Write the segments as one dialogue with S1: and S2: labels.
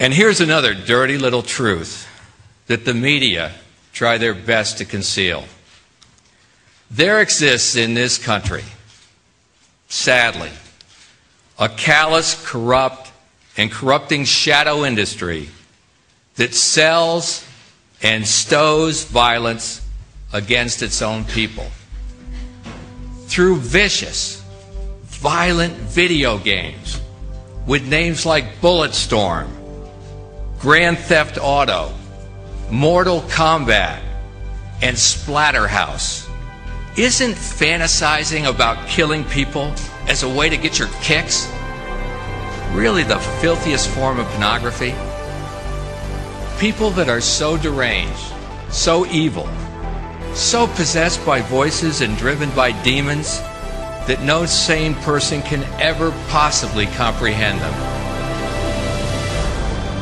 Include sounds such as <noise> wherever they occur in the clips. S1: And here's another dirty little truth that the media try their best to conceal. There exists in this country, sadly, a callous, corrupt, and corrupting shadow industry that sells and stows violence against its own people through vicious, violent video games with names like Bulletstorm, Grand Theft Auto, Mortal Kombat, and Splatterhouse. Isn't fantasizing about killing people as a way to get your kicks really the filthiest form of pornography? People that are so deranged, so evil, so possessed by voices and driven by demons that no sane person can ever possibly comprehend them.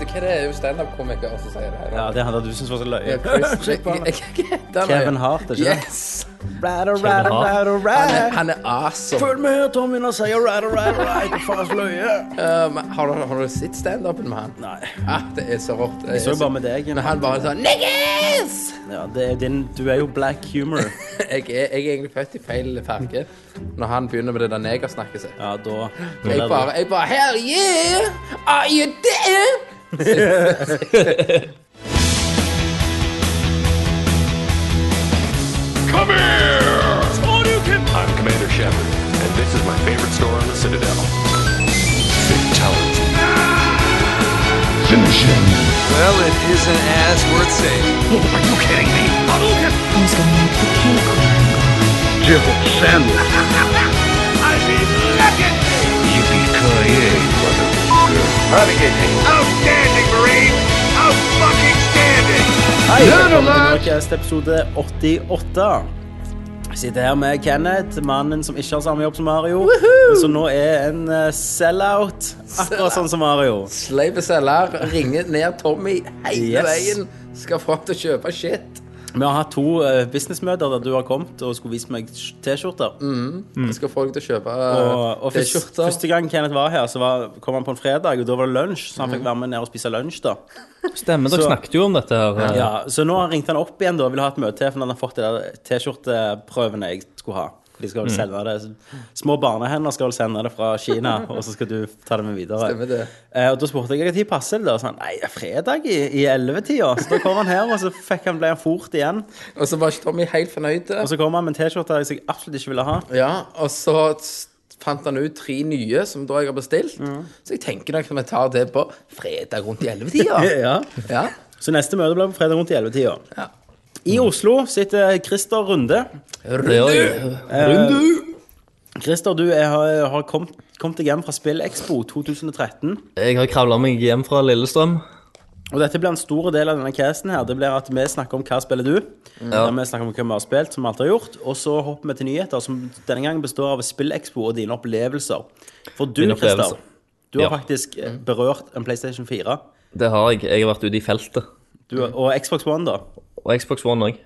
S2: Det hva det er jo standup-komikere som sier det.
S3: Ja, det hadde du syntes var så
S2: Ja,
S3: løye. <laughs>
S2: Chris- Den er-
S3: Kevin Hart, ikke sant?
S2: Yes.
S3: Right, all right, all right,
S2: Han
S3: all
S2: er,
S3: right.
S2: han er awesome.
S3: Følg med her, Tommy, når jeg sier right, all right, all right. Det er faen så løye.
S2: Um, har, du, har du sett standupen med han?
S3: Nei.
S2: Ah, det er så rått.
S3: Jeg så jo bare med deg.
S2: Men han bare sånn Niggas!
S3: Ja, det er din, du er jo black humor.
S2: <laughs> Jeg er, jeg er egentlig født i feil farge når han begynner med det der negersnakket sitt.
S3: Ja, da da
S2: Jeg
S3: er
S2: bare,
S3: det-
S2: jeg bare Hell yeah! Are you there?
S4: Come here! I'm Commander Shepard, and this is my favorite store on the Citadel. Fatality. Finish him.
S5: Well, it isn't as worth saying.
S4: Are you kidding me?
S6: Who's gonna make the cake when I'm gone?
S4: Jibble sandwich.
S6: <laughs>
S4: I mean, look at me! Yippee-ki-yay, motherfucker. Navigating. Outstanding, Marine! Out-fucking-standing!
S3: Hei, velkommen til Nerdcast episode 88. Jeg sitter her med Kenneth, mannen som ikke har samme jobb som Mario, men som nå er en eh, sellout, akkurat sånn som Mario.
S2: Sleipe selger ringer ned Tommy hele
S3: Yes.
S2: veien. Skal få han til å kjøpe shit.
S3: Vi har hatt to eh, businessmøter der du har kommet og skulle vist meg T-skjorter.
S2: Skal få deg til å kjøpe
S3: Og,
S2: uh,
S3: og først,
S2: T-skjorter.
S3: første gang Kenneth var her, så var, kom han på en fredag, og da var det lunsj, så han fikk være med ned og spise lunsj da.
S7: Mhm. Stemmer, dere
S3: Så-
S7: snakket jo om dette her.
S3: Ja, så nå har ringte han opp igjen da, og ville ha et møte her, for han har fått de der T-skjorteprøvene jeg skulle ha. De skal
S7: Mhm.
S3: vel sende det. Små barnehender skal vel sende det fra Kina,
S7: <laughs>
S3: og så skal du ta det med videre.
S2: Stemmer det.
S3: Eh, og da spurte jeg hva tid passer det da, og sa han, nei, det er fredag i, i 11-tida. Så da kom han her, og så fikk han, ble han fort igjen.
S2: Og så var ikke Tommy helt fornøyd.
S3: Og så kom han med en T-skjorte som jeg absolutt ikke ville ha.
S2: Ja, og så s- fant han ut tre nye som da jeg har bestilt.
S3: Mm.
S2: Så jeg tenker nok at vi tar det på fredag rundt i 11-tida.
S3: <laughs> Ja.
S2: ja.
S3: Så neste møte ble på fredag rundt i 11-tida.
S2: Ja.
S3: I Oslo sitter Christer Runde.
S2: Runde!
S3: Christer, du er, har, har kommet kom deg hjem fra SpillExpo 2013.
S7: Jeg har kravla meg hjem fra Lillestrøm.
S3: Og dette blir en stor del av denne casten her. Det blir at vi snakker om hva spiller du. Der vi snakker om hva vi har spilt, som vi alltid har gjort. Og så hopper vi til nyheter, som denne gangen består av Spillexpo og dine opplevelser. For du,
S7: Mine
S3: Christer,
S7: opplevelser.
S3: du har
S7: Ja.
S3: faktisk eh, berørt en PlayStation 4.
S7: Det har jeg. Jeg har vært ute i feltet.
S3: Du,
S7: Mhm.
S3: og Xbox One, da.
S7: Og Xbox One òg.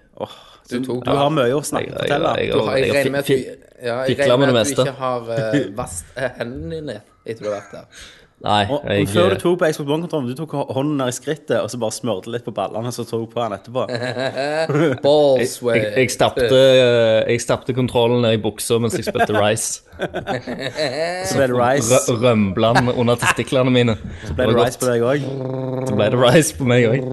S2: Du tok
S3: Du har mye å snakke
S7: Jeg, jeg,
S3: fortelle.
S7: jeg,
S2: Du har- Jeg
S7: jeg,
S2: regner med at du,
S7: fi-
S2: ja, jeg
S7: fikla
S2: regner
S7: med
S2: med
S7: det
S2: at du
S7: meste.
S2: ikke har uh,
S3: <laughs>
S2: vasket eh, hendene dine etter du har vært der.
S7: Nei,
S3: Og
S7: jeg,
S3: før du tok på Xbox One-kontrollen, du tok hånden ned i skrittet og så bare smørte litt på ballene, og så tok du på den etterpå.
S2: Balls way.
S7: jeg, jeg stappte eh, jeg stappte kontrollen ned i buksa mens jeg spilte Rice.
S3: Så <laughs> ble det Rise.
S7: Rø- Rømla den under testiklene mine.
S3: Så ble det Rise på deg òg.
S7: Så ble det Rice på meg òg.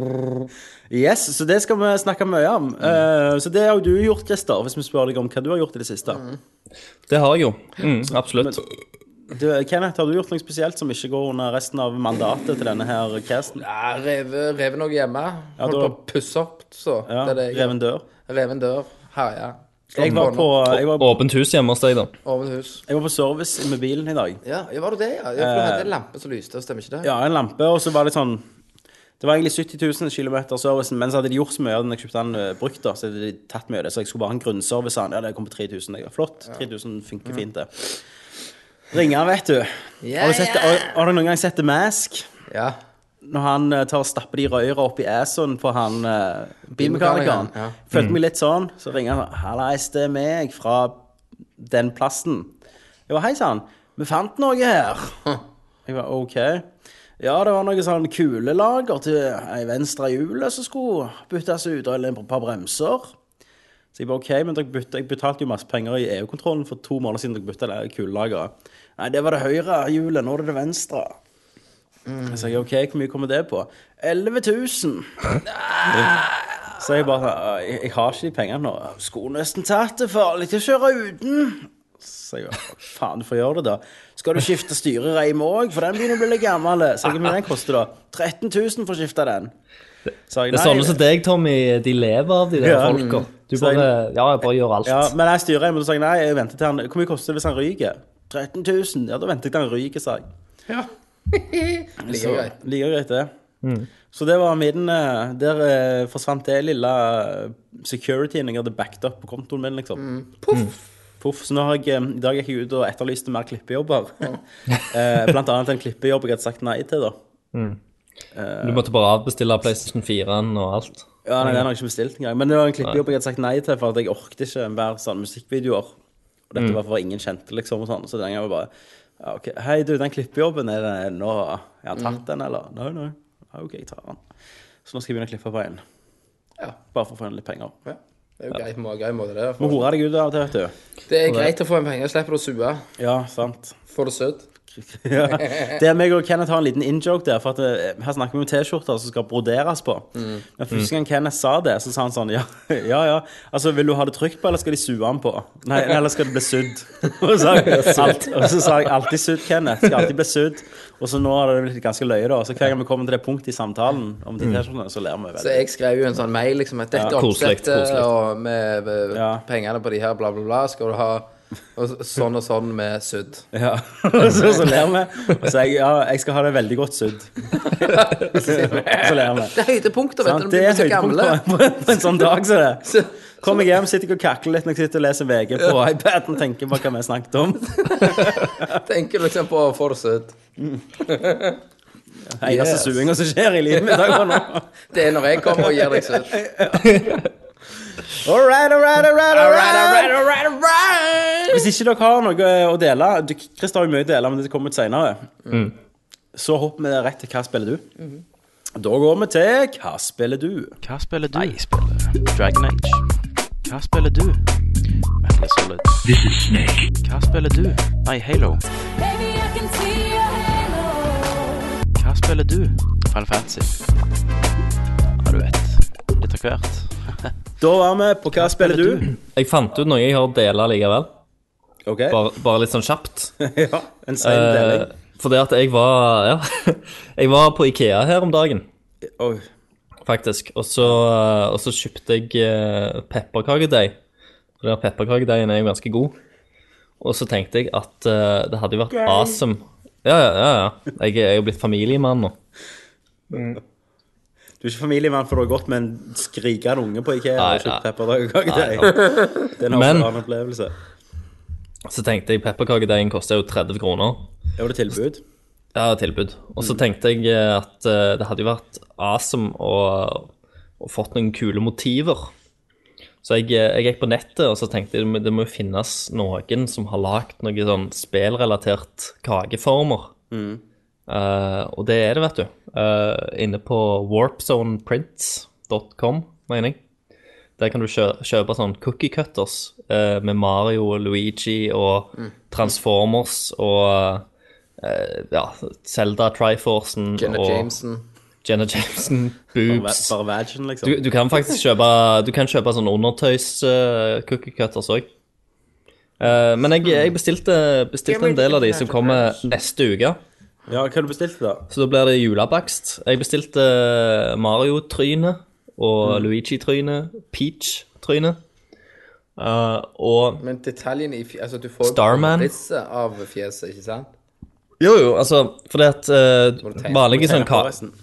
S3: Yes, så det skal vi snakke mye om. Eh, så det har jo du gjort, Christer, hvis vi spør deg om hva du har gjort i det siste.
S2: Mm.
S7: Det har jeg jo. Mm, absolutt.
S3: Du, Kenneth, har du gjort noe spesielt som ikke går under resten av mandatet til denne her casten?
S2: Ja, reve, reve noe hjemme. Holdt
S3: da-
S2: på å pusse opp, så.
S3: Ja,
S2: det er det jeg-
S3: Reven dør.
S2: Reven dør. Herja.
S3: Jeg var på, jeg var,
S7: Åpent hus hjemme hos deg, da.
S2: Over hus.
S3: jeg var på service med bilen i dag.
S2: Ja, ja, var du det? Ja, ja for du hadde en lampe som lyste, stemmer ikke det?
S3: Eh. Ja, en lampe, og så var det sånn Det var egentlig 70 000 km servicen, men så hadde de gjort så mye av den jeg kjøpte den eh, brukt, da, så hadde de tatt mye av det. Så jeg skulle bare ha en grunnservice av den. Ja, det kom på 3000. Jeg, flott. 3000 funker fint, det. Ringer han, vet du. har, du sett, det- har, har du noen gang sett The Mask?
S2: Ja.
S3: Når han eh, tar og stapper de røyra opp i assen på han eh, bilmekanikeren.
S2: Bilmekanikeren, ja.
S3: Følte meg litt sånn, så ringer han sånn, 'Hallais, det er meg fra den plassen'. Jeg var 'Hei sann, vi fant noe her'. Jeg var OK. Ja, det var noe sånn kulelager til ei venstre hjul som skulle byttes ut, og et par bremser. Så jeg bare OK, men dere bytte, jeg betalte jo masse penger i EU-kontrollen for to måneder siden dere bytta det kulelageret. Nei, det var det høyre hjulet, nå er det det venstre.
S7: Mm.
S3: Så jeg OK, hvor mye kommer det på? 11 000. Så jeg bare sånn, jeg, jeg har ikke de pengene nå. Skulle nesten tatt det, farlig til å kjøre uten. Så jeg bare, faen, du får gjøre det, da. Skal du skifte styrereim òg, for den begynner å bli litt gammel? Så jeg, men den koster da 13 000 for å skifte den. Så jeg,
S7: Det er sånne som deg, Tommy. De lever av de der
S3: Ja.
S7: folka. Du
S3: Så jeg-
S7: bare, ja, jeg bare gjør alt.
S3: Ja, men jeg styrer hjem, og så sa jeg nei, jeg venter til han Hvor mye koster det hvis han ryker? 13 000. Ja, da venter jeg til han ryker, sa jeg.
S2: Like greit.
S3: Like greit, det. Så det var min eh, Der eh, forsvant det lille eh, securityen jeg hadde backed up på kontoen min, liksom. Poff! Poff, Så nå har jeg, eh, i dag gikk jeg ut og etterlyste mer klippejobber. <laughs> Eh, Blant annet en klippejobb jeg hadde sagt nei til, da.
S7: Du måtte bare avbestille PlayStation 4-en og alt.
S3: Ja, nei, Den har jeg ikke bestilt engang. Men det var en klippejobb jeg hadde sagt nei til, for at jeg orket ikke hver sånn musikkvideoer. Og dette var for ingen kjente, liksom. og sånn, Så den gangen var jeg bare ja, ok, Hei, du, den klippejobben, er det nå Har han tatt den, eller? Nei, nei. Ja, OK, jeg tar den. Så nå skal jeg begynne å klippe på en.
S2: Ja.
S3: Bare for å få inn litt penger.
S2: Ja. Det er jo greit på en grei måte, det.
S3: Må
S2: For.
S3: hore deg ut av og til, vet du.
S2: Det er greit å få en penge, slipper du å sue.
S3: Ja, sant.
S2: Får det søtt.
S3: ja. Det er meg og Kenneth har en liten in-joke der. For at eh, Her snakker vi om T-skjorter som skal broderes på.
S2: Mm.
S3: Men første gang Kenneth sa det, så sa han sånn <laughs> Ja, ja. ja. Altså, vil du ha det trygt på, eller skal de sue han på? Nei, nei, eller skal det bli
S2: <laughs>
S3: sudd? og, så, alt, og så sa jeg alltid sudd, Kenneth. Skal alltid bli sudd. Og så nå har det blitt ganske løye, da. Så hver gang vi kommer til det punktet i samtalen om de T-skjortene, så ler vi
S2: Mm. Så
S3: veldig.
S2: jeg skrev jo en sånn mail liksom at dette
S7: Ja,
S2: er
S7: koselig,
S2: oppsettet,
S7: koselig.
S2: og med eh,
S3: Ja.
S2: pengene på de her, bla, bla, bla, skal du ha og s- sånn og sånn med sudd.
S3: Ja. <laughs> Og så, så ler vi. Og så jeg, ja, jeg skal ha det veldig godt
S2: <laughs>
S3: sudd. <laughs> så ler vi.
S2: Det er høydepunkter, vet
S3: Sant?
S2: du. De
S3: Det er
S2: blir så gamle.
S3: høydepunktet på, på en sånn dag som det. Kommer jeg hjem, sitter jeg og kakler litt når jeg sitter og leser VG på iPaden og tenker på hva vi snakket om.
S2: <laughs> Tenker du liksom på å få det søtt.
S3: Eneste
S2: Yes.
S3: suinga som skjer i livet mitt akkurat nå.
S2: Det er når jeg kommer og gir deg søtt.
S3: All right, all right, all right, <laughs> all
S2: Alright, alright,
S3: right.
S2: alright, alright.
S3: Hvis ikke dere har noe eh, å dele du, Chris har jo mye å dele, men det kommer ut senere. Så hopper vi rett til Hva spiller du? Da går vi til Hva spiller du?
S8: Hva spiller du? Jeg spiller Dragon Age. Hva spiller du? Metal Gear Solid. This is Snake. Hva spiller du? Nei, Halo.
S9: Baby, I can see your halo.
S8: Hva spiller du? Final Fantasy. Ja, du vet. Litt av hvert.
S3: <laughs> Da var vi på Hva spiller du?
S7: Jeg fant ut noe jeg har dela likevel.
S3: Ok,
S7: Bare, bare litt sånn kjapt.
S3: <laughs> ja, en sen deling.
S7: Eh, fordi at jeg var Ja. <laughs> Jeg var på Ikea her om dagen,
S3: Oi.
S7: faktisk. Og så, eh, og så kjøpte jeg eh, pepperkakedeig. For den pepperkakedeigen er jo ganske god. Og så tenkte jeg at eh, det hadde jo vært awesome Ja, ja, ja. ja. Jeg, er- jeg er jo blitt familiemann nå.
S3: Du er ikke familiemann, for du har gått med en skrikende unge på IKEA
S7: Nei,
S3: og kjøpt
S7: nei.
S3: pepperkakekake til deg. Det er en
S7: Men-
S3: helt annen opplevelse.
S7: Så tenkte jeg pepperkakedeigen koster jo 30 kroner.
S3: Er det tilbud?
S7: Ja, tilbud. Og så tenkte jeg eh, at eh, det hadde jo vært awesome å, å fått noen kule motiver. Så jeg, eh, jeg gikk på nettet og så tenkte jeg, "Men det må jo finnes noen som har lagd noen sånn spelrelatert kakeformer. Eh, og det er det, vet du. Eh, inne på warpzoneprints.com, mener jeg. Der kan du kjø kjøpe sånn cookie cutters eh, med Mario og Luigi og Transformers og eh, ja, Zelda Triforcen
S2: Jenna
S7: og
S2: Jameson.
S7: Jenna Jameson,
S3: Bare,
S7: boobs.
S3: bare vagin, liksom?
S7: Du, du kan faktisk kjøpe, du kan kjøpe sånn undertøys-cookie cutters òg. men jeg, jeg bestilte, bestilte en del av de som kommer neste uke.
S3: Ja, hva har du bestilt, da?
S7: Så da blir det julebakst. Jeg bestilte Mario-tryne og Luigi-tryne, Peach-tryne. eh, og
S2: Men detaljene i fjeset altså, Du får
S7: Starman.
S2: risse av fjeset, ikke sant?
S7: Jo, jo, altså Fordi at eh,
S2: Må du tegne-
S7: vanlige, sånn
S3: Tegner på
S7: ka
S3: resten.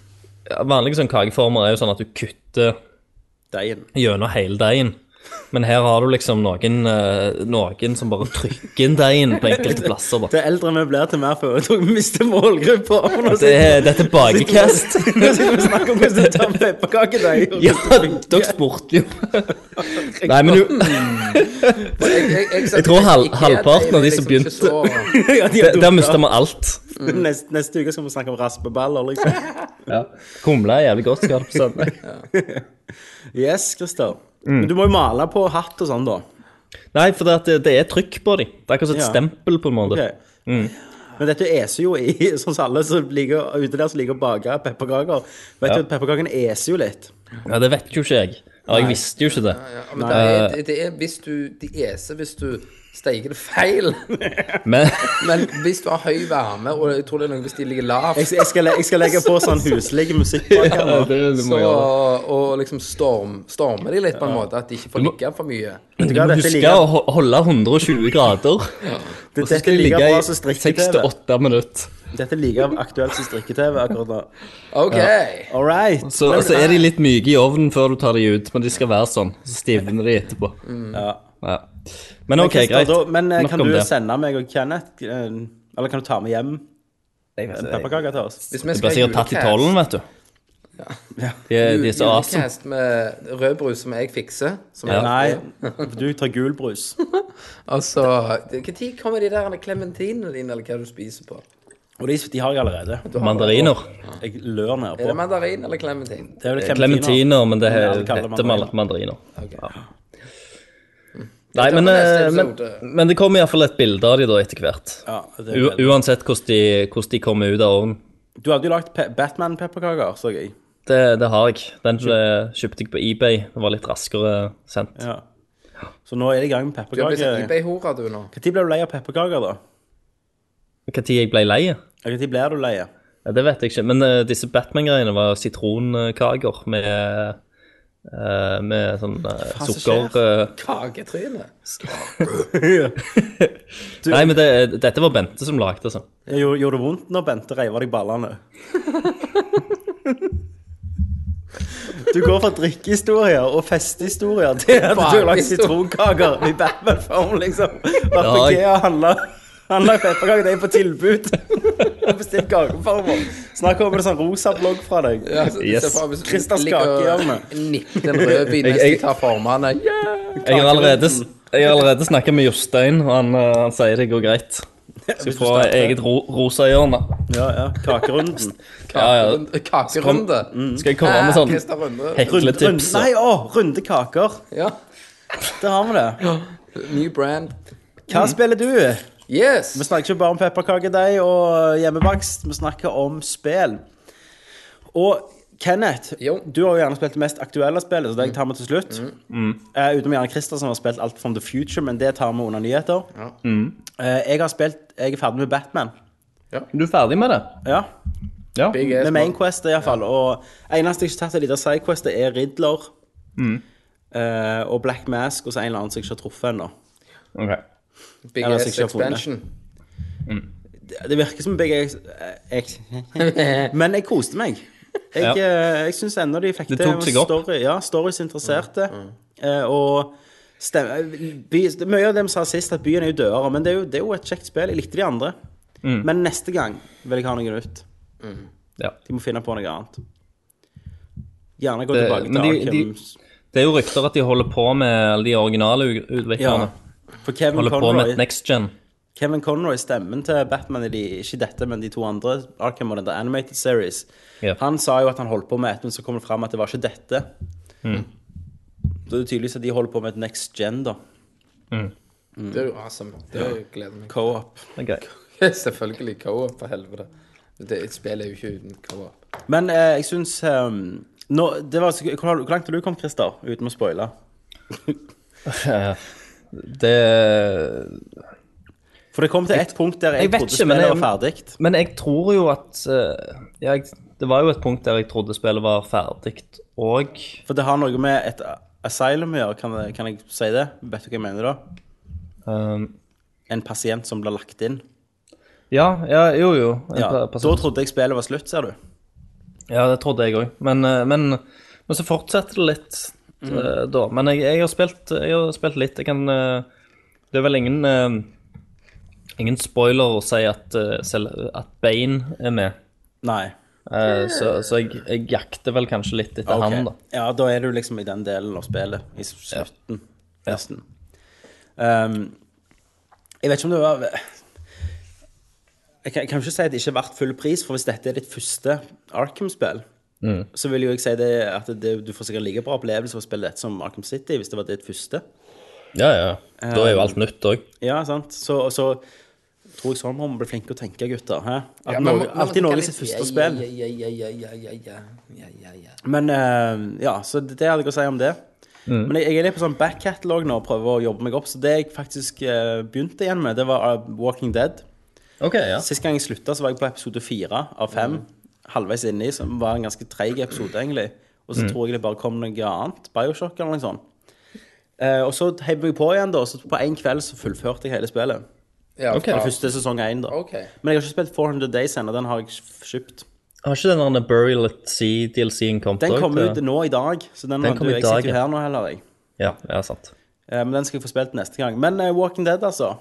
S7: vanlige sånn kakeformer er jo sånn at du kutter
S3: Deigen.
S7: gjennom hele deigen. Men her har du liksom noen, eh, noen som bare trykker inn deigen på enkelte plasser. da.
S3: Det eldre vi blir, til mer foretok vi mister målgruppa. For nå
S7: Det
S3: <laughs> sitter
S7: er, dette er bakekast.
S3: nå sitter vi og snakker om hvordan du tar pepperkakedeig.
S7: <laughs> Ja, dere spurte jo. Nei, <laughs> men du,
S2: Jeg, jeg, jeg, liksom
S7: <laughs> Jeg tror hal- halvparten av de som begynte-
S2: begynte
S7: der, der mista vi alt.
S3: Neste, neste uke skal vi snakke om raspeballer, liksom.
S7: Ja. Humle er jævlig godt skal jeg ha det på søndag.
S3: Yes, Christer.
S7: Mm.
S3: Men du må jo male på hatt og sånn, da.
S7: Nei, for det, at det, det er trykk på dem. Det er akkurat som et
S3: Ja.
S7: stempel, på en måte.
S3: Ok.
S7: Mm.
S3: Men dette eser jo i <laughs> Sånn som alle som ligger ute der som liker å bake pepperkaker. Vet du
S7: Ja.
S3: at pepperkakene eser jo litt?
S7: Ja, det vet jo ikke jeg. Ja, jeg visste jo ikke det.
S2: Ja, men det er, det, det er hvis du De eser hvis du steiker det feil.
S7: Men
S2: Men hvis du har høy varme, og jeg tror det er noe hvis de ligger
S3: Jeg,
S2: lavt,
S3: jeg, skal, le- jeg skal legge på sånn huslig musikk. bak her nå.
S2: så, og liksom storm, stormer de litt på en måte, at de ikke får ligge for mye.
S7: du
S3: Ja,
S7: må
S3: dette
S7: huske
S3: liker-
S7: å ho- holde 120 grader.
S3: Det-
S7: Og så
S3: Dette
S7: skal
S3: er like
S7: det ligge
S3: bra
S7: i
S3: som
S7: 6
S3: strikke-TV.
S7: 8 minutter.
S3: Dette er like aktuelt som strikke-TV akkurat nå.
S2: OK.
S3: All right.
S7: Så, altså, og så er de litt myke i ovnen før du tar de ut, men de skal være sånn. Så stivner de etterpå.
S3: Ja.
S7: Ja. Men OK,
S3: Christer,
S7: greit.
S3: da- Mm. Men eh,
S7: Nok
S3: kan
S7: om
S3: du
S7: det.
S3: sende meg og Kenneth eh, Eller kan du ta med hjem en pepperkake til oss?
S2: Hvis vi
S7: Du blir sikkert tatt i tollen, vet du. De, er- de er så awesome.
S2: Julekast med rødbrus som jeg fikser. Som jeg,
S3: Nei, du tar gul brus.
S2: altså Når kommer de der klementinene dine, eller hva du spiser på?
S3: Og de, de har jeg allerede.
S7: Mandariner.
S3: Jeg lør
S2: Er det
S3: nedpå.
S2: mandarin eller klementin?
S3: Det er vel
S7: Clementiner, men det
S3: Ja, de kaller det
S7: heter
S3: mandariner. Mm.
S7: mandariner. mandariner.
S2: Ok.
S7: Nei, men,
S2: var neste
S7: eh, men,
S2: episode.
S7: men det kommer iallfall et bilde av de da etter hvert.
S3: Ja, det er
S7: U
S3: veldig-
S7: uansett hvordan de, hvordan de kommer ut av ovnen.
S3: Du hadde jo lagd pe Batman-pepperkaker, så jeg.
S7: Det, det har jeg. Den eh, kjøpte jeg på eBay. Den var litt raskere sendt.
S3: Ja. Så nå er det i gang med
S2: Du har blitt en
S3: pepperkaker.
S2: eBay-hora, du nå.
S3: Når ble du lei av pepperkaker, da?
S7: Når jeg ble lei? Ja,
S3: Når blir du lei?
S7: det vet jeg ikke. Men eh, disse Batman-greiene var sitronkaker med eh, med sånn eh,
S3: Faen, så
S7: sukker eh,
S2: Kaketryne.
S7: Nei, men det, eh, dette var Bente som lagde det. Sånn.
S3: Jeg gjorde, gjorde det vondt når Bente reiv av deg ballene? <laughs> Du går fra drikkehistorier og festehistorier til at du har lagd sitronkaker i Batman-form, liksom. Vært på
S7: Ja, jeg-
S3: IKEA og handla pepperkaker. Det er på tilbud. Og bestilt kakeformer. Snakk om en sånn rosa blogg fra deg.
S2: Ja, så,
S7: Yes.
S2: se for deg hvis du
S3: Christer
S2: ligger og
S3: Skakehjørnet.
S2: Nikker den rødvin mens de
S7: Jeg-
S2: tar formene. Yeah!
S7: Jeg har allerede, jeg har allerede snakka med Jostein, og han, eh, han sier det
S3: <laughs>
S7: går greit. Skal få eget ro rosa hjørne.
S3: Ja, ja. Kakerunden.
S7: Ja, ja.
S2: Kakerunde. Kakerunde.
S7: Skal jeg komme med
S2: Ah, Christer
S7: sånn
S2: Runde.
S7: hekle
S3: Runde, runde,
S7: tips?
S3: nei, å! Runde kaker.
S2: Ja.
S3: Der har vi det.
S2: New brand.
S3: Hva spiller du?
S2: Yes!
S3: Vi snakker ikke bare om pepperkakedeig og hjemmebakst, vi snakker om spill. Og Kenneth,
S2: Jo. Mm.
S3: du har jo gjerne spilt det mest aktuelle spillet, så det jeg tar med til slutt. Eh, utenom gjerne Christer, som har spilt alt from the future, men det tar vi under nyheter. Eh, jeg har spilt Jeg er ferdig med Batman.
S7: Du er ferdig med det?
S3: Ja.
S7: Ja.
S2: Big ass
S3: Med
S2: man.
S3: Mainquest iallfall. Og eneste jeg ikke har tatt av de der sidequestene, er Riddler eh, og Black Mask og så en eller annen som jeg ikke har truffet ennå.
S7: Ok.
S2: Big
S3: Eller
S2: ass
S3: sikkert ikke funnet.
S2: expansion.
S3: Det virker som begge jeg, jeg, Men jeg koste meg. Jeg,
S7: Ja.
S3: eh, jeg syns ennå de fikk
S7: Det tok seg opp.
S3: Story, ja, stories interesserte. eh, Og stem, by, mye av det vi sa sist, at byen er jo dødere, men det er jo, det er jo et kjekt spill. Jeg likte de andre. Men neste gang vil jeg ha noe nytt.
S7: Mm. Ja.
S3: De må finne på noe annet. Gjerne gå
S7: Det-
S3: tilbake til
S7: men de- de-
S3: Arkham.
S7: Det er jo rykter at de holder på med alle de originale u- utviklerne.
S3: For Kevin
S7: Holder på med et
S3: Conroy,
S7: next gen.
S3: Kevin Conroy, stemmen til Batman i de, ikke dette, men de to andre, Arkham og den der Animated Series,
S7: Ja.
S3: han sa jo at han holdt på med et, men så kom det fram at det var ikke dette.
S7: Mm.
S3: Så det er tydeligvis at de holder på med et next gen, da.
S2: Det er jo awesome. Det er jo gleder meg.
S3: Co-op.
S7: Det er greit.
S2: <laughs> Selvfølgelig co-op, for helvete. Det spillet er jo ikke uten co-op.
S3: Men eh, jeg syns um, nå, det var, så- hvor, hvor langt har du kommet, Christer? Uten å spoile.
S7: Det
S3: For det kom til ett punkt der jeg,
S7: jeg vet
S3: trodde
S7: ikke, men
S3: spillet
S7: jeg-
S3: var ferdig.
S7: Men jeg tror jo at eh, ja, jeg, Det var jo et punkt der jeg trodde spillet var ferdig, og
S3: For det har noe med et eh, asylum å gjøre, kan, jeg- kan jeg si det? Vet du hva jeg mener da?
S7: ehm,
S3: En pasient som blir lagt inn.
S7: ja, ja, jo, jo. En
S3: Ja,
S7: pa-
S3: da
S7: person-
S3: trodde jeg spillet var slutt, ser du.
S7: Ja, det trodde jeg òg. Men, eh, men, men så fortsetter det litt
S3: Mm.
S7: eh, da. Men jeg, jeg, har spilt, jeg har spilt litt. Jeg kan eh, Det er vel ingen eh, Ingen spoiler å si at, eh, selv- at Bane er med.
S3: Nei.
S7: Eh, Så, så jeg, jeg jakter vel kanskje litt etter
S3: Ok.
S7: han, da.
S3: Ja, da er du liksom i den delen av spillet. I slutten, nesten. Ehm, Um, jeg vet ikke om det var jeg kan, jeg kan ikke si at det ikke er verdt full pris, for hvis dette er ditt første Arkham-spill,
S7: Mm.
S3: så vil jo jeg si det at det, du får sikkert like bra opplevelse av å spille dette som Arkham City, hvis det var ditt første.
S10: Ja, ja. Da er jo
S3: Um,
S10: alt nytt òg.
S3: Ja, sant? Så, og så tror jeg sånn må vi bli flinke å tenke, gutter. Hæ? At
S2: Ja, men-
S3: Norge,
S2: men-
S3: alltid
S2: men-
S3: Norge sitt første spill.
S2: Ja, ja, ja, ja, ja, ja, ja, ja, ja.
S3: Men eh, ja, så det, det hadde jeg å si om det. Men jeg, jeg er litt på sånn back-catalog nå og prøver å jobbe meg opp. Så det jeg faktisk eh, begynte igjen med, det var eh, Walking Dead.
S10: Ok, ja.
S3: Sist gang jeg slutta, så var jeg på episode fire av fem. Halvveis inni, som var en ganske treig episode, egentlig. Og så tror jeg det bare kom noe annet. Bioshock eller noe sånt. Eh, og så heiv jeg på igjen, da. Så på én kveld så fullførte jeg hele spillet.
S2: ja
S10: Ok.
S2: faen.
S3: Eller første sesong én, da.
S2: Ok.
S3: Men jeg har ikke spilt 400 Days ennå. Den har jeg ikke kjøpt.
S10: Har ikke den der Bury Let Sea-DLC-en kommet
S3: Den
S10: også
S3: kom
S10: til-
S3: ut nå i dag, så den,
S10: Den
S3: har
S10: kom
S3: du,
S10: i
S3: jeg
S10: dag,
S3: sitter jo
S10: ja.
S3: her nå heller, jeg.
S10: Ja, ja, sant.
S3: Eh, Men den skal jeg få spilt neste gang. Men eh, Walking Dead, altså.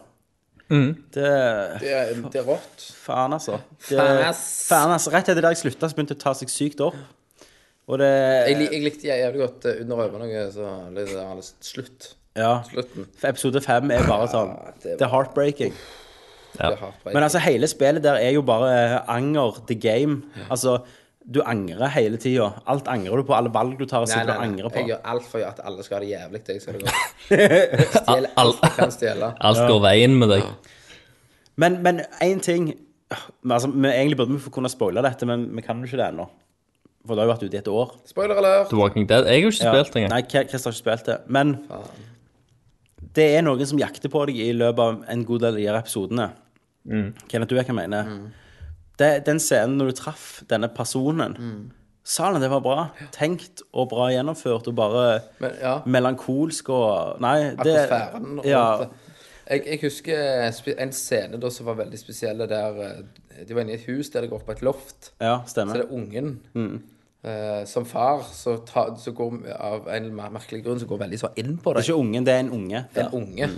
S3: Det
S2: Det er, det er rått.
S3: Faen, altså. Det,
S2: Faen, ass.
S3: faen, altså. Rett etter det jeg slutta, så begynte det å ta seg sykt opp. Og det
S2: Jeg, lik- jeg likte jeg jævlig godt eh, under øynene noe, så liksom, han er slutt.
S3: Ja.
S2: Slutten. Ah,
S3: For Episode fem er bare sånn
S2: det var-
S3: Det er heartbreaking.
S2: Det er hardt
S3: Men altså, hele spillet der er jo bare eh, anger the game. Altså, du angrer hele tida. Alt angrer du på. Alle valg du tar, er sikkert du angrer på.
S2: Jeg gjør alt for at alle skal ha det jævlig. Jeg skal ha det
S3: <laughs>
S2: godt. Stjele alt jeg kan stjele.
S7: Alt går veien med deg.
S3: Men, men en ting men altså, vi Egentlig burde vi få kunne spoile dette, men vi kan jo ikke det ennå. For det har jo vært ute i et år.
S2: Spoiler alert!
S7: The Walking Dead. Jeg har jo ikke spilt det engang.
S3: Nei, Chris har ikke spilt det. Men det er noen som jakter på deg i løpet av en god del av de her episodene. Kenneth, du vet hva jeg mener.
S2: Mm.
S3: Det, den scenen når du traff denne personen Salen, det var bra. Tenkt og bra gjennomført og bare
S2: Men ja,
S3: melankolsk og Nei, det
S2: atmosfæren og
S3: ja,
S2: alt det. jeg, jeg husker eh, spe- en scene da som var veldig spesiell, der eh, de var inne i et hus der det går opp på et loft.
S3: ja,
S2: Så
S3: stemmer.
S2: det er ungen.
S3: Mm.
S2: eh, som far så, ta, så går av en mer merkelig grunn så går veldig så inn på
S3: Det er
S2: deg.
S3: ikke Mm. ungen, det er en unge.
S2: En unge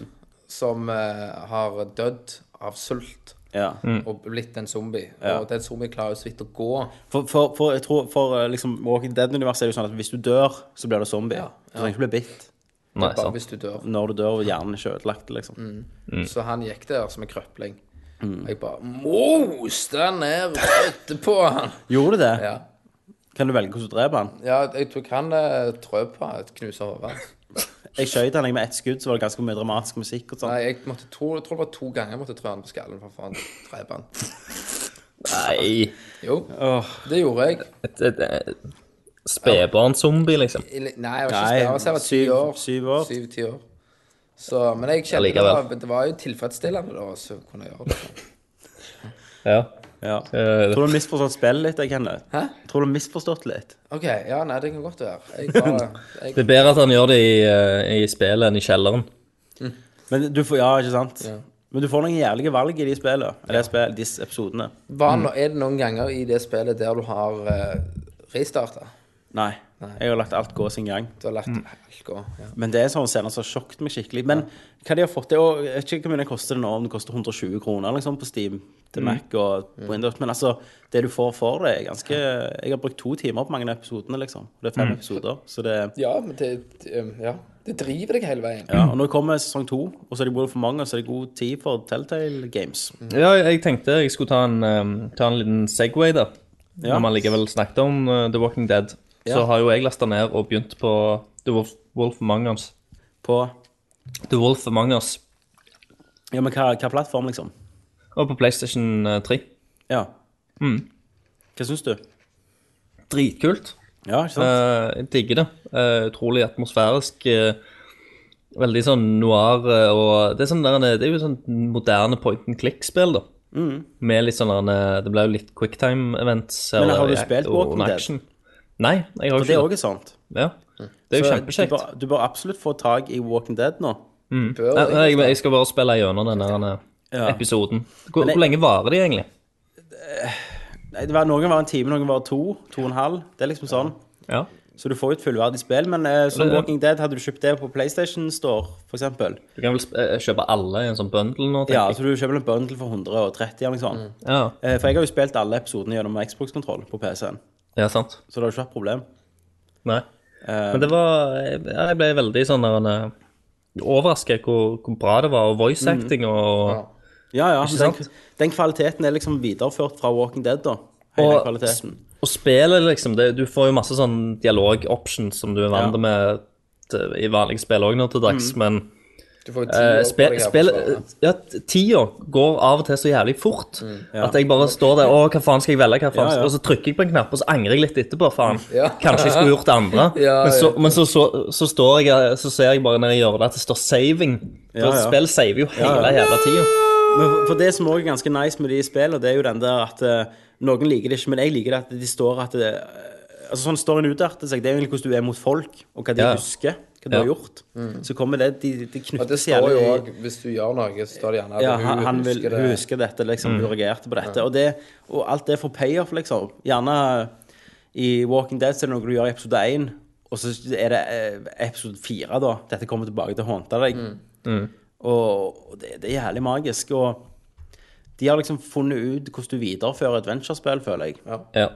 S2: som eh, har dødd av sult
S3: Ja.
S7: Mm.
S2: og blitt en zombie. Og den zombien klarer jo så vidt å gå.
S3: For, for, for jeg tror For eh, liksom Walking Dead-universet er det jo sånn at hvis du dør, så blir du zombie. Du trenger ikke bli bitt
S7: Nei,
S2: Bare
S7: sant. Mm.
S2: hvis du dør.
S3: når du dør og hjernen ikke er ødelagt, liksom.
S2: Mm. Så han gikk der som en krøpling.
S3: Mm.
S2: Og jeg bare moste ned rødt på han.
S3: Gjorde du det?
S2: Ja.
S3: Kan du velge hvordan du dreper han?
S2: ja, jeg tok han eh, trø på et knuse hodet.
S3: Jeg skjøt han jeg, med ett skudd, så var det ganske mye dramatisk musikk og sånn.
S2: Nei, jeg måtte to, jeg tror det var to ganger jeg måtte trø han på skallen for å få han til å drepe han.
S7: Nei.
S2: Jo, det gjorde jeg.
S7: Et- et- et- Spedbarnzombie, liksom.
S2: Eller- Nei, jeg var ikke
S3: Nei,
S2: spennende. Jeg var ti
S3: syv-
S2: år.
S3: syv år.
S2: Syv-ti år. Så, men jeg kjente det
S7: Allikevel.
S2: var, det var jo tilfredsstillende da, så kunne jeg gjøre det.
S7: Ja.
S3: Ja.
S7: Eh,
S3: Tror du har misforstått spillet litt, jeg, Kenneth?
S2: Hæ?
S3: Tror du har misforstått litt?
S2: OK, ja, nei, det kan godt være. Jeg bare,
S3: <laughs>
S2: jeg,
S7: det er bedre at han gjør det i, eh, i spillet enn i kjelleren.
S3: Men du får, ja, ikke sant? Men du får noen jævlige valg i de spillene, eller spill, disse episodene.
S2: var,
S7: Mm.
S2: no- Er det noen ganger i det spillet der du har uh, restarta?
S3: Nei. Jeg har latt alt gå sin gang.
S2: Du har latt
S7: Mm.
S2: alt gå? Ja.
S3: Men det er sånne scener som har sjokket meg skikkelig. Men hva de har fått til og Jeg vet ikke hvor mye det koster det nå, om det koster 120 kroner liksom, på Steam
S2: Mm.
S3: til Mac og på Windows. Men altså, det du får for det, er ganske Jeg har brukt to timer på mange av episodene, liksom. Og Det er
S2: Mm.
S3: fem episoder. Så det
S2: ja, men det, det, um, ja. det driver deg hele veien.
S7: Mm.
S3: Ja, og nå kommer sesong to, og så er det både for mange, og så er det god tid for Telltale Games.
S7: Ja, jeg tenkte jeg skulle ta en, eh, ta en liten Segway, da.
S3: Ja.
S7: Når man likevel snakket om eh, The Walking Dead. Så har jo jeg lasta ned og begynt på The Wolf, Wolf Among Us.
S3: På
S7: The Wolf Among Us.
S3: Ja, men hva, hva plattform, liksom?
S7: Og på PlayStation eh, 3.
S3: Ja.
S7: Mm.
S3: Hva syns du?
S7: Dritkult.
S3: Ja, ikke sant?
S7: Eh, Jeg digger det. Eh, utrolig atmosfærisk. eh, veldig sånn noir eh, og Det er, sånn der, det er jo sånn moderne point and click-spill, da. Med litt sånn der, Det blir jo litt quicktime-events.
S3: Mm. Men har
S7: eller
S3: du
S7: act-
S3: spilt
S7: og
S3: Walking
S7: en
S3: Dead?
S7: action. Nei, jeg har
S3: For det òg
S7: jo ikke det.
S3: er sant.
S7: Ja. Det er jo
S3: Så
S7: kjempekjekt.
S3: Du, bør- du bør absolutt få tak i Walking Dead nå.
S2: Bør
S7: Nei,
S2: jeg,
S7: nei, jeg, jeg skal bare spille gjennom den der eh,
S3: Ja.
S7: episoden. Hvor,
S3: Men jeg-
S7: hvor lenge varer de egentlig?
S3: Nei, det var, noen var en time, noen var to, to og en halv. Det er liksom sånn.
S7: Ja.
S3: Så du får jo et fullverdig spill, men eh, som
S7: Ja.
S3: Walking Dead, hadde du kjøpt det på PlayStation Store, for eksempel,
S7: Du kan vel sp- eh, kjøpe alle i en sånn bundle nå,
S3: ja,
S7: tenker jeg.
S3: så du kjøper en bundle for 130 eller noe sånt.
S7: Ja,
S3: Eh, for jeg har jo spilt alle episodene gjennom Xbox-kontroll på PC-en,
S7: ja sant.
S3: så det har jo ikke vært et problem.
S7: Nei. Men det var Jeg jeg ble veldig sånn der en, eh, overrasket hvor, hvor bra det var, og voice acting og,
S3: Mm. Ja, ja.
S11: Ikke
S3: men
S11: sant?
S3: Den, den kvaliteten er liksom videreført fra Walking Dead, da. Hele
S7: Og-
S3: kvaliteten.
S7: Og spillet, liksom det, Du får jo masse sånn dialog-options som du er vant
S3: Ja. Mm.
S7: med t- i vanlige spill òg nå til dags, men
S2: Du får jo ti år
S7: eh,
S2: på
S7: spe,
S2: deg her på
S7: spill,
S2: svaret.
S7: ja, t- tida går av og til så jævlig fort at jeg bare står der Å, hva faen skal jeg velge? Hva faen?
S3: Ja, ja.
S7: Og så trykker jeg på en knapp, og så angrer jeg litt etterpå. Faen.
S2: Ja.
S7: Kanskje jeg skulle gjort det andre.
S2: Ja,
S7: men så,
S2: ja.
S7: men så, så, så, står jeg, eh, så ser jeg bare nede i hjørnet at det står 'saving'. For
S3: Ja, ja.
S7: Spill saver jo hele jævla tida.
S3: Men for- for det som også er ganske nice med de spillene, det er jo den der at eh, noen liker det ikke, men jeg liker det at de står at det, eh, Altså sånn storyen utarter seg, det er jo egentlig hvordan du er mot folk, og hva de
S7: Ja.
S3: husker, hva du
S7: Ja.
S3: har gjort. Så kommer det De, de
S2: Og
S7: eh,
S3: knytter
S2: det
S3: seg
S2: står jo
S3: gjerne i-
S2: òg, hvis du gjør noe, så står det gjerne at
S3: ja,
S2: hun,
S3: han, han vil,
S2: husker det. Mm.
S3: hun husker dette, liksom. Hun reagerte på dette. Og, det, og alt det får payoff, liksom. Gjerne i Walking Dead så er det noe du gjør i episode 1, og så er det eh, episode 4, da. Dette kommer tilbake til å håndte deg.
S2: Mm.
S3: Og, og det, det er jævlig magisk. Og de har liksom funnet ut hvordan du viderefører adventurespill, føler jeg.
S7: Ja.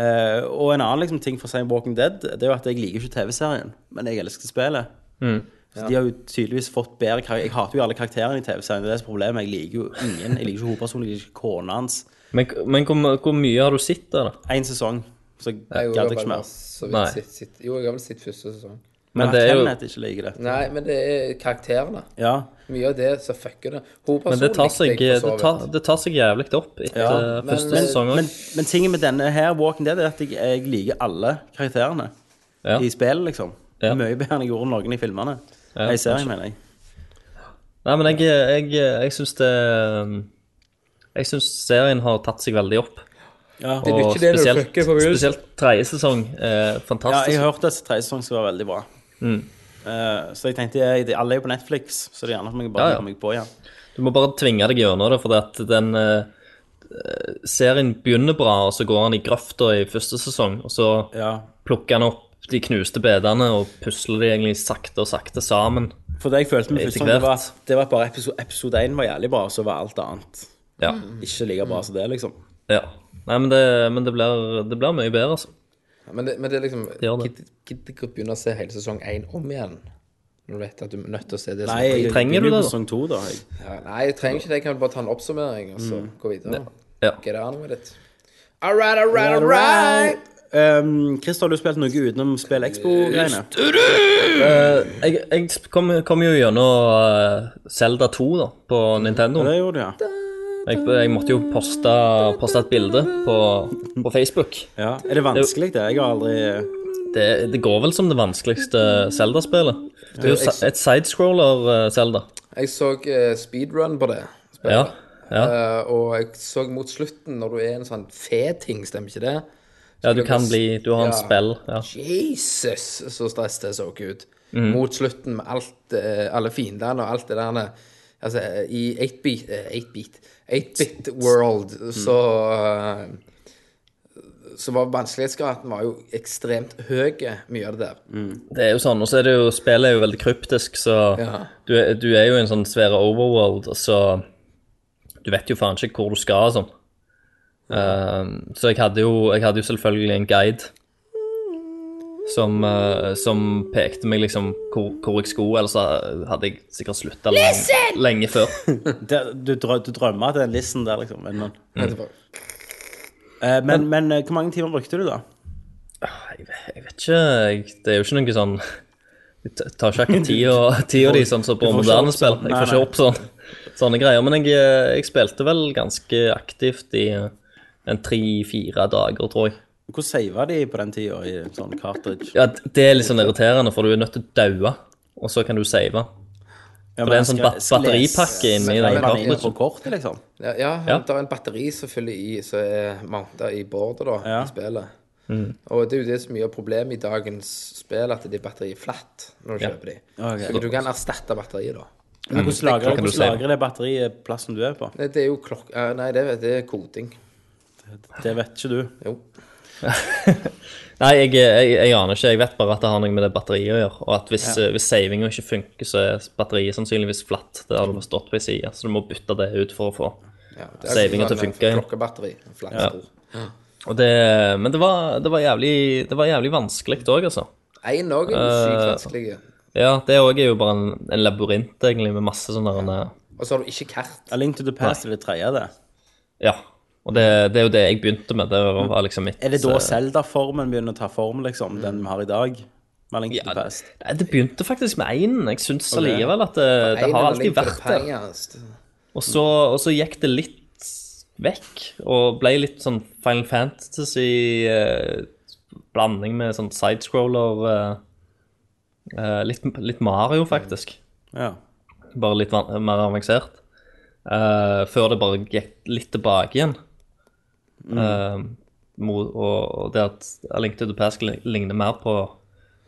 S3: Eh, og en annen liksom, ting for å si om Walking Dead, det er jo at jeg liker ikke TV-serien, men jeg elsker spillet.
S7: Mm.
S3: Så de har jo tydeligvis fått bedre karakter. Jeg hater jo alle karakterene i TV-serien, det er det som er problemet. Jeg liker jo ingen. Jeg liker ikke hovedpersonen, jeg liker ikke kona hans.
S7: Men, men hvor, hvor mye har du sett av det?
S3: Én sesong, så
S2: Nei,
S3: gadd
S2: jo,
S3: jeg
S2: jeg har
S3: ikke
S2: vel
S3: mer.
S2: bare så
S7: Nei.
S2: vidt sitt, sitt. Jo, jeg har vel sett første sesong.
S3: Men
S7: Men det er jo-
S3: Kenneth ikke liker det.
S2: Nei, men det er karakterene.
S3: Ja.
S2: Mye av det som fucker det.
S7: Men
S2: Hovedpersonen
S7: det tar seg, eh,
S2: likte jeg for så
S7: det tar,
S2: vidt.
S7: det tar seg jævlig opp etter
S3: Ja,
S2: men-
S7: første
S2: men-
S7: sesong
S3: Men,
S7: òg.
S3: men tingen med denne her, Walking Dead, er at jeg, jeg liker alle karakterene
S7: Ja.
S3: i spillet, liksom.
S7: Ja.
S3: Mye bedre enn jeg gjorde noen i filmene.
S7: Ja,
S3: I serien, mener jeg.
S7: Nei, men jeg, jeg, jeg syns det Jeg syns serien har tatt seg veldig opp.
S2: er
S3: Ja.
S7: Og
S2: ikke det du
S7: spesielt,
S2: fucker på begynnelsen.
S7: spesielt tredje sesong. Eh,
S3: Ja,
S7: fantastisk. Mm.
S3: jeg hørte at tredje sesong skal være veldig bra. Eh, så jeg tenkte jeg, de- alle er jo på Netflix, så det er gjerne at vi bare
S7: Ja, ja.
S3: kommer meg på igjen.
S7: Du må bare tvinge deg gjennom det, for at den eh, serien begynner bra, og så går han i grøfta i første sesong, og så
S3: Ja.
S7: plukker han opp de knuste bedene og pusler de egentlig sakte og sakte sammen.
S3: For det jeg følte med
S7: Etter
S3: første gang, det var
S7: hvert.
S3: at det var at bare episode, episode 1 var jævlig bra, og så var alt annet
S7: Ja.
S2: Mm.
S3: ikke like bra som det, liksom.
S7: ja. Nei, men det, men det, blir, det blir mye bedre, altså.
S2: Men det, men det er liksom
S7: gjør det.
S2: Gidd gidd ikke å begynne å se hele sesong én om igjen. Når du vet at du er nødt til å se det som
S3: Nei, jeg
S7: Trenger
S3: begynner på
S7: du det, da?
S3: Sesong 2, da. Jeg.
S2: ja, Nei, jeg trenger ikke det. Jeg kan bare ta en oppsummering og så gå videre.
S7: Ja.
S2: Get on with it. All right, all right, all right.
S3: Um, Christer, har du spilt noe utenom Spill Expo-greiene?
S7: Eh, Jeg, jeg kom, kom jo gjennom Selda 2 da, på Nintendo.
S3: Det gjorde du, ja.
S7: Jeg, jeg måtte jo poste, poste et bilde på, på Facebook.
S3: ja. Er det vanskelig, det? Jeg har aldri
S7: Det, det går vel som det vanskeligste Zelda-spillet. Det er jo si- et sidescroller eh, Zelda.
S2: Jeg så eh, speedrun på det.
S7: Ja. ja.
S2: Eh, og jeg så mot slutten, når du er en sånn fe-ting, stemmer ikke det?
S7: ja, du kan bli Du har en
S2: Ja.
S7: spill. Ja.
S2: Jesus, så stress det så ut. Mot slutten med alt, eh, alle fiendene og alt det der Altså, eh, i 8-bit eh, 8-bit 8-bit world, så eh, Så var vanskelighetsgraden var jo ekstremt høy, mye av det der.
S7: Det er jo sånn. Og så er det jo Spillet er jo veldig kryptisk, så
S2: Ja.
S7: du, er- du er jo i en sånn svære overworld, og så Du vet jo faen ikke hvor du skal og sånn. Ehm, så jeg hadde, jo, jeg hadde jo selvfølgelig en guide som, eh, som pekte meg liksom hvor, hvor jeg skulle, ellers hadde jeg sikkert slutta lenge, lenge før.
S3: det, du, drø du drømmer at det er en listen der, liksom. Men, men,
S2: Etterpå.
S7: Mm.
S3: Eh, men, men eh, hvor mange timer brukte du, da?
S7: Jeg, vet- jeg vet ikke jeg, Det er jo ikke noe sånn <laughs> Jeg t- tar ikke akkurat
S3: <laughs>
S7: tid og, tid og de sånn som på
S3: Du får ikke
S7: moderne
S3: opp
S7: spill.
S3: sånn.
S7: Jeg
S3: Nei,
S7: får ikke
S3: nei.
S7: opp sånn, <laughs> sånne greier. Men jeg, eh, jeg spilte vel ganske aktivt i eh, en tre-fire dager, tror jeg.
S3: Hvor sava de på den tida i sånn cartridge?
S7: Ja, d- Det er litt sånn irriterende, for du er nødt til å daue, og så kan du save.
S3: Ja,
S7: For det er en sånn ba- batteripakke inni
S3: Nei,
S7: den Mm.
S3: men inne på
S7: kartet.
S3: kortet, liksom.
S2: Ja, ja,
S7: Ja.
S2: det er en batteri selvfølgelig i, som er mounta i bordet da,
S3: Ja.
S2: i spillet.
S7: Mm.
S2: Og det er jo det som er problemet i dagens spill, at det er batteri flatt når du kjøper de.
S3: Ok.
S2: Så du kan erstatte batteriet da.
S3: Men hvordan lagrer,
S7: Klokken du
S3: hvordan
S7: ser.
S3: lagrer det batteriet plassen du er på?
S2: Nei, Det er jo klokk... eh, Nei, det, det er koding.
S3: Det vet ikke du.
S2: Jo.
S7: Nei, jeg, eh, jeg, jeg aner ikke. Jeg vet bare at det har noe med det batteriet å gjøre. Og at hvis, ja. hvis savinga ikke funker, så er batteriet sannsynligvis flatt. Det har du forstått på ei side, så du må bytte det ut for å få
S2: Ja, det er
S7: Savingen
S2: sånn
S7: til å
S2: en
S7: funke igjen.
S2: Klokkebatteri. en Flatt
S7: Ja.
S2: stor.
S7: Og det, men det var, det var jævlig, det var jævlig vanskelig òg, altså.
S2: En
S7: Eh.
S2: også er jo sykt vanskelig.
S7: Ja, det òg er jo bare en, en labyrint, egentlig, med masse sånne der,
S2: Og så har du ikke kart.
S3: A Link to the Past er det tredje, det.
S7: Ja. Og det, det er jo det jeg begynte med. Det var liksom mitt
S3: Mm. Er det da
S7: eh,
S3: Zelda-formen begynner å ta form, liksom? Den vi har i dag? Med A Link to
S7: Ja,
S3: the Past.
S7: Nei, det begynte faktisk med én. Jeg syns allikevel at eh, det, det har alltid vært der. Og så, og så gikk det litt vekk, og ble litt sånn Final Fantasy eh, Blanding med sånn sidescroller eh, eh, litt, litt Mario, faktisk.
S3: Ja.
S7: Bare litt van mer avansert. Eh, før det bare gikk litt tilbake igjen. Eh, mot, og, og det at A Link to the Past lign- ligner mer på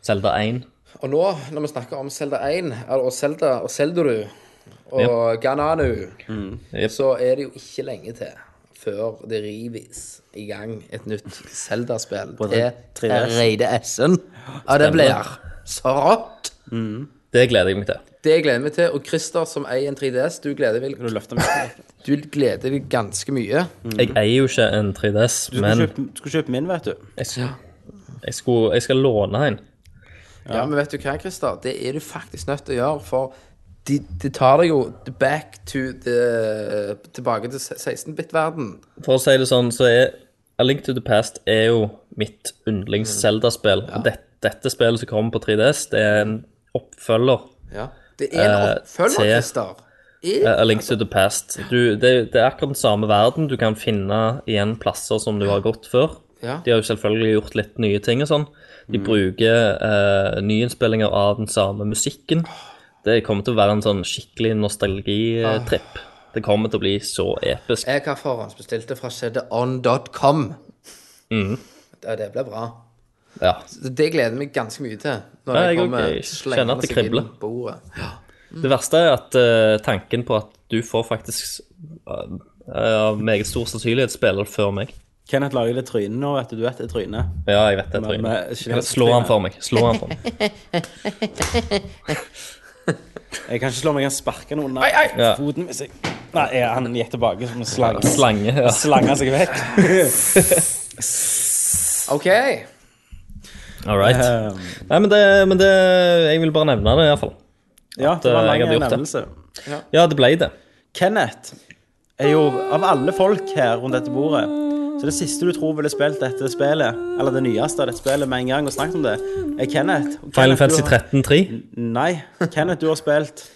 S7: Zelda 1.
S2: Og nå, når vi snakker om Zelda 1, eller, og Zelda og Zeldaru og Gananu,
S7: Jep.
S2: så er det jo ikke lenge til før det rives i gang et nytt Zelda-spill til
S3: 3DS.
S2: Reide S-en. Ja, det blir så rått.
S7: Det gleder jeg meg til.
S2: Det gleder jeg meg til. Og Christer, som eier en 3DS, du gleder, vel,
S3: Du løfter meg
S7: <laughs>
S3: litt.
S2: du gleder deg ganske mye.
S7: Jeg eier jo ikke en 3DS,
S3: Du skulle,
S7: men
S3: kjøpe, skulle kjøpe min, vet du.
S7: Jeg, sk- jeg, skulle, jeg skal låne en.
S2: Ja, men vet du hva, Christer? Det er du faktisk nødt til å gjøre, for de, de tar deg jo back to the, tilbake til 16-bit-verden.
S7: For å si det sånn, så er A Link to the Past er jo mitt yndlings-Zelda-spill. Og det, dette spillet som kommer på 3DS, det er en oppfølger
S2: Ja. Det er en
S7: Eh,
S2: oppfølger,
S7: til-
S2: Christer. I-
S7: eh, A Link to the Past. Du, det, det er akkurat den samme verden. Du kan finne igjen plasser som du har gått før.
S2: Ja.
S7: De har jo selvfølgelig gjort litt nye ting og sånn. De bruker eh, nyinnspillinger av den samme musikken. Det kommer til å være en sånn skikkelig nostalgitripp. Det kommer til å bli så episk.
S2: Jeg har forhåndsbestilt det fra sheddeon.com.
S7: Mhm.
S2: Ja, det blir bra.
S7: Ja.
S2: Så Det gleder jeg meg ganske mye til. Når
S7: Ja,
S2: jeg
S7: jeg òg.
S2: kommer
S7: Jeg
S2: slengende
S7: kjenner at det
S2: seg inn
S7: kribler.
S2: på bordet. Ja.
S7: Det verste er at eh, tanken på at du får faktisk eh, av meget stor sannsynlighet spiller før meg.
S3: Kenneth lager det trynet nå, vet du. Du vet det trynet.
S7: Ja, jeg vet det.
S3: Men- men-
S7: Trine. Kan jeg Slå han for meg. Slå han for meg.
S3: <laughs> Jeg kan ikke slå meg, jeg kan sparke noen nei,
S7: Ja.
S3: foten hvis jeg Nei, jeg, han gikk tilbake som en slange.
S7: Slange. Ja.
S3: Slanga seg vekk.
S2: OK.
S7: All right.
S3: <laughs> Um,
S7: Nei, men det, men det Jeg vil bare nevne det, iallfall.
S3: ja, det var
S7: eh,
S3: en lang
S7: jeg hadde gjort det.
S3: nevnelse.
S7: Ja, det ble det.
S3: Kenneth er jo av alle folk her rundt dette bordet Så det siste du tror ville spilt dette spillet, eller det nyeste av dette spillet med en gang og snakket om det, er Kenneth. Og
S7: Final
S3: Kenneth, du
S7: Fantasy
S3: har-
S7: 13-3.
S3: Nei. Kenneth, du har spilt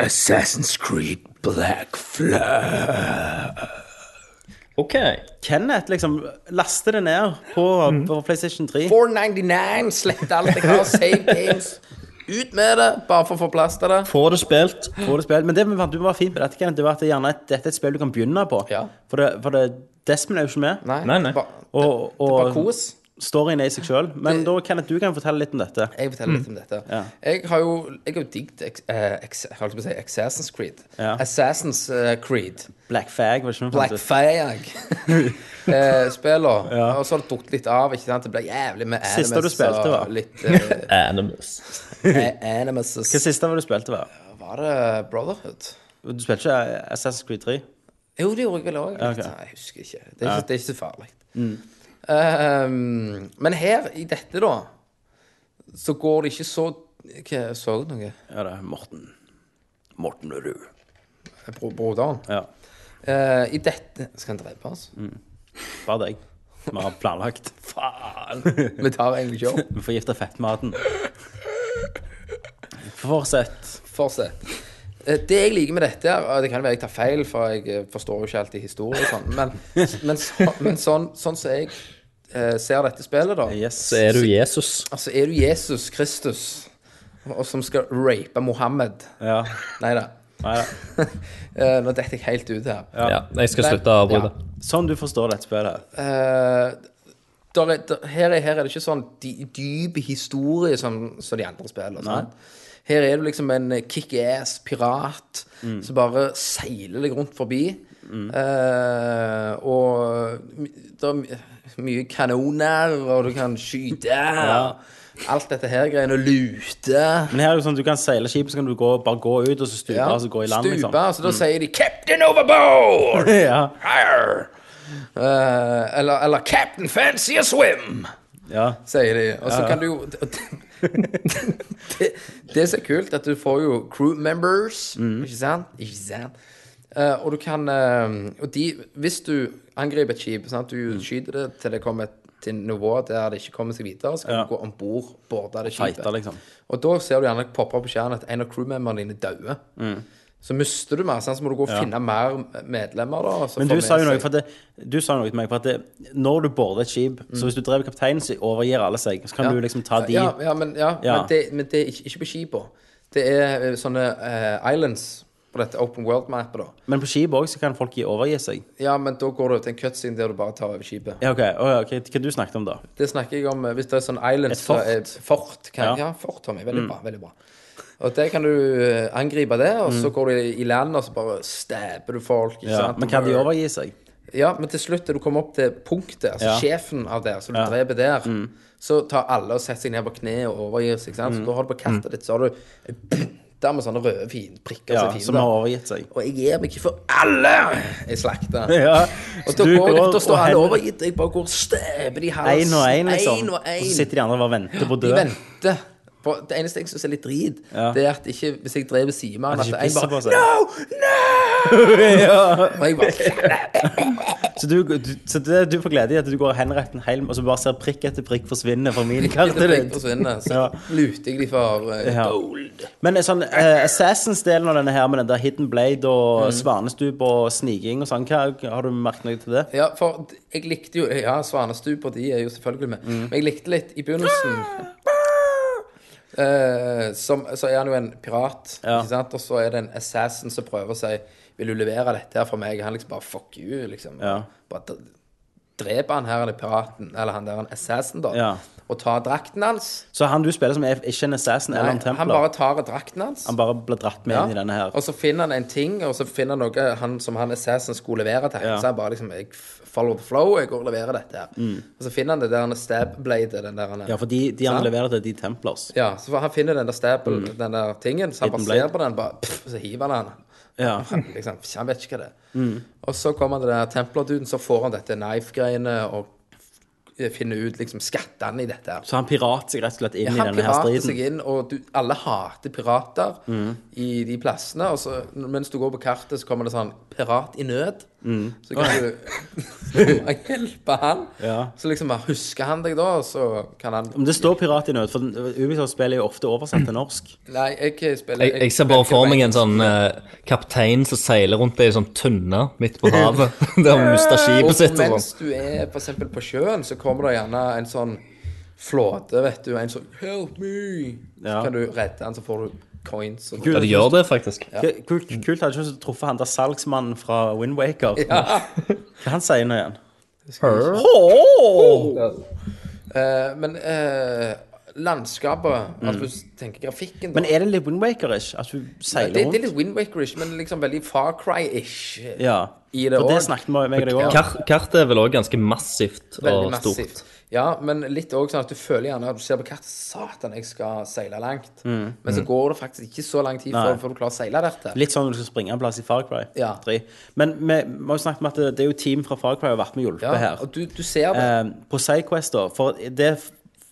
S2: Assassin's Creed Black
S7: OK.
S3: Kenneth liksom laster det ned på,
S7: Mm.
S3: på PlayStation 3.
S2: 499. Slett alt jeg har. Save games. Ut med det, bare for å få plass til det.
S7: Får det spilt.
S3: Får det spill. Men det vi fant ut var fint med dette, Kenneth, det var at det gjerne er- dette er et spill du kan begynne på.
S2: Ja.
S3: For, det, for det, Desmond er jo ikke med.
S7: Nei, nei.
S2: Ba,
S3: Og,
S2: det er bare
S3: og
S2: kos.
S3: storyen er i seg sjøl. Men da, Kenneth, du kan fortelle litt om dette.
S2: Jeg forteller
S3: Mm.
S2: litt om dette. Jeg har jo jeg har jo digget ex- eh, ex- jeg holdt på å si Assassin's Creed.
S3: Ja.
S2: Assassin's eh, Creed.
S3: Black Fag, var det ikke noe
S2: Black
S3: fant ut? <laughs>
S2: Fag. eh, spiller. Og så har det drukket litt av. ikke sant? Det ble jævlig med animus.
S3: Siste du
S2: og
S3: spilte, var?
S2: Litt,
S3: <laughs>
S2: eh,
S7: Animus.
S2: eh, animuses.
S3: Hva siste var det du spilte, var?
S2: Var det Brotherhood?
S3: Du spilte ikke eh, Assassin's Creed 3?
S2: Jo, det gjorde jeg vel òg.
S3: Ok. Mm.
S2: Jeg husker ikke. Det er ikke, det er ikke så farlig. Ehm, men her, i dette, da, så går det ikke så Hva, Så du noe?
S3: Ja, det er Morten. Morten og du.
S2: Bro, broderen?
S3: Ja,
S2: Eh, I dette Skal han drepe oss?
S3: bare deg. Vi har planlagt. Faen!
S2: Vi tar egentlig ikke opp.
S3: Vi forgifter fettmaten. Fortsett.
S2: Fortsett. Eh, Det jeg liker med dette her, og Det kan være jeg tar feil, for jeg eh, forstår jo ikke alltid historie og sånn, men, men, så, men sånn, sånn som jeg eh, ser dette spillet, da,
S3: Yes.
S7: Så er du Jesus.
S2: altså er du Jesus Kristus og som skal rape Mohammed.
S3: Ja.
S2: Nei da.
S3: Nei, ja.
S2: <laughs> Eh, nå detter jeg helt ut her.
S7: Ja, jeg skal
S2: Men-
S7: slutte å avbryte.
S2: ja.
S3: Sånn du forstår dette spillet.
S2: Eh, der er, der, her, er, her er det ikke sånn dy- dyp historie som, som de andre spiller. sant? Her er du liksom en eh, kickass pirat
S3: Mm.
S2: som bare seiler deg rundt forbi. Eh, og my- det er my- mye kanoner, og du kan
S3: <laughs>
S2: skyte. Alt dette her greiene. og Lute.
S3: Men her er det jo sånn, du kan seile skipet, så kan du gå, bare gå ut, og så stupe, og så gå i land,
S2: stupe,
S3: liksom. <laughs>
S2: så da sier de 'Captain Overboard!' <laughs>
S3: Ja.
S2: Arr! Eh, eller, eller 'Captain Fancy a Swim'.
S3: ja.
S2: sier de. Og så kan du jo <laughs> og det- Det som er kult, at du får jo crew members,
S3: Mm.
S2: ikke sant? Ikke sant? Eh, og du kan eh, Og de, hvis du angriper et skip, sant? du
S3: Mm.
S2: skyter det til det kommer til nivået der det ikke kommer seg videre, så kan
S3: Ja.
S2: du gå om bord, borde det skipet.
S3: Fighter, liksom.
S2: Og da ser du gjerne poppe opp på skjermen at en av crewmemberne dine dauer.
S3: Mm.
S2: Så mister du mer, sant? så må du gå og finne mer medlemmer. da. så
S3: Men
S2: får
S3: du
S2: med
S3: sa jo noe
S2: seg-
S3: for at det, du sa noe til meg for at det, når du border et skip, så hvis du drev kapteinen, så overgir alle seg. Så kan du liksom ta de
S2: Ja, ja, men, ja,
S3: Ja.
S2: Men, det, men det er ikke, ikke på skipa. Det er eh, sånne eh, islands på dette open world-mappet, da.
S3: Men på skip òg så kan folk gi- overgi seg.
S2: Ja, men da går det til en cutscene der du bare tar over skipet.
S3: Ja, OK. Å ja, ok. Hva du snakket om, da?
S2: Det snakker jeg om eh, hvis det er sånn island
S3: Et fort.
S2: fort kan,
S3: Ja. Mm.
S2: ja. fort, Tommy. Veldig bra. veldig bra. Og der kan du eh, angripe det, og så går du i- i land, og så bare stabber du folk. Ikke
S3: Mm. Ja.
S2: sant?
S3: Men kan de
S2: Og-
S3: overgi seg?
S2: Ja, men til slutt, når du kommer opp til punktet, altså
S3: Ja.
S2: sjefen av det, så du dreper der, så tar alle og setter seg ned på kne og overgir seg, ikke sant?
S3: Mm.
S2: Så da har du på kartet ditt, så har du <clears throat> der med sånne røde fin, prikker
S3: Ja,
S2: som er
S3: som har
S2: fiender.
S3: overgitt seg.
S2: Og jeg gir meg ikke for alle! Jeg slakter.
S3: <laughs> Ja.
S2: Og da, går, da står alle
S3: hen-
S2: overgitt, og jeg bare går og støper de i halsen.
S3: Én og én, liksom.
S2: En og
S3: Og
S2: en.
S3: så sitter de andre bare og venter på å dø.
S2: De venter. For det eneste jeg syns er litt drit,
S3: Ja.
S2: det er at ikke, hvis jeg dreper Simen,
S3: At
S2: at
S3: de ikke
S2: en
S3: pisser
S2: bare
S3: på seg.
S2: No! No!
S3: <laughs>
S2: og jeg bare
S3: Så, du, du, så det du får glede i, at du går og henretter en helm, og så bare ser prikk etter prikk forsvinne
S2: <laughs>
S3: fra min karte.
S2: Etter det
S3: ditt.
S2: forsvinner, så
S3: Ja.
S2: luter jeg de for eh,
S3: Ja.
S2: gold.
S3: Men sånn, eh, Assassins-delen av denne her med den der Hidden Blade
S2: Mm.
S3: og svanestup og sniking og sånn, hva, har du merket noe til det?
S2: Ja, for jeg likte jo Ja, Svanestup og de er jo selvfølgelig med.
S3: Mm.
S2: Men jeg likte litt i begynnelsen eh, som, Så er han jo en pirat,
S3: Ja.
S2: ikke sant? Og så er det en assassin som prøver å si Vil du levere dette her for meg? Han liksom bare fuck you, liksom.
S3: Ja.
S2: Bare d- dreper han her, eller piraten, eller han der, en assassin, da.
S3: Ja.
S2: Og tar drakten hans.
S3: Så han du spiller som er ikke en assassin eller
S2: Nei,
S3: en
S2: han
S3: templar?
S2: bare tar drakten hans.
S3: Han bare ble dratt med inn i denne her.
S2: Og så finner han en ting, og så finner han noe eh, han, som han Assassin skulle levere til.
S3: Ja. Mm.
S2: Så han bare liksom Jeg f- follow the flow, jeg går og leverer dette her. Og så finner han det der han stabblade, den der han
S3: Ja, for de, de han leverer til, de templars.
S2: ja, så for han finner den der stabel, den der tingen, så han bare
S3: Mm. Hidden
S2: ser
S3: blade.
S2: på den, bare pff, så hiver han den.
S3: Ja. Mm.
S2: Liksom, han vet ikke hva det er. Og så kommer han til den der templer-duden, så får han dette knife-greiene og f- finner ut liksom skattene i dette. her.
S3: Så han pirater seg rett og slett inn i
S2: Han
S3: denne her
S2: pirater
S3: striden?
S2: seg inn, og du, alle hater pirater
S7: Mm.
S2: i de plassene. Og så, mens du går på kartet, så kommer det sånn 'Pirat i nød'.
S7: Mm.
S2: Så kan <laughs> du hjelpe han.
S3: Ja.
S2: Så liksom bare husker han deg da, og så kan han
S3: Men det står pirat i nød, for den- Ubisoft spiller jo ofte oversatt
S2: <clears throat>
S3: til norsk.
S2: Nei, jeg spiller
S7: Jeg, jeg ser bare for meg en sånn eh, kaptein som seiler rundt i en sånn tønne midt på havet. <laughs> Der han mister skipet sitt
S2: Og
S7: og
S2: mens
S7: sånn.
S2: du er for eksempel på sjøen, så kommer det gjerne en sånn flåte, vet du. En sånn 'Help me!'
S3: Ja.
S2: Så kan du redde han, så får du coins. Og
S7: Ja, det gjør det, faktisk.
S3: Kult, kult hadde ikke truffet han der salgsmannen fra Windwaker.
S2: <laughs> Ja.
S3: Hva han sier nå igjen?
S2: Eh, men eh, landskapet, altså hvis du tenker grafikken da,
S3: Mm. Men er det litt Windwaker-ish? At du
S2: Nei, det,
S3: seiler
S2: det er
S3: rundt?
S2: litt Wind Waker-ish, men liksom veldig Far Cry-ish.
S3: Ja.
S2: I det
S3: For det
S2: også.
S3: snakket vi meg og deg om.
S7: Kart, kartet er vel òg ganske massivt
S2: Veldig
S7: og
S2: massivt.
S7: stort.
S2: Ja, men litt òg sånn at du føler gjerne at du ser på kartet Satan, jeg skal seile langt. Men så går det faktisk ikke så lang tid
S3: Mm, Nei.
S2: før, før du klarer å seile dette.
S3: Litt sånn når du skal springe en plass i Far Cry.
S2: Ja.
S3: 3. Men vi vi har jo snakket om at det, det er jo team fra Far Cry og har vært med og hjulpet
S2: ja,
S3: her.
S2: og du, du ser det.
S3: Eh, på Sidequest, da For det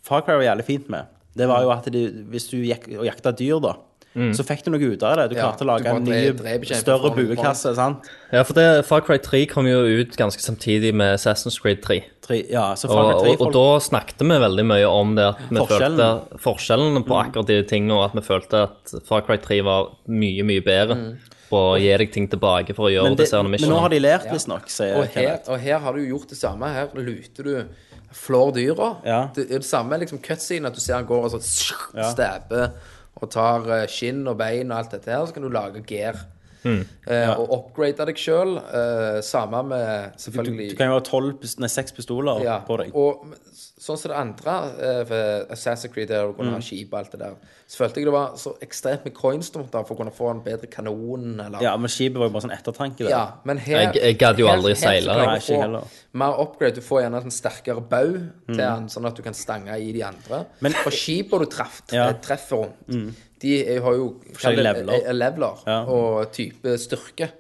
S3: Far Cry var jævlig fint med, det var jo at de, hvis du gikk og jakta dyr, da,
S7: Mm.
S3: så fikk du noe ut av det. Du
S2: Ja,
S3: klarte å lage
S2: du bare
S3: en
S2: dre-
S3: ny,
S2: dreper kjemper
S3: større
S2: for noen
S3: buekasse. sant?
S7: Ja, for det, Far Cry 3 kom jo ut ganske samtidig med Assassin's Creed 3.
S3: Tre, ja, så
S7: Og,
S3: Far Cry 3
S7: og, og da snakket vi veldig mye om det at vi
S3: Forskjellen. Mm.
S7: følte forskjellene på akkurat de tingene, og at vi følte at Far Cry 3 var mye, mye bedre på å gi deg ting tilbake for å gjøre
S3: Mm. men, det,
S7: disse her
S3: men nå har
S7: missionene.
S3: de lært, visstnok, sier
S2: Og her,
S3: Kenneth.
S2: og her har du jo gjort det samme. Her luter du flår dyra.
S3: Ja.
S2: Det er det samme liksom cutscene, at du ser han går og så stabber og tar eh, skinn og bein og alt dette her. Så kan du lage gear.
S3: Hmm.
S2: Eh, Og upgrade deg sjøl. samme med
S3: Du,
S2: selvfølgelig
S3: du kan jo ha tolv pis- nei, seks pistoler
S2: ja,
S3: på deg.
S2: Og sånn som det andre, eh, for Assassin's Creed der du kunne ha
S3: Hmm.
S2: skip og alt det der, så følte jeg det var så ekstremt med coins du måtte ha for å kunne få en bedre kanon, eller
S3: Ja, men skipet var jo bare sånn ettertanke. der.
S2: ja, men her
S7: Jeg- jeg gadd jo aldri seile,
S2: så kan
S3: nei,
S2: du
S3: ikke
S2: få
S3: heller. Mm.
S2: Mer upgrade. Du får gjerne en sånn sterkere bau til den, sånn at du kan stange i de andre.
S3: Men-
S2: For skipa du treff, tre-
S3: Ja. Mm.
S2: treffer rundt, de er- har jo kall det,
S3: leveler.
S2: eh, leveler
S3: Ja. Mm.
S2: og type styrke.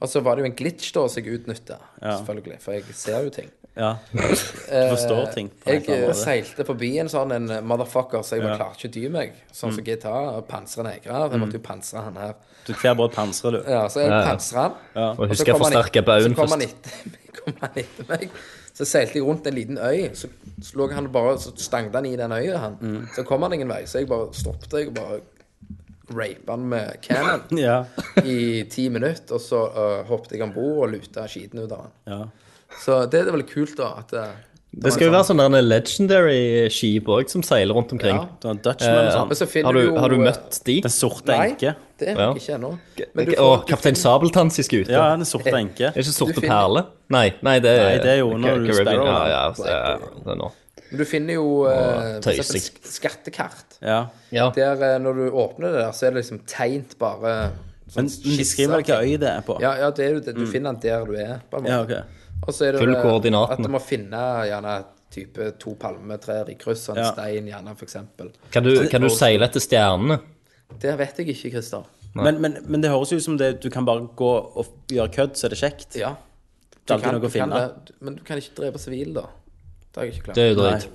S2: Og så var det jo en glitch da som jeg utnytta, selvfølgelig, for jeg ser jo ting.
S3: Eh,
S2: <laughs>
S3: Ja. Du forstår ting. på en
S2: Jeg
S3: eller annen
S2: eh,
S3: måte.
S2: seilte forbi en sånn en motherfucker, så jeg bare
S3: Ja. Mm.
S2: klarte ikke å dy meg. Sånn som GTA, pansre negre. Jeg måtte jo pansre han her.
S3: Du kler bare et panser, du.
S2: Ja, så jeg
S7: Ja, ja.
S2: pansra han.
S7: Og
S2: så
S7: husk å
S2: kom han
S7: forsterke
S2: et-
S7: baugen
S2: Så kom han
S7: først.
S2: etter <laughs> meg. Kom han etter meg. Så seilte jeg rundt en liten øy. Så så lå han bare Så stangte han i den øya, han.
S7: Mm.
S2: Så kom han ingen vei. Så jeg bare stoppet jeg og bare rapet han med cannon
S3: Ja.
S2: i ti minutter. Og så øh, hoppet jeg om bord og luta skiten ut av han.
S3: ja.
S2: Så det er vel kult, da. At eh, det,
S7: Det skal jo være sånne der legendary skip òg, som seiler rundt omkring.
S2: Ja.
S3: Du har en Dutchman
S7: Eh,
S3: og sånn.
S2: Men så finner
S7: Har du,
S2: jo,
S7: har du
S2: eh,
S7: møtt de?
S3: Den sorte enke.
S2: Nei, det har
S7: Ja.
S2: jeg ikke ennå. Men du
S7: Og
S2: får-
S7: Kaptein Sabeltanns i skute?
S3: Ja, den sorte
S2: Eh,
S3: enke.
S7: Er ikke Sorte
S2: finner-
S7: Perle? Nei, nei, det
S3: Nei,
S7: er,
S3: det er jo når du
S7: Caribbean.
S3: sperrer
S7: Ja,
S3: den.
S7: ja, så- ja, det er nå.
S2: Men du finner jo eh,
S7: Åh,
S2: for eksempel
S7: tøysing.
S2: sk- skattekart.
S3: Ja.
S7: Ja.
S2: Der, eh, når du åpner det der, så er det liksom tegnt bare sånn
S3: Men de skriver vel hvilken øy det er på?
S2: Ja, ja, det er jo det. Du finner den der du er. på en måte.
S3: Mm. Ja, ok.
S2: Og så er det
S7: Følg
S2: eh,
S7: koordinatene.
S2: at du må finne gjerne type to palmetrær i kryss og en
S3: Ja.
S2: stein, gjerne, for eksempel.
S7: Kan du, kan du seile etter stjernene?
S2: Det vet jeg ikke, Christer.
S3: Men, men, men det høres jo ut som det, du kan bare gå og f- gjøre kødd, så er det kjekt.
S2: Ja.
S3: Det er alltid noe å
S2: kan
S3: finne.
S2: det, men du kan ikke drepe sivile, da. Det har jeg ikke klart.
S7: Det er jo drøyt.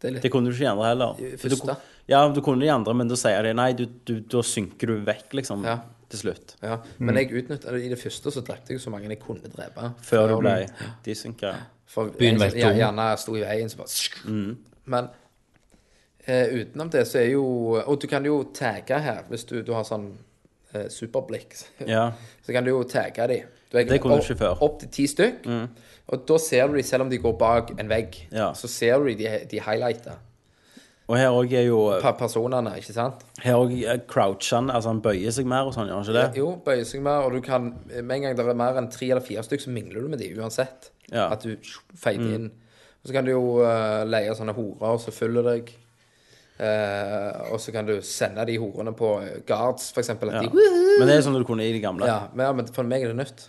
S2: Det er litt
S3: Det kunne du ikke i andre heller. For du,
S2: Første.
S3: ja, du kunne de andre, men da sier de nei, du, du, da synker du vekk, liksom,
S2: Ja.
S3: til slutt.
S2: Ja,
S7: Mm.
S2: men jeg utnyttet det i det første, så drepte jeg så mange jeg kunne drepe.
S3: Før du ble desynka.
S2: For jeg,
S7: Byen var helt tom.
S2: jeg, gjerne sto i veien, så bare
S3: Mm.
S2: Men eh, utenom det så er jo Og du kan jo tagge her, hvis du, du har sånn eh, superblikk. <laughs>
S3: Ja.
S2: Så kan du jo tagge de. Du er
S3: Det kunne du
S2: opp-
S3: ikke før. Mm.
S2: Opp til ti stykk. Og da ser du de, selv om de går bak en vegg,
S3: Ja.
S2: så ser du de, de, de highlighter
S3: Og her òg er jo
S2: per personene, ikke sant?
S3: Her òg croucher han, altså han bøyer seg mer og sånn, gjør han ikke det?
S2: Jo, bøyer seg mer, og du kan eh, Med en gang det er mer enn tre eller fire stykk, så mingler du med de uansett.
S3: Ja.
S2: At du feider inn. Og så kan du jo eh, leie sånne horer som følger deg. Eh, og så kan du sende de horene på eh, guards, for eksempel. At de,
S3: Men det er sånn du kunne i de gamle.
S2: ja, men, ja, men for meg er det nytt.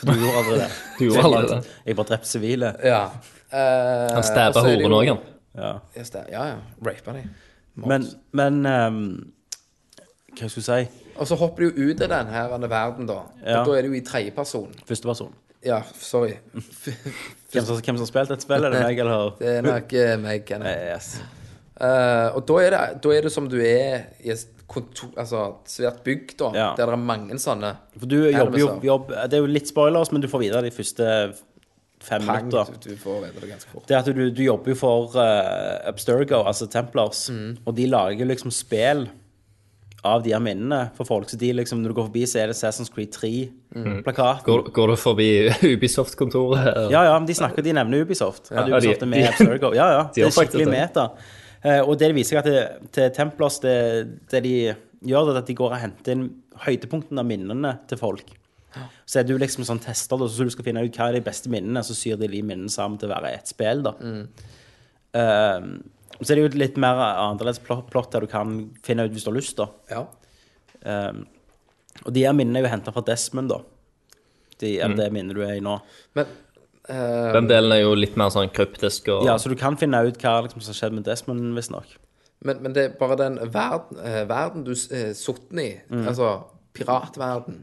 S3: For du gjorde aldri det.
S2: <laughs>
S7: Du gjorde aldri det.
S3: Jeg bare drepte sivile.
S2: Ja. Eh,
S7: Han stabba
S2: og så er det
S7: horen
S2: jo-
S7: òg, han.
S2: Ja, sta- Ja, ja. Rapa de.
S3: Men, men ehm, Hva skulle jeg si?
S2: Og så hopper du jo ut av den her denne verden, da.
S3: Ja.
S2: Og da er du jo i tredjeperson.
S3: Førsteperson.
S2: Ja, sorry.
S3: Hvem som, hvem som har spilt dette spillet? Er det meg eller
S2: <laughs> Det er nok eh, meg, Kenneth.
S3: Yes.
S2: Eh, og da er, det, da er det som du er i et kontor, altså et svært bygg, da.
S3: Ja.
S2: Der det er mange sånne.
S3: For du jobber jo
S2: Hermes, ja.
S3: jobb, Det er jo litt spoilers, men du får vite de første fem
S2: Pang,
S3: minutter.
S2: du, du får vite det ganske fort.
S3: Det er at du, du jobber jo for eh, Abstergo, altså Templars,
S2: Mm.
S3: og de lager liksom spill av de her minnene for folk. Så de liksom, når du går forbi, så er det Sassons Creed 3-plakaten.
S7: Går, går du forbi <laughs> Ubisoft-kontoret?
S3: Ja, ja, men de snakker, de nevner Ubisoft. At
S7: Ja,
S3: Ubisoft
S7: de-
S3: er med i
S7: de-
S3: Abstergo. Ja, ja. Det er
S7: faktisk
S3: skikkelig
S7: det.
S3: meta. Eh, og det viser seg at det, til Templars, det, det de gjør, det er at de går og henter inn høydepunktene av minnene til folk. Så er du liksom sånn tester, da, så du skal finne ut hva er de beste minnene, så syr de de minnene sammen til å være ett spill, da.
S7: Mm.
S3: Eh, så er det jo et litt mer annerledes plott, plott der du kan finne ut hvis du har lyst, da.
S2: Ja.
S3: Eh, og de her minnene er jo henta fra Desmond, da. De,
S7: Mm.
S3: eller Det minnet du er i nå.
S2: Men eh,
S7: Den delen er jo litt mer sånn kryptisk og
S3: Ja, så du kan finne ut hva liksom, som skjedde med Desmond, visstnok.
S2: Men, men det er bare den verden, eh, verden du uh, sotner i, altså piratverden.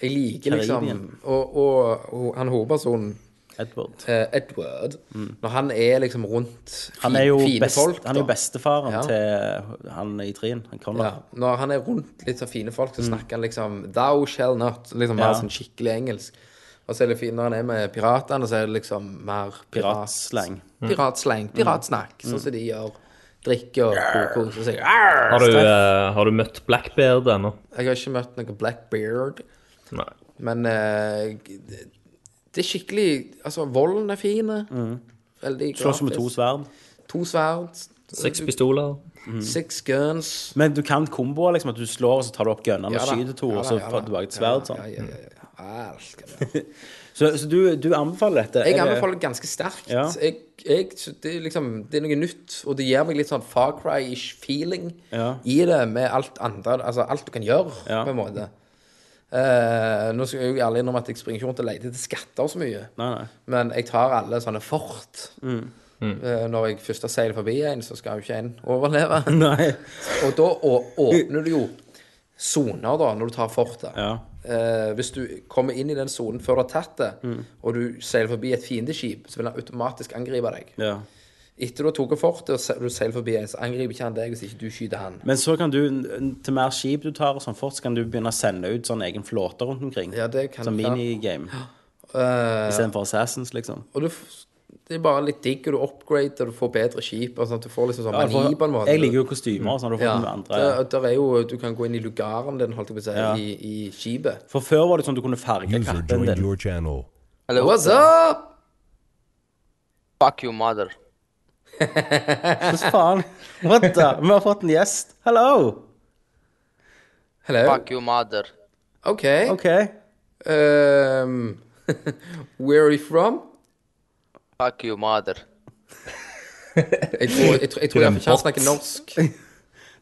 S2: Jeg liker liksom
S3: Mm. Karibien.
S2: Og, og, og han hovedpersonen,
S3: Edward.
S2: eh, Edward, når han er liksom rundt fi,
S3: Mm. Han er jo,
S2: fine
S3: best,
S2: folk
S3: han er jo
S2: da.
S3: bestefaren
S2: Ja.
S3: til han i trien, han
S2: Ja,
S3: Connor.
S2: når han er rundt litt så fine folk, så snakker han liksom Thou shall not. Liksom
S3: Mm. Ja.
S2: mer sånn skikkelig engelsk. Og så er det fint når han er med piratene, så er det liksom mer pirat-
S3: Piratslang. Mm.
S2: Piratslang. Piratsnakk, sånn som de gjør. Drikke og koker seg.
S7: har, du, eh, har du møtt Blackbeard ennå?
S2: Jeg har ikke møtt noen Blackbeard,
S7: Nei.
S2: men eh, det det er skikkelig Altså, volden er fin. Veldig
S3: Mm. Slåss med to
S2: grafisk.
S3: sverd.
S2: To sverd.
S7: Seks pistoler?
S3: Mm.
S2: Six guns.
S3: Men du kan komboer, liksom, at du slår, og så tar du opp gunnene og
S2: da,
S3: skyter to,
S2: ja
S3: og
S2: da,
S3: så
S2: ja
S3: får
S2: da.
S3: du tilbake et sverd.
S2: Ja,
S3: Sånn.
S2: ja, ja, ja. ja. Alt skal være.
S3: Så, så du, du anbefaler dette?
S2: Jeg
S3: Er det-
S2: anbefaler ganske sterkt.
S3: Ja.
S2: Jeg, jeg, sy- det, er liksom, det er noe nytt, og det gir meg litt sånn Far Cry-ish feeling
S3: Ja.
S2: i det, med alt andre Altså alt du kan gjøre,
S3: Ja.
S2: på en måte. Eh, nå skal jeg jo ærlig innrømme at jeg springer ikke rundt og leter etter skatter så mye.
S3: Nei, nei. Mm.
S2: Men jeg tar alle sånne fort. Eh, når jeg først har seilt forbi en, så skal jo ikke en overleve.
S3: <laughs> <laughs> Nei.
S2: og da å, åpner du jo soner, da, når du tar fortet.
S3: Ja.
S2: eh, Hvis du kommer inn i den sonen før du har tatt det,
S3: Mm.
S2: og du seiler forbi et fiendeskip, så vil han automatisk angripe deg.
S3: Ja.
S2: Etter du har tatt fortet og se- du seiler forbi en, så angriper ikke han deg hvis ikke du skyter han.
S3: Men så kan du, n- til mer skip du tar og sånn fort, så kan du begynne å sende ut sånn egen flåte rundt omkring.
S2: Ja, det kan
S3: Sånn
S2: du, ja.
S3: minigame.
S2: Eh,
S3: Istedenfor Assassins, liksom.
S2: og du, f- det er bare litt digg, og du upgrader, og du får bedre skip. og sånn, Du får liksom sånn
S3: Ja, for-
S2: mani på en måte.
S3: jeg liker jo kostymer og sånn. Du får
S2: ja,
S3: den med andre.
S2: der, der er jo, Du kan gå inn i lugaren din, holdt jeg på å si,
S3: Ja.
S2: i, i skipet.
S3: For før var det sånn du kunne farge kappen din.
S2: Hello, what's up?
S12: Fuck your mother.
S3: Hvordan faen? What the? Vi har fått en gjest. Hello!
S2: Hello.
S12: Fuck your mother.
S2: OK.
S3: OK.
S2: Um, <laughs> where are you from?
S12: Fuck your mother.
S2: Jeg tror jeg, tror- jeg, tror jeg ikke han snakker
S3: <laughs>
S2: norsk.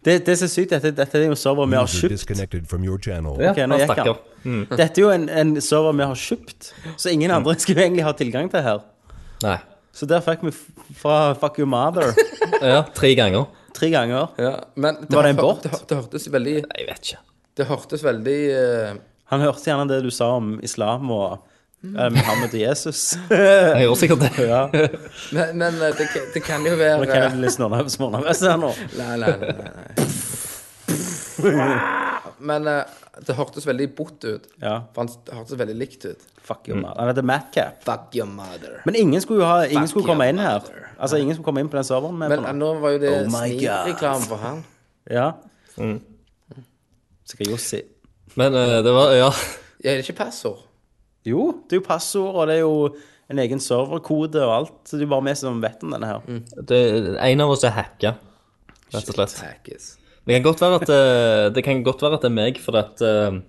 S3: Det, det som er sykt, dette, dette er jo en server vi har kjøpt.
S7: Ja,
S3: Ok, nå
S7: han
S3: gikk
S7: stakk
S3: han.
S7: av.
S2: <laughs>
S3: Dette er jo en, en server vi har kjøpt, så ingen andre skulle egentlig ha tilgang til her.
S7: Nei.
S3: Så der fikk vi f- fra Fuck Your Mother
S7: Ja, tre ganger.
S3: tre ganger.
S2: Ja, men det,
S3: Var det en
S2: hør-
S3: båt?
S2: Det, hør- det hørtes veldig
S7: Jeg vet ikke.
S2: Det hørtes veldig eh,
S3: Han hørte gjerne det du sa om islam og eh, Muhammed og
S2: <laughs>
S3: Jesus.
S7: Jeg gjorde sikkert det.
S3: Ja,
S2: Men, men eh, det, kan- det kan jo være
S3: Nå kan jeg bli snornavs her nå.
S2: Nei, nei, nei. nei, nei. Men eh, det hørtes veldig bort ut.
S3: Ja,
S2: For han det hørtes veldig likt ut.
S3: fuck your mother. Han heter Madcap.
S2: Fuck your mother.
S3: Men ingen skulle jo ha, ingen
S2: Fuck
S3: skulle komme
S2: your
S3: inn her.
S2: mother.
S3: Altså, ingen skulle komme inn på den serveren med
S2: Men
S3: på
S2: eh,
S3: nå.
S2: nå var jo det
S3: Oh my God.
S2: snikreklame for han.
S3: Ja. Mm. Så hva Jossi?
S7: Men eh, det var Ja.
S2: Ja, er det ikke passord?
S3: Jo, det er jo passord, og det er jo en egen serverkode og alt. Så det er jo bare vi som vet om denne her.
S7: Det, en av oss er hacka, rett og slett.
S2: Tackis.
S7: Det kan godt være at, eh, det kan godt være at det er meg, for at eh,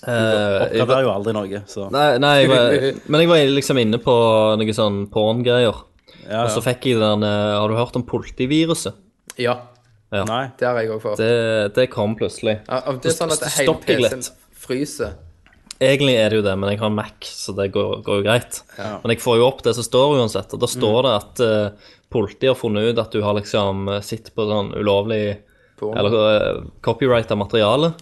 S7: eh, jeg var-
S3: Oppgraderer jo aldri noe, så
S7: Nei, nei jeg var, men jeg var liksom inne på noen sånn porngreier.
S3: ja,
S7: Og så
S3: ja.
S7: fikk jeg den eh, Har du hørt om politiviruset?
S2: Ja,
S3: Nei.
S2: det har jeg òg fått.
S7: Det, det kom plutselig.
S2: Ja, og Det er sånn at
S7: så
S2: hele
S7: stopper jeg
S2: PC-en
S7: litt.
S2: fryser.
S7: Egentlig er det jo det, men jeg har en Mac, så det går, går jo greit. Men jeg får jo opp det som står uansett,
S2: Mm.
S7: og da står det at eh, politiet har funnet ut at du har liksom eh, sittet på sånn ulovlig
S2: Porno.
S7: Eller uh, copyrighta materiale,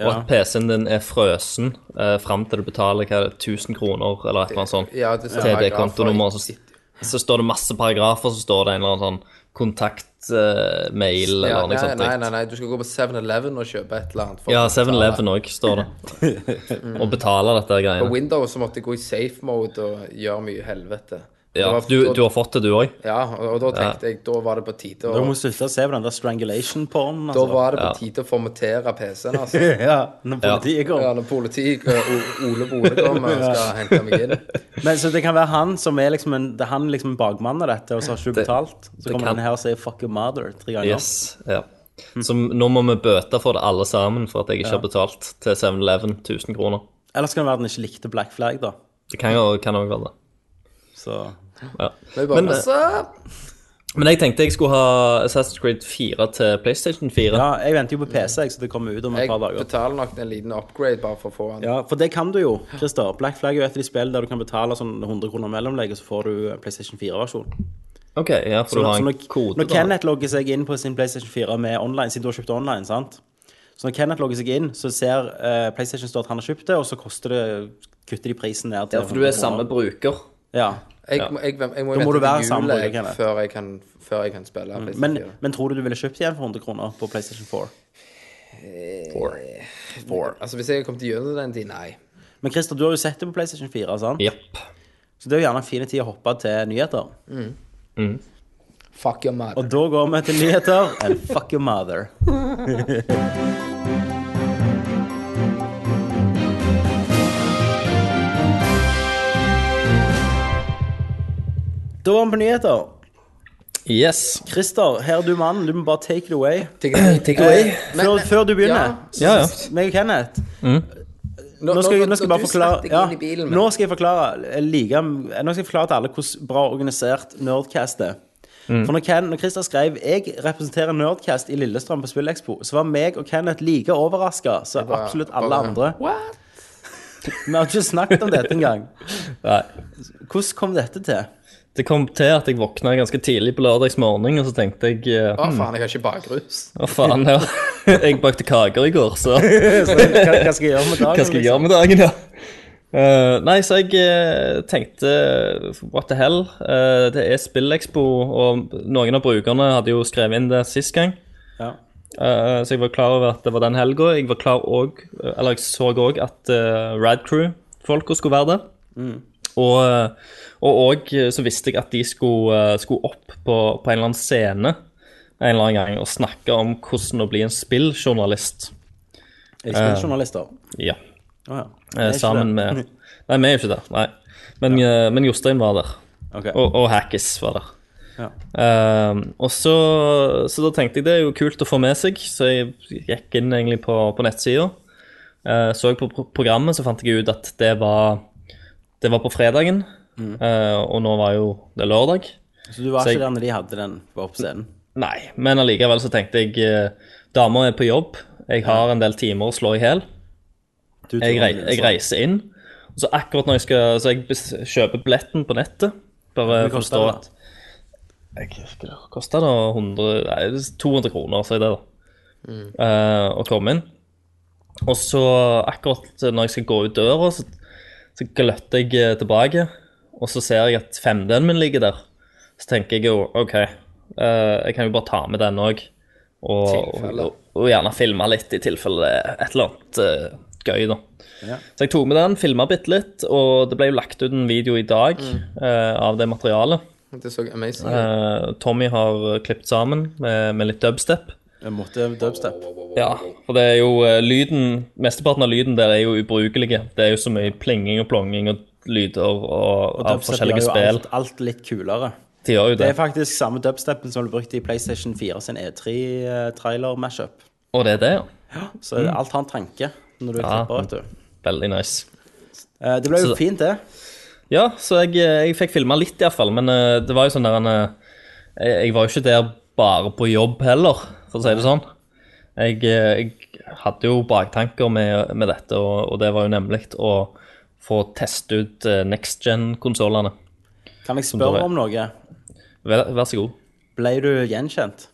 S7: og
S3: Ja.
S7: at PC-en din er frøsen uh, fram til du betaler hva, er det, 1000 kroner eller et eller annet sånt
S2: Ja, det står
S7: til det
S2: paragrafer
S7: kontonummeret.
S2: i-
S7: Så, så står det masse paragrafer, så står det en eller annen sånn kontaktmail
S2: Ja,
S7: eller
S2: nei,
S7: noe sånt.
S2: nei, nei, nei, du skal gå på 7-Eleven og kjøpe et eller annet. for
S7: Ja,
S2: å betale.
S7: 7-Eleven òg står det.
S2: <laughs>
S7: Og betaler dette
S2: På
S7: greiene.
S2: Windows så måtte jeg gå i safe mode og gjøre mye helvete.
S7: Ja,
S2: Det var-
S7: du,
S2: da-
S7: du har fått det, du òg?
S2: Ja, og, og da tenkte jeg da var det på tide
S3: Du
S2: å
S3: må slutte å se på den der strangulation-pornen.
S2: Da
S3: Altså.
S2: var det på
S7: Ja.
S2: tide å formatere PC-en, altså.
S3: <laughs> Ja, når politiet kom.
S2: Ja, når politiet og Ole Bole kommer og skal hente meg
S3: <laughs>
S2: inn.
S3: Men Så det kan være han som er liksom en, det er han liksom bakmannen av dette, og så har ikke du betalt. Så kommer
S7: kan-
S3: den her og sier 'fuck your mother' tre ganger.
S7: Yes. Ja. Så nå må vi bøte for det alle sammen for at jeg ikke har betalt til 7-Eleven 1000 kroner.
S3: Eller så kan det være den ikke likte black flag, da.
S7: Det kan jo kan også være det.
S3: Så
S7: Ja.
S2: Men jeg bare,
S7: Men, eh,
S2: «What's up?»
S7: Men jeg tenkte jeg skulle ha Assassin's Creed 4 til PlayStation 4.
S3: Ja, jeg venter jo på PC, jeg, så det kommer ut om et
S2: jeg
S3: par dager.
S2: betaler nok en liten upgrade bare for å få den.
S3: Ja, For det kan du jo, Christer. Black flag er jo et av de spillene der du kan betale sånn 100 kroner mellomlegg, og så får du eh, PlayStation 4-versjon.
S7: OK, ja, for
S3: Så
S7: du har
S3: når, så
S7: en
S3: når,
S7: kode.
S3: når
S7: da.
S3: Kenneth logger seg inn på sin PlayStation 4 med online, siden du har kjøpt online, sant? Så når Kenneth logger seg inn, så ser eh, PlayStation står at han har kjøpt det, og så koster det, kutter de prisen ned til
S7: Ja, for du er
S3: 100
S7: samme
S3: kroner.
S7: bruker.
S3: Ja.
S2: Jeg, må- jeg, jeg, må
S3: Da må
S2: jo
S3: du være
S2: vente til
S3: sammen,
S2: jul jeg,
S3: Kenneth. Mm.
S2: før, jeg kan- før jeg kan spille. PlayStation
S3: Men,
S2: 4.
S3: men tror du du ville kjøpt igjen for 100 kroner på PlayStation 4?
S2: Altså, hvis jeg har kommet gjennom den tiden, nei.
S3: Men Christer, du har jo sett det på PlayStation 4, sant?
S7: Jepp.
S3: Så det er jo gjerne en fin tid å hoppe til nyheter.
S2: Fuck your mother.
S3: Og da går vi til nyheter. And fuck your mother. Da var vi på nyheter.
S7: Yes.
S3: Christer, her er du mannen. Du må bare take it away.
S7: Take away.
S3: Før, før du begynner,
S7: Ja, ja.
S3: meg og Kenneth Nå skal, jeg- nå skal jeg bare forklare ja, Nå skal jeg forklare eh, like, Nå skal jeg forklare til alle hvordan bra organisert Nerdcast er. For når, Ken, når Christer skrev 'Jeg representerer Nerdcast i Lillestrøm på Spillekspo', så var meg og Kenneth like overraska som absolutt alle andre.
S2: What?
S3: Vi har ikke snakket om dette engang.
S7: Nei.
S3: Hvordan kom dette til?
S7: Det kom til at jeg våkna ganske tidlig på lørdagsmorgen, og så tenkte jeg eh,
S2: Å,
S7: hmm,
S2: faen, jeg har ikke bakrus.
S7: Å, faen, ja. <laughs> Jeg bakte kaker i går, så
S3: Så, hva, hva skal jeg gjøre med dagen?
S7: Hva skal jeg gjøre med dagen, ja? Eh, nei, så jeg eh, tenkte what the hell. Eh, det er Spillekspo, og noen av brukerne hadde jo skrevet inn det sist gang.
S3: Ja.
S7: Eh, så jeg var klar over at det var den helga. Jeg var klar og, eller jeg så òg at uh, Rad Crew-folka skulle være der. Og eh, og òg så visste jeg at de skulle, eh, skulle opp på, på en eller annen scene en eller annen gang og snakke om hvordan å bli en spilljournalist.
S3: Er de spilljournalister?
S7: Ja.
S3: Å ja. Det er
S7: Eh,
S3: ikke
S7: sammen
S3: det.
S7: med Nei, vi er jo ikke der. Nei. Men, eh, men Jostein var der.
S3: <laughs> Ok.
S7: Og, og Hackis var der.
S3: Ja.
S7: Ehm, og så, så da tenkte jeg det er jo kult å få med seg, så jeg gikk inn egentlig på, på nettsida. Eh, så på pro- programmet, så fant jeg ut at det var, det var på fredagen.
S3: Mm.
S7: eh, og nå var jo det lørdag.
S3: Så du var
S7: Så jeg-
S3: ikke der når de hadde den var på scenen?
S7: Nei, men allikevel så tenkte jeg eh, Damer er på jobb, jeg har en del timer å slå i hjel.
S3: Du
S7: Jeg,
S3: tror
S7: rei
S3: det,
S7: jeg
S3: så.
S7: reiser inn. Og så akkurat når jeg skal Så jeg bes- kjøper billetten på nettet. Bare
S3: Hvor mye koster
S7: forstå
S3: det,
S7: at Det koster da 100 Nei, det er 200 kroner, sier det, da.
S3: Mm.
S7: eh, å komme inn. Og så akkurat når jeg skal gå ut døra, så, så gløtter jeg eh, tilbake. Og så ser jeg at 5D-en min ligger der. Så tenker jeg jo OK, eh, jeg kan jo bare ta med den òg. Og, og,
S2: Tilfelle.
S7: og, gjerne filme litt i tilfelle det er et eller annet eh, gøy, da.
S3: Ja.
S7: Så jeg tok med den, filma bitte litt, og det ble jo lagt ut en video i dag eh, av det materialet.
S2: Det så amazing ut.
S7: Eh, Tommy har klippet sammen med, med litt dubstep.
S3: Jeg måtte dubstep.
S7: Ja, for det er jo eh, lyden Mesteparten av lyden der er jo ubrukelige. Det er jo så mye plinging og plonging og lyder og, av
S3: Dubstep gjør
S7: forskjellige
S3: jo
S7: spill.
S3: alt, alt litt kulere.
S7: De gjør jo
S3: Det
S7: det.
S3: er faktisk samme dubstepen som ble brukt i PlayStation 4 sin E E3-trailer-mashup.
S7: Og det er det, ja.
S3: Så alt har en tanke når du
S7: Mm. Ja.
S3: klipper, vet du.
S7: Veldig nice.
S3: Eh, Det ble jo
S7: Så-
S3: fint, det.
S7: Ja, så jeg, eh, jeg fikk filma litt, iallfall. Men eh, det var jo sånn der en eh, jeg, jeg var jo ikke der bare på jobb heller, for å si det sånn. Jeg, eh, jeg hadde jo baktanker med, med dette, og, og det var jo nemlig å få teste ut eh, next gen-konsollene.
S3: Kan jeg
S7: da er-
S3: spørre om noe?
S7: Vær, vær så god.
S3: Ble du gjenkjent?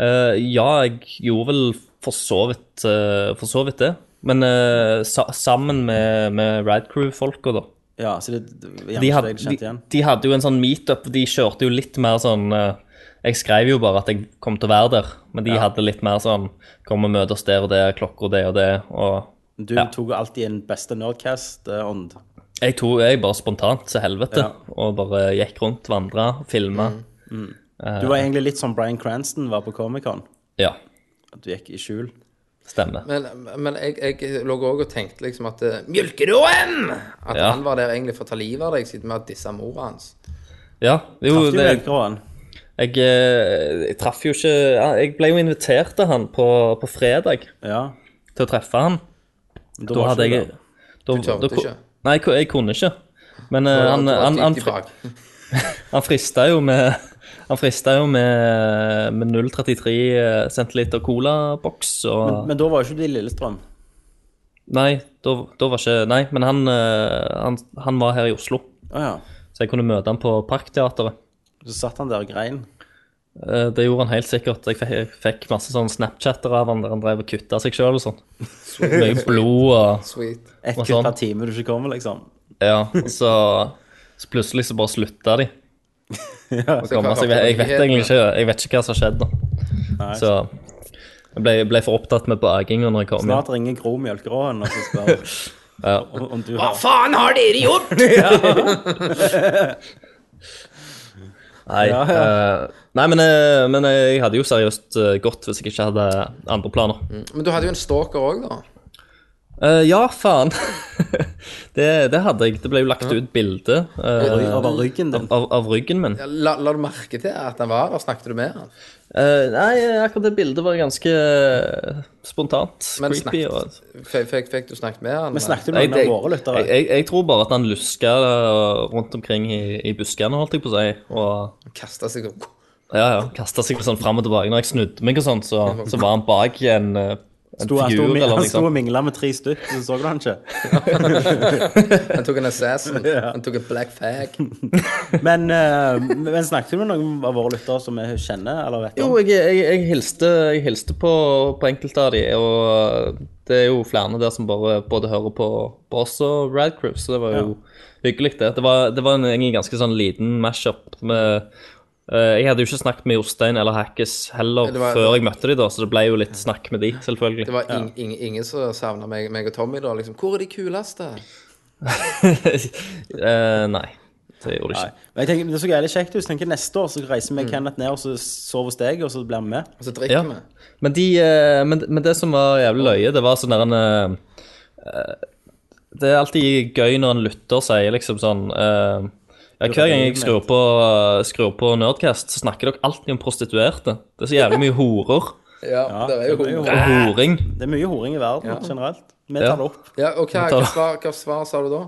S7: Eh, ja, jeg gjorde vel for så vidt, eh, for så vidt det. Men eh, sa, sammen med, med Radcrew-folka, da.
S3: Ja, så det gjerne
S7: De
S3: ikke
S7: hadde,
S3: deg kjent
S7: de,
S3: igjen.
S7: de hadde jo en sånn meetup. De kjørte jo litt mer sånn eh, Jeg skrev jo bare at jeg kom til å være der, men de hadde litt mer sånn Kom og møt oss der og der, klokka det og det. Og
S3: Du
S7: Ja.
S3: tok alltid en beste Nerdcast-ånd.
S7: jeg tok jeg bare spontant til helvete
S3: Ja. Mm.
S7: og bare gikk rundt, vandra, filma.
S3: Du var egentlig litt som Bryan Cranston var på Comic-Con.
S7: Ja,
S3: At du gikk i skjul.
S7: stemmer.
S2: Men, men jeg, jeg lå òg og tenkte liksom at eh, Mjølkeråen! At
S7: Ja.
S2: han var der egentlig for å ta livet av deg, siden vi har dissa mora hans.
S7: Ja, jo,
S3: Traff du
S7: det,
S3: velgråen?
S7: Jeg, eh, jeg traff jo ikke Jeg ble jo invitert til han på, på fredag
S3: Ja.
S7: til å treffe han.
S3: men
S7: Da
S3: var
S7: hadde
S3: ikke
S7: jeg
S3: det.
S7: da,
S2: Du tørte
S7: da-
S2: ikke?
S7: Nei, jeg, jeg kunne ikke. Men eh,
S2: Og
S7: han,
S2: at
S7: han,
S2: gikk
S7: han,
S2: tilbake.
S7: han frista jo med <laughs> Han frista jo med, med 0,33 centiliter colaboks og
S3: Men, men da var jo ikke du i Lillestrøm.
S7: Nei, da, da var ikke Nei, men han, eh, han, han var her i Oslo,
S3: Å ja.
S7: så jeg kunne møte han på Parkteatret.
S3: Så satt han der og grein.
S7: Eh, Det gjorde han helt sikkert. Jeg fikk, jeg fikk masse sånn Snapchatter av han der han drev og kutta seg sjøl og sånn. Mye blod og
S2: Sweet.
S3: Ett
S7: Og
S3: kutt
S7: sånn.
S3: per time du ikke kommer, liksom.
S7: Ja, og så, så plutselig så bare slutta de. å komme. Så jeg, vet- jeg vet egentlig ikke Jeg vet ikke hva som skjedde. da. Så jeg ble, ble for opptatt med bakinga når jeg kom hjem.
S3: Snart ringer Gro Mjølkeråen og så spør om, om du har
S2: faen har dere gjort?!
S7: Nei, eh, nei men, eh, men jeg hadde jo seriøst eh, gått hvis jeg ikke hadde andre planer.
S3: Mm.
S2: Men du hadde jo en stalker òg, da.
S7: Eh, ja, faen. <laughs> det, det hadde jeg. Det ble jo lagt ut bilde eh,
S3: over ryggen din.
S7: av, av ryggen min.
S2: Ja, La, la du merke til at han var der? Snakket du med han?
S7: Eh, nei, akkurat det bildet var ganske eh, spontant.
S2: Men
S7: creepy.
S2: snakket-
S7: Og,
S2: Fikk, fikk, fikk du snakket med han?
S3: Vi snakket jo
S7: Nei,
S3: med noen
S7: det-
S3: av våre lyttere.
S7: Jeg, jeg, jeg tror bare at han luska rundt omkring i, i buskene, holdt jeg på å si. Og
S2: Kasta seg opp.
S7: ja, ja, kasta seg sånn fram og tilbake. Når jeg snudde meg og sånn, så, så var han bak en, eh, En
S3: Sto, han sto,
S7: figur,
S3: og mi-
S7: eller
S3: han
S7: liksom. noe
S3: sto
S7: sånt.
S3: og mingla med tre stykk, så så du han ikke.
S2: Han tok en
S7: <laughs>
S2: assassin.
S3: Ja.
S2: Han tok en black fag.
S3: Men, eh, men snakket du med noen av våre lyttere som vi kjenner, eller vet
S7: Jo,
S3: om?
S2: Sånn.
S7: jeg, jeg, jeg hilste, jeg hilste på, på enkelte av de, og eh, det er jo flere der som bare både hører på på oss og Radcruise, så det var jo hyggelig, det. Det var, det var en, egentlig en ganske sånn liten mash-up med eh, Jeg hadde jo ikke snakket med Jostein eller Hackes heller
S2: Det var-
S7: før jeg møtte de da, så det ble jo litt snakk med de, selvfølgelig. <laughs>
S2: Det var ing, ing, ingen som savna meg, meg og Tommy da. liksom, Hvor er de kuleste?
S7: Eh, nei, det gjorde det
S3: Nei.
S7: ikke.
S3: Men jeg tenker, det så jævlig kjekt ut. så tenker jeg Neste år så reiser vi
S7: Mm.
S3: Kenneth ned og så sover hos deg, og så blir vi med.
S2: Og så drikker vi.
S7: Men, de, eh, men, men det som var jævlig løye, det var sånn der en eh, eh, Det er alltid gøy når en lytter sier liksom sånn eh, ja, Hver gang jeg skrur på, eh, skrur på Nerdcast, så snakker dere alltid om prostituerte. Det er så jævlig mye horer
S2: Ja, det er jo
S3: det er jo
S2: homo.
S7: og horing.
S3: Det er mye horing i verden generelt. Vi tar
S7: Ja.
S3: det opp.
S2: Ja, og hva,
S7: Ta-
S2: hva, svar, hva svar sa du da?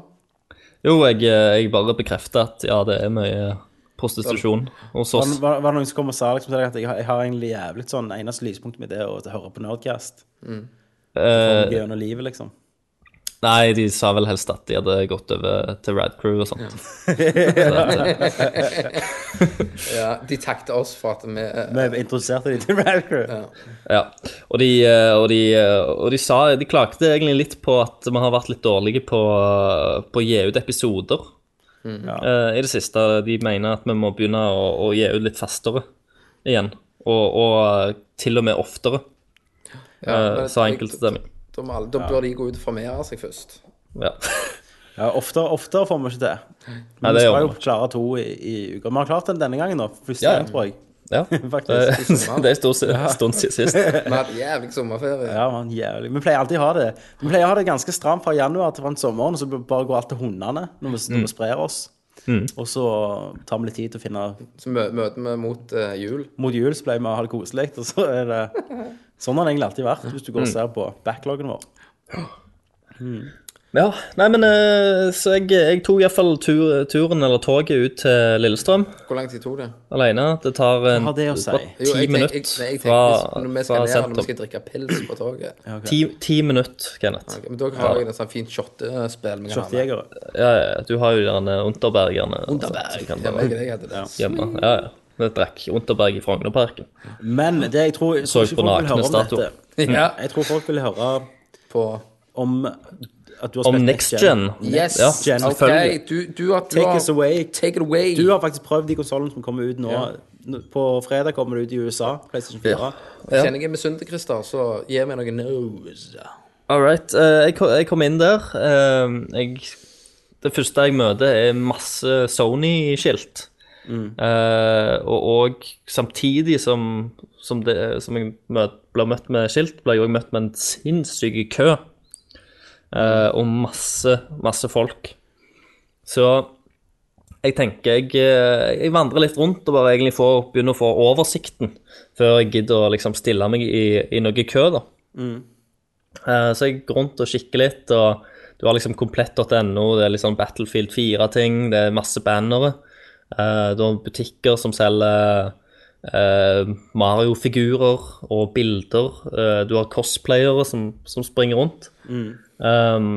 S7: Jo, jeg, eh, jeg bare bekrefter at ja, det er mye prostitusjon hos
S3: Var,
S7: oss.
S3: var, var det noen som kom og sa liksom, til deg at jeg har, jeg har egentlig jævlig sånn eneste lyspunktet mitt er å høre på Nerdcast?
S7: Eh,
S3: Gjennom livet, liksom.
S7: nei, de sa vel helst at de hadde gått over til Rad Crew og sånt. Så at, eh,
S2: Ja, De takket oss for at vi eh,
S3: Vi introduserte <laughs> dem til Radcrew. Ja.
S7: Ja, og de, eh, og de, eh, og de sa De klagde egentlig litt på at vi har vært litt dårlige på, på å gi ut episoder eh, i det siste. De mener at vi må begynne å, å gi ut litt fastere igjen. Og, og eh, til og med oftere,
S2: ja,
S7: eh,
S2: men
S7: sa
S2: jeg-
S7: enkelte stemmer.
S2: Da må alle- da bør de gå ut og formere seg først.
S7: Ja.
S3: oftere, oftere får vi ikke til.
S7: Nei,
S3: Men vi
S7: det gjør
S3: skal jo
S7: vi
S3: klare to i, i uka. Vi har klart den denne gangen, da. Første
S7: Ja, ja.
S3: gang, tror jeg.
S7: ja.
S3: Faktisk.
S7: Det, <laughs> det er stort sett stund siden sist.
S2: Vi hadde jævlig sommerferie.
S3: Ja, man, jævlig. Vi pleier alltid å ha det Vi pleier å ha det ganske stramt fra januar til fram til sommeren, så bare går alt til hundene når vi,
S7: Mm.
S3: når vi sprer oss. Og så tar vi litt tid til å finne
S2: Så mø, møter vi mot eh, jul.
S3: Mot jul så pleier vi å ha det koselig, og så er det Sånn har det egentlig alltid vært, hvis du går
S7: Mm.
S3: og ser på backloggen vår.
S7: Ja, nei, men eh, Så jeg, jeg tok iallfall tur, turen, eller toget, ut til Lillestrøm.
S2: Hvor lang tid tok det?
S7: alene. Det tar en,
S3: Hva har det å si?
S7: bare
S2: Jo,
S7: ti
S2: jeg tenk- jeg-
S7: minutter
S2: nei, jeg tenker
S7: fra,
S2: hvis- Når vi skal ned her,
S7: fra
S2: når vi
S7: sentrum.
S2: skal drikke pils på toget
S7: Ti, ti minutter, Kenneth.
S2: Ok, Men da har jeg et sånt fint shottespill. vi kan ha med.
S3: Shortjegere.
S7: Ja, ja, du har jo de derne Unterbergerne. altså, som kan
S2: Ja,
S7: bare
S2: jeg, jeg hadde det.
S7: gjemme. Ja, ja. Det drakk Unterberg i Frognerparken.
S3: Men det jeg tror jeg tror
S7: Så
S3: ikke folk
S7: på
S3: vil
S7: nakne
S3: høre om
S7: statuer.
S2: <laughs>
S3: dette.
S2: Ja,
S3: Jeg tror folk vil høre
S2: på
S3: om at du har
S7: Om
S3: spilt
S7: Next Gen.
S2: Yes,
S7: Ja,
S3: Gen,
S2: ok,
S7: selvfølgelig.
S2: du, du, har- du
S3: Take
S2: har-
S3: us away.
S2: Take it away.
S3: Du har faktisk prøvd de konsollene som kommer ut nå. Nå- På fredag kommer det ut i USA. PlayStation 4.
S2: Kjenner jeg er misunnelig, Christer, så gi meg noe news.
S7: All right. eh, jeg, ko- jeg kom inn der. eh, jeg, det første jeg møter, er masse Sony-skilt. Eh, og, og samtidig som, som, det, som jeg møt, ble møtt med skilt, ble jeg òg møtt med en sinnssyk kø. Eh, og masse, masse folk. Så jeg tenker jeg, eh, jeg vandrer litt rundt og bare egentlig får, begynner å få oversikten før jeg gidder å liksom stille meg i, i noe kø, da. Eh, Så jeg går rundt og kikker litt, og du har liksom komplett.no, det er liksom Battlefield 4-ting, det er masse bannere. Eh, Du har butikker som selger eh, Mario-figurer og bilder. Eh, Du har cosplayere som, som springer rundt.
S3: Mm.
S7: Um,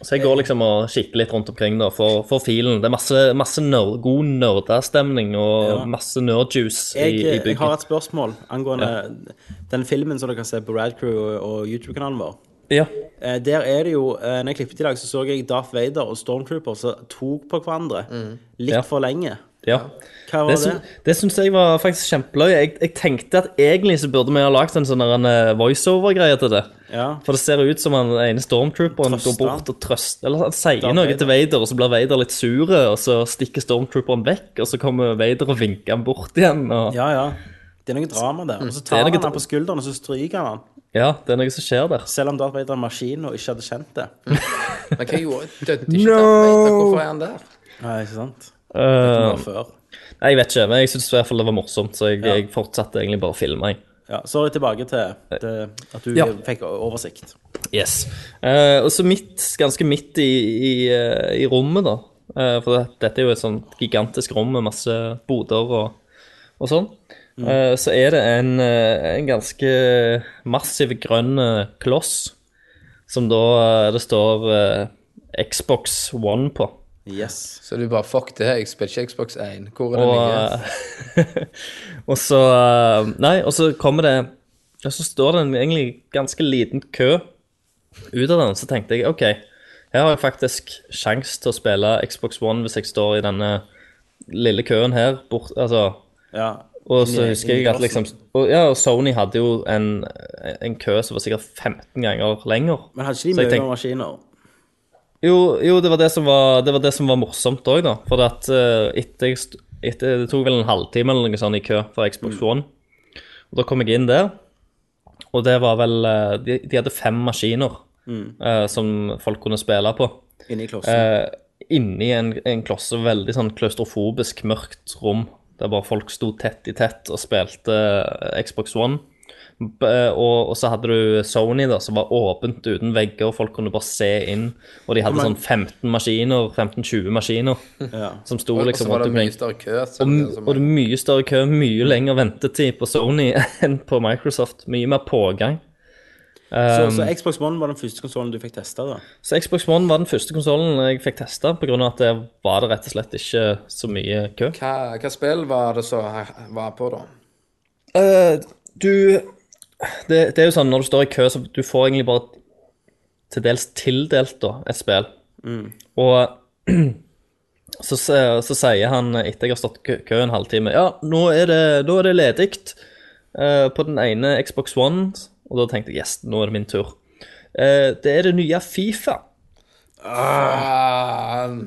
S7: så jeg går liksom og kikker litt rundt omkring da, for, for filen. Det er masse, masse nerd, god nerdestemning og masse nerdjuice i,
S3: Jeg,
S7: i
S3: jeg har
S7: bygget.
S3: et spørsmål angående den filmen som dere kan se på Radcrew og, og YouTube-kanalen vår.
S7: Ja.
S3: Eh, der er det jo eh, Når jeg klippet i dag, så så jeg Darth Vader og Stormtrooper som tok på hverandre litt
S7: Mm. Ja.
S3: for lenge.
S7: ja.
S3: Hva var
S7: Det,
S3: det?
S7: sy det syns jeg var faktisk kjempeløye. Jeg, jeg tenkte at egentlig så burde vi ha lagd en sånn der en, eh, voiceover-greie til det.
S3: Ja.
S7: For det ser ut som han ene stormtrooperen
S3: Trøster.
S7: går bort og trøster Eller han sier
S3: Darth
S7: noe
S3: Vader.
S7: til Vader, og så blir Vader litt sur, og så stikker stormtrooperen vekk, og så kommer Vader og vinker han bort igjen. Og, ja.
S3: ja, ja. Det er noe drama der. Og så tar han
S7: Mm. Det er noe
S3: han på skulderen og så stryker han han.
S7: det er noe som skjer der.
S3: Selv om Darth Vader er en maskin og ikke hadde kjent det.
S7: Mm.
S2: Men hva gjorde Døde ikke Darth Vader? Hvorfor er han der?
S3: Nei, ikke sant? Det
S7: Eh,
S3: var før.
S7: nei, jeg vet ikke, men jeg syns i hvert fall det var morsomt, så jeg, jeg fortsatte egentlig bare å filme. Jeg.
S3: Ja, sorry, tilbake til, til at du
S7: Eh, Ja.
S3: fikk oversikt.
S7: Yes. Eh, og så midt, ganske midt i, i, eh, i rommet, da. Eh, for det, dette er jo et sånt gigantisk rom med masse boder og, og sånn, eh, så er det en, eh, en ganske massiv grønn eh, kloss som da eh, det står eh, Xbox One på.
S3: Yes.
S2: Så du bare fuck det, jeg spiller ikke Xbox 1. Hvor er det nye?
S7: Og, eh, <laughs> og så eh, Nei, og så kommer det Og så står det en egentlig ganske liten kø ut av den. Så tenkte jeg OK, her har jeg faktisk sjans til å spille Xbox One hvis jeg står i denne lille køen her. Bort, altså,
S3: Ja.
S7: og så
S3: Inni-
S7: husker
S3: inni
S7: jeg at
S3: glassen.
S7: liksom og, Ja, og Sony hadde jo en, en kø som var sikkert 15 ganger lenger.
S3: Men hadde ikke de
S7: Så jeg
S3: mye
S7: tenkte-
S3: mer maskiner?
S7: Jo, jo det, var det, som var, det var det som var morsomt òg, da. For at eh, etter, jeg st- etter Det tok vel en halvtime eller noe sånt i kø for Xbox One. Og da kom jeg inn der, og det var vel eh, De, de hadde fem maskiner eh, som folk kunne spille på.
S3: Inni klossen.
S7: Eh, inni en, en klosse, veldig sånn klaustrofobisk, mørkt rom, der bare folk sto tett i tett og spilte eh, Xbox One. B eh, og, og så hadde du Sony, da, som var åpent uten vegger, og folk kunne bare se inn. Og de hadde
S3: Men-
S7: sånn 15 maskiner, 15-20 maskiner,
S3: ja.
S7: som sto
S2: Og og så
S7: liksom
S2: var det
S7: rundt
S2: mye
S7: omkring.
S2: større kø. så
S7: Og,
S2: det er som-
S7: og det er mye større kø, mye lengre ventetid på Sony <laughs> enn på Microsoft. Mye mer pågang. um,
S3: Så, så Xbox One var den første konsollen du fikk testa, da?
S7: Så Xbox One var den første konsollen jeg fikk testa, pga. at det var det rett og slett ikke så mye kø.
S2: hva, hva spill var det som var på, da?
S7: Eh, du det, det er jo sånn når du står i kø, så du får egentlig bare til dels tildelt da, et spill. Og <clears throat> så, se- så sier han etter jeg har stått kø, kø en halvtime Ja, nå er det, nå er det ledig eh, på den ene Xbox One. Og da tenkte jeg yes, nå er det min tur. Eh, det er det nye Fifa.
S2: Faen.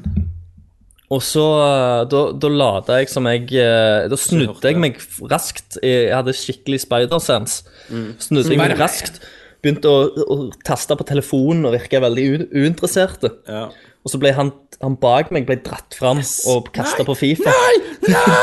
S7: Og så eh, da, da lada jeg som jeg eh, Da snudde jeg meg f- raskt. Jeg jeg hadde skikkelig spider-sense.
S2: Mm.
S7: Snudde jeg meg raskt, begynte å, å taste på telefonen og virka veldig u uinteressert.
S3: Ja.
S7: Og så ble han, han bak meg ble dratt fram og kasta på Fifa.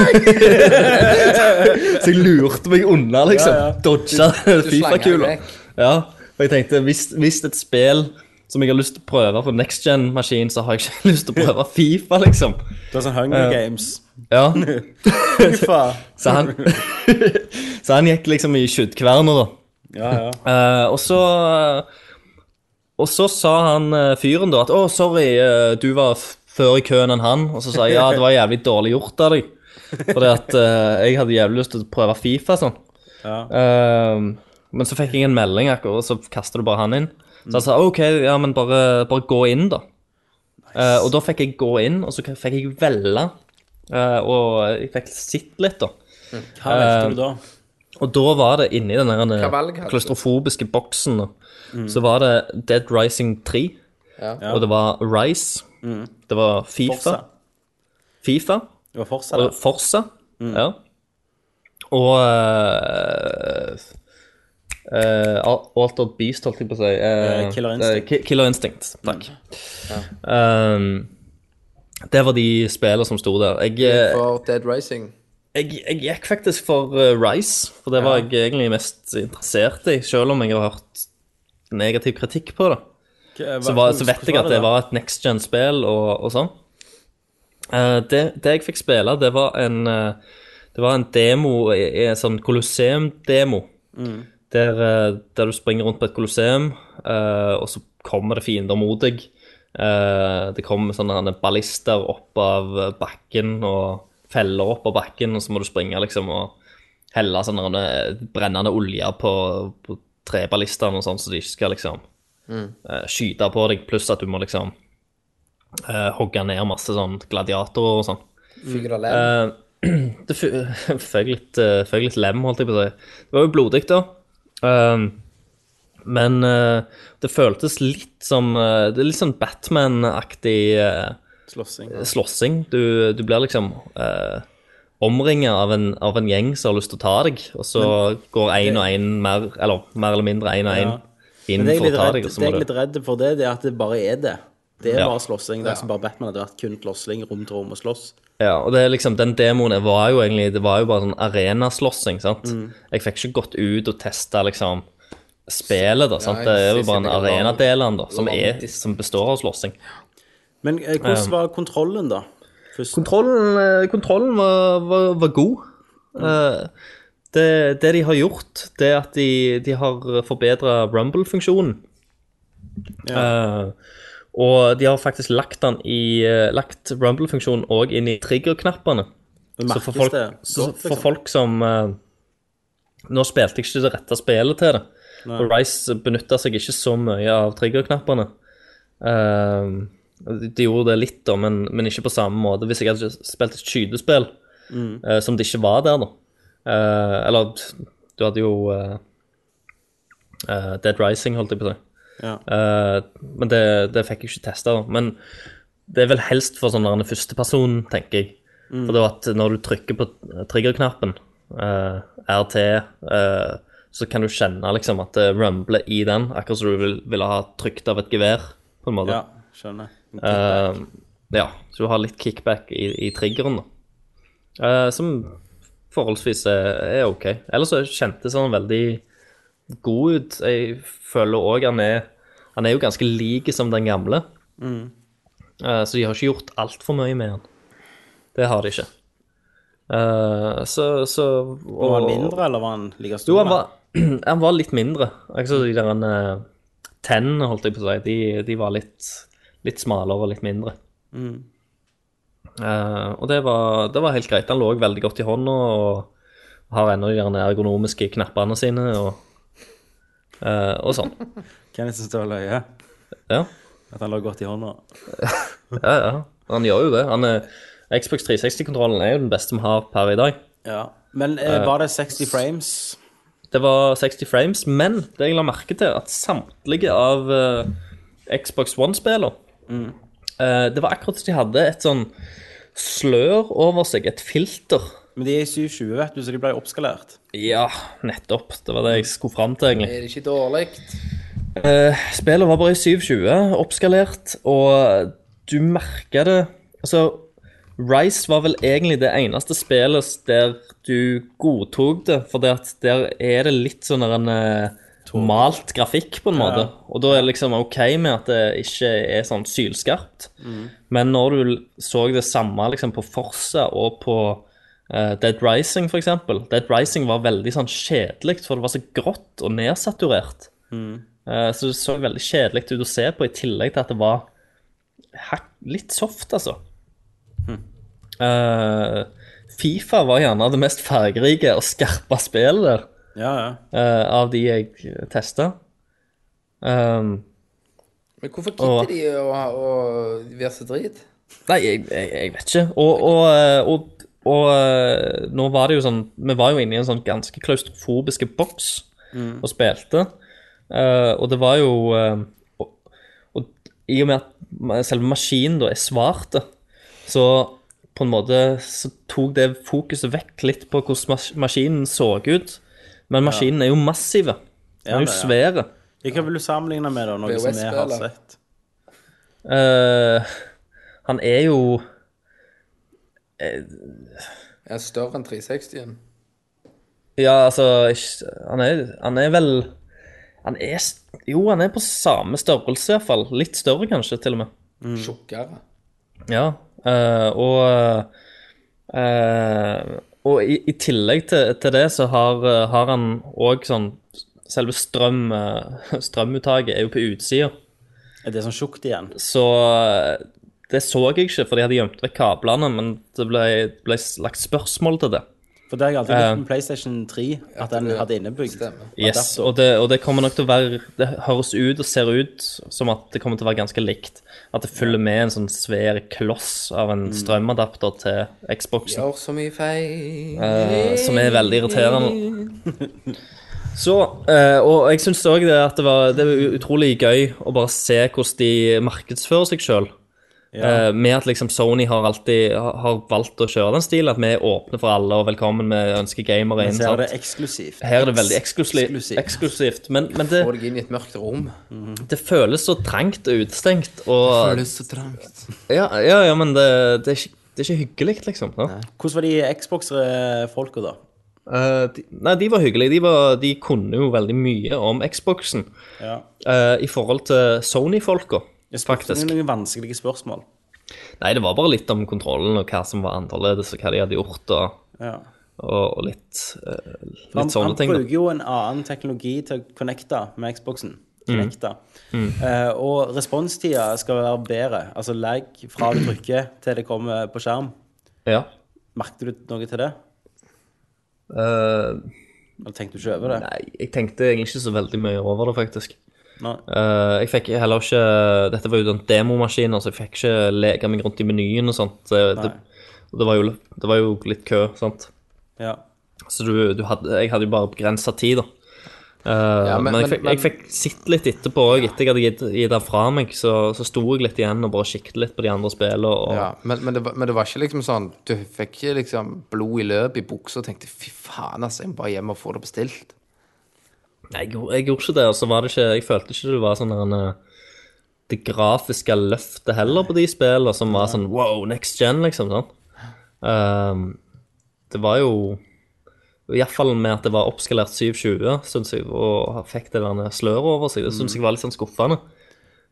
S7: <laughs> så jeg lurte meg unna, liksom. Dodga
S2: du slenger
S7: Fifa-kula.
S2: deg vekk.
S7: Ja, og jeg tenkte, hvis, hvis et spill som jeg har lyst til å prøve på next gen-maskin, så har jeg ikke <laughs> lyst til å prøve Fifa, liksom.
S3: Det var sånn Hunger
S7: <laughs>
S3: Games.
S7: Ja,
S3: Ufa.
S7: så han, <laughs> så han gikk liksom i skyddkverner, da.
S3: Ja, ja.
S7: Eh, og så eh, Og så sa han eh, fyren da at 'Å, sorry, eh, du var f før i køen enn han.' Og så sa jeg 'Ja, det var jævlig dårlig gjort av deg', fordi at eh, jeg hadde jævlig lyst til å prøve Fifa sånn.
S3: Ja.
S7: Eh, men så fikk jeg en melding, akkurat, og så kastet du bare han inn. Så jeg sa 'OK, ja, men bare, bare gå inn', da. Eh, og da fikk jeg gå inn, og så fikk jeg velge. eh, og jeg fikk sitt litt, da.
S3: Hva
S7: Eh,
S3: valgte du da?
S7: Og da var det inni den
S2: Hva valg hadde
S7: der eh,
S2: du?
S7: klaustrofobiske boksen, da, så var det Dead Rising 3,
S2: Ja.
S7: og det var Rise, det var FIFA,
S3: Forsa.
S7: FIFA
S3: Det var Forsa,
S7: og
S3: det.
S7: Forsa, ja. Og eh, eh, Al- Altered Beast, holdt jeg på å si. eh,
S3: Eh, Killer
S7: eh,
S3: Instinct.
S7: Ki- Killer Instinct, takk. Um, det var de spillene som sto der. Jeg, eh, mm,
S2: For Dead Racing.
S7: jeg, jeg gikk faktisk for eh, Rise, for det var jeg egentlig mest interessert i, selv om jeg har hørt negativ kritikk på det. Så, var, så vet jeg at det var et next gen-spill og, og sånn. Eh, det, det jeg fikk spille, det var en, eh, det var en demo, eh, en sånn Colosseum-demo, der, eh, der du springer rundt på et Colosseum, eh, og så kommer det fiender mot deg. Eh, det kommer sånne herne ballister opp av eh, bakken og feller opp av bakken, og så må du springe liksom og helle sånn herne brennende olje på, på treballistene og sånn, så de ikke skal liksom eh, skyte på deg, pluss at du må liksom eh, hogge ned masse sånn gladiatorer og sånn.
S2: Fyr og lem.
S7: Eh, det <laughs> fu- føk litt, eh, føk litt lem, holdt jeg på å si. Det var jo blodig, da. Eh, men eh, det føltes litt som eh, Det er litt sånn Batman-aktig eh,
S3: Slåssing.
S7: slåssing. Du, du blir liksom eh, omringa av, en- av en gjeng som har lyst til å ta deg, og så går én og én mer, eller mer eller mindre én og én
S3: Ja.
S7: inn
S3: Men det jeg
S7: for
S3: er litt
S7: å ta deg.
S3: redd,
S7: liksom, og så
S3: det
S7: må
S3: jeg er
S7: du-
S3: litt redd for det, det er at det bare er det. Det er
S7: Ja.
S3: bare slåssing. Det er som bare Batman hadde vært kun slåssing, rom til rom og slåss.
S7: Ja, og det er liksom, den demoen var jo egentlig Det var jo bare sånn arenaslåssing, sant?
S2: Mm.
S7: Jeg fikk ikke gått ut og testa liksom spillet, da. sant?
S2: jeg
S7: Det er jo
S2: synes
S7: bare en
S2: det er
S7: arenadel av den, da, som, er,
S2: romantisk.
S7: som består av slåssing.
S3: Men eh, hvordan var kontrollen, da? Først,
S7: Kontrollen, eh, kontrollen var, var, var god.
S3: Mm.
S7: Eh, det, det de har gjort, det er at de, de har forbedra Rumble-funksjonen. Eh, og de har faktisk lagt, den i, eh, lagt Rumble-funksjonen òg inn i trigger-knappene.
S3: Det
S7: Så for
S3: merkes
S7: folk,
S3: det
S7: så
S3: godt,
S7: for
S3: liksom.
S7: folk som eh, Nå spilte jeg ikke det rette spillet til det.
S3: Nei.
S7: Og Rice benytta seg ikke så mye av triggerknappene. Eh, de gjorde det litt, da, men, men ikke på samme måte. Hvis jeg hadde spilt et skytespill
S3: Mm.
S7: eh, som det ikke var der, da Eh, Eller du hadde jo eh, eh, Dead Rising, holdt jeg på å si.
S3: Ja.
S7: Eh, men det, det fikk jeg ikke testa. Men det er vel helst for sånn der en førsteperson, tenker jeg.
S3: Mm.
S7: For det var at når du trykker på triggerknappen, eh, RT, eh, så kan du kjenne liksom at det rumbler i den, akkurat som du vil- ville ha trykt av et gevær, på en måte.
S3: ja, skjønner.
S7: Eh, ja, så du har litt kickback i, i triggeren, da. Eh, som forholdsvis er, er OK. Ellers så kjentes han veldig god ut. Jeg føler òg han er Han er jo ganske lik som den gamle,
S3: Mm.
S7: eh, så de har ikke gjort altfor mye med han. Det har de ikke. Eh, så, så
S3: Var han
S7: og-
S3: mindre, eller var han like stor?
S7: jo, han var, han var <clears throat> litt mindre. Altså, de der eh, tennene, holdt jeg på å si, de, de var litt, litt smalere og litt mindre.
S3: Mm.
S7: Eh, og det var, det var helt greit. Han lå veldig godt i hånda og har ennå de der ergonomiske knappene sine og, eh, og sånn.
S3: Kenneth syns det var løye
S7: Ja.
S3: at han lå godt i hånda.
S7: ja, ja. Han gjør jo det. Han er, Xbox 360-kontrollen er jo den beste vi har per i dag.
S3: Ja. Men eh,
S7: Eh,
S3: var det 60 frames?
S7: Det var 60 frames, men det jeg la merke til, at samtlige av eh, Xbox One-spiller
S3: Mm.
S7: eh, Det var akkurat som de hadde et sånn slør over seg, et filter.
S3: Men de er i 720, vet du, så de ble oppskalert.
S7: Ja, nettopp. Det var det jeg skulle fram til, egentlig.
S2: Er det ikke dårlig?
S7: Eh, spillet var bare i 720, oppskalert, og du merka det Altså, Rise var vel egentlig det eneste spillet der du godtok det, for at der er det litt sånn der en eh, malt grafikk, på en måte. Og da er det liksom OK med at det ikke er sånn sylskarpt. Men når du l- så det samme liksom på Forsa og på eh, Dead Rising, for eksempel Dead Rising var veldig sånn kjedelig, for det var så grått og nedsaturert. Eh, Så det så veldig kjedelig ut å se på, i tillegg til at det var hakk- litt soft, altså. Eh, Fifa var gjerne det mest fargerike og skarpe spillet der,
S3: Ja, ja.
S7: eh, av de jeg Eh, testa.
S2: Men hvorfor
S7: Åh.
S2: gidder de å, å være så drit?
S7: Nei, jeg, jeg, jeg vet ikke. Og, og, eh, og, og eh, nå var det jo sånn Vi var jo inne i en sånn ganske klaustrofobisk boks
S3: Mm.
S7: og spilte. Eh, og det var jo eh, og, og i og med at ma- selve maskinen da er svarte, så på en måte så tok det fokuset vekk litt på hvordan mas maskinen så ut. Men maskinen er jo massiv. Den
S3: Ja,
S7: er
S3: det
S7: jo
S3: er.
S7: svære.
S3: Hva vil du sammenligne med, da? Noe som vi har
S2: VHS-spillet.
S3: sett?
S7: Eh, han er jo
S2: Er større enn 360-en?
S7: Ja, altså ikke, han, er, han er vel Han er s- Jo, han er på samme størrelse, iallfall. Litt større, kanskje, til og med.
S2: Tjukkere?
S7: Ja. eh, og eh, Og i, i tillegg til, til det, så har, eh, har han òg sånn Selve strøm, eh, <laughs> strømuttaket er jo på utsida.
S3: Er det sånn tjukt igjen?
S7: Så eh, det så jeg ikke, for de hadde gjemt vekk kablene, men det ble, ble lagt spørsmål til det.
S3: For det har jeg alltid
S7: Eh.
S3: likt med PlayStation 3, at den
S2: det
S3: hadde innebygd.
S2: stemmer.
S7: Yes, og det, og det kommer nok til å være Det høres ut og ser ut som at det kommer til å være ganske likt. At det følger med en sånn svær kloss av
S3: Mm.
S7: en strømadapter til Xboxen.
S2: Gjør så mye feil
S7: eh, som er veldig irriterende.
S3: <laughs>
S7: Så, eh, Og jeg syns òg det at det var, det var utrolig gøy å bare se hvordan de markedsfører seg sjøl. Eh, med at liksom Sony har alltid har har valgt å kjøre den stilen. At vi er åpne for alle og velkommen. Vi ønsker gamere
S3: Men
S7: inn.
S3: så er det
S7: sant?
S3: eksklusivt.
S7: Her er det veldig eksklusi-
S3: Eksklusivt.
S7: eksklusivt. Men, men det,
S2: Få deg inn i et mørkt rom.
S7: det føles så trangt og utestengt. Og
S2: så trangt.
S7: ja, ja, ja, men det, det, er ikke, det er ikke hyggelig, liksom. Ja.
S3: Hvordan var de Xbox-folka, da?
S7: Eh, de, nei, de var hyggelige. De, var, de kunne jo veldig mye om Xboxen
S3: Ja.
S7: eh, i forhold til Sony-folka,
S3: Jeg spurte
S7: faktisk.
S3: noen vanskelige spørsmål.
S7: Nei, det var bare litt om kontrollen og hva som var annerledes, og hva de hadde gjort. og
S3: Ja.
S7: og, og litt, eh, litt
S3: Han,
S7: sånne
S3: han
S7: ting. da.
S3: bruker jo en annen teknologi til å connecte med Xboxen.
S7: Mm.
S3: Connecte.
S7: Mm.
S3: Eh, og responstida skal være bedre. Altså lag fra du trykker til det kommer på skjerm.
S7: Ja.
S3: Merket du noe til det?
S7: Eh,
S3: Eller tenkte du ikke over det?
S7: Nei, jeg tenkte egentlig ikke så veldig mye over det, faktisk.
S3: Nei.
S7: Eh, jeg fikk heller ikke Dette var jo den demomaskinen, så jeg fikk ikke leke meg rundt i menyen og sånt. Det, det, og det, var, jo, det var jo litt kø, sant.
S3: Ja.
S7: Så du, du hadde, jeg hadde jo bare begrensa tid, da. Eh,
S2: Ja, men-
S7: men, jeg,
S2: men-
S7: fikk, jeg fikk sitt litt etterpå òg. Etter jeg hadde gitt gitt det fra meg, så, så sto jeg litt igjen og bare kikket litt på de andre spillene. Og,
S2: Ja, men, men, det, var- men det var ikke liksom sånn Du fikk ikke liksom blod i løpet i buksa og tenkte fy faen, altså, jeg må bare hjem og få det bestilt.
S7: Nei, jeg, gjorde- jeg gjorde ikke det, og så var det ikke Jeg følte ikke det var sånn der en, eh, Det grafiske løftet heller på de spillene som var sånn wow, next gen, liksom. Sånn. Ehm, det var jo Iallfall med at det var oppskalert 720, syns jeg, og fikk det der sløret over seg. Det syns jeg var litt sånn skuffende.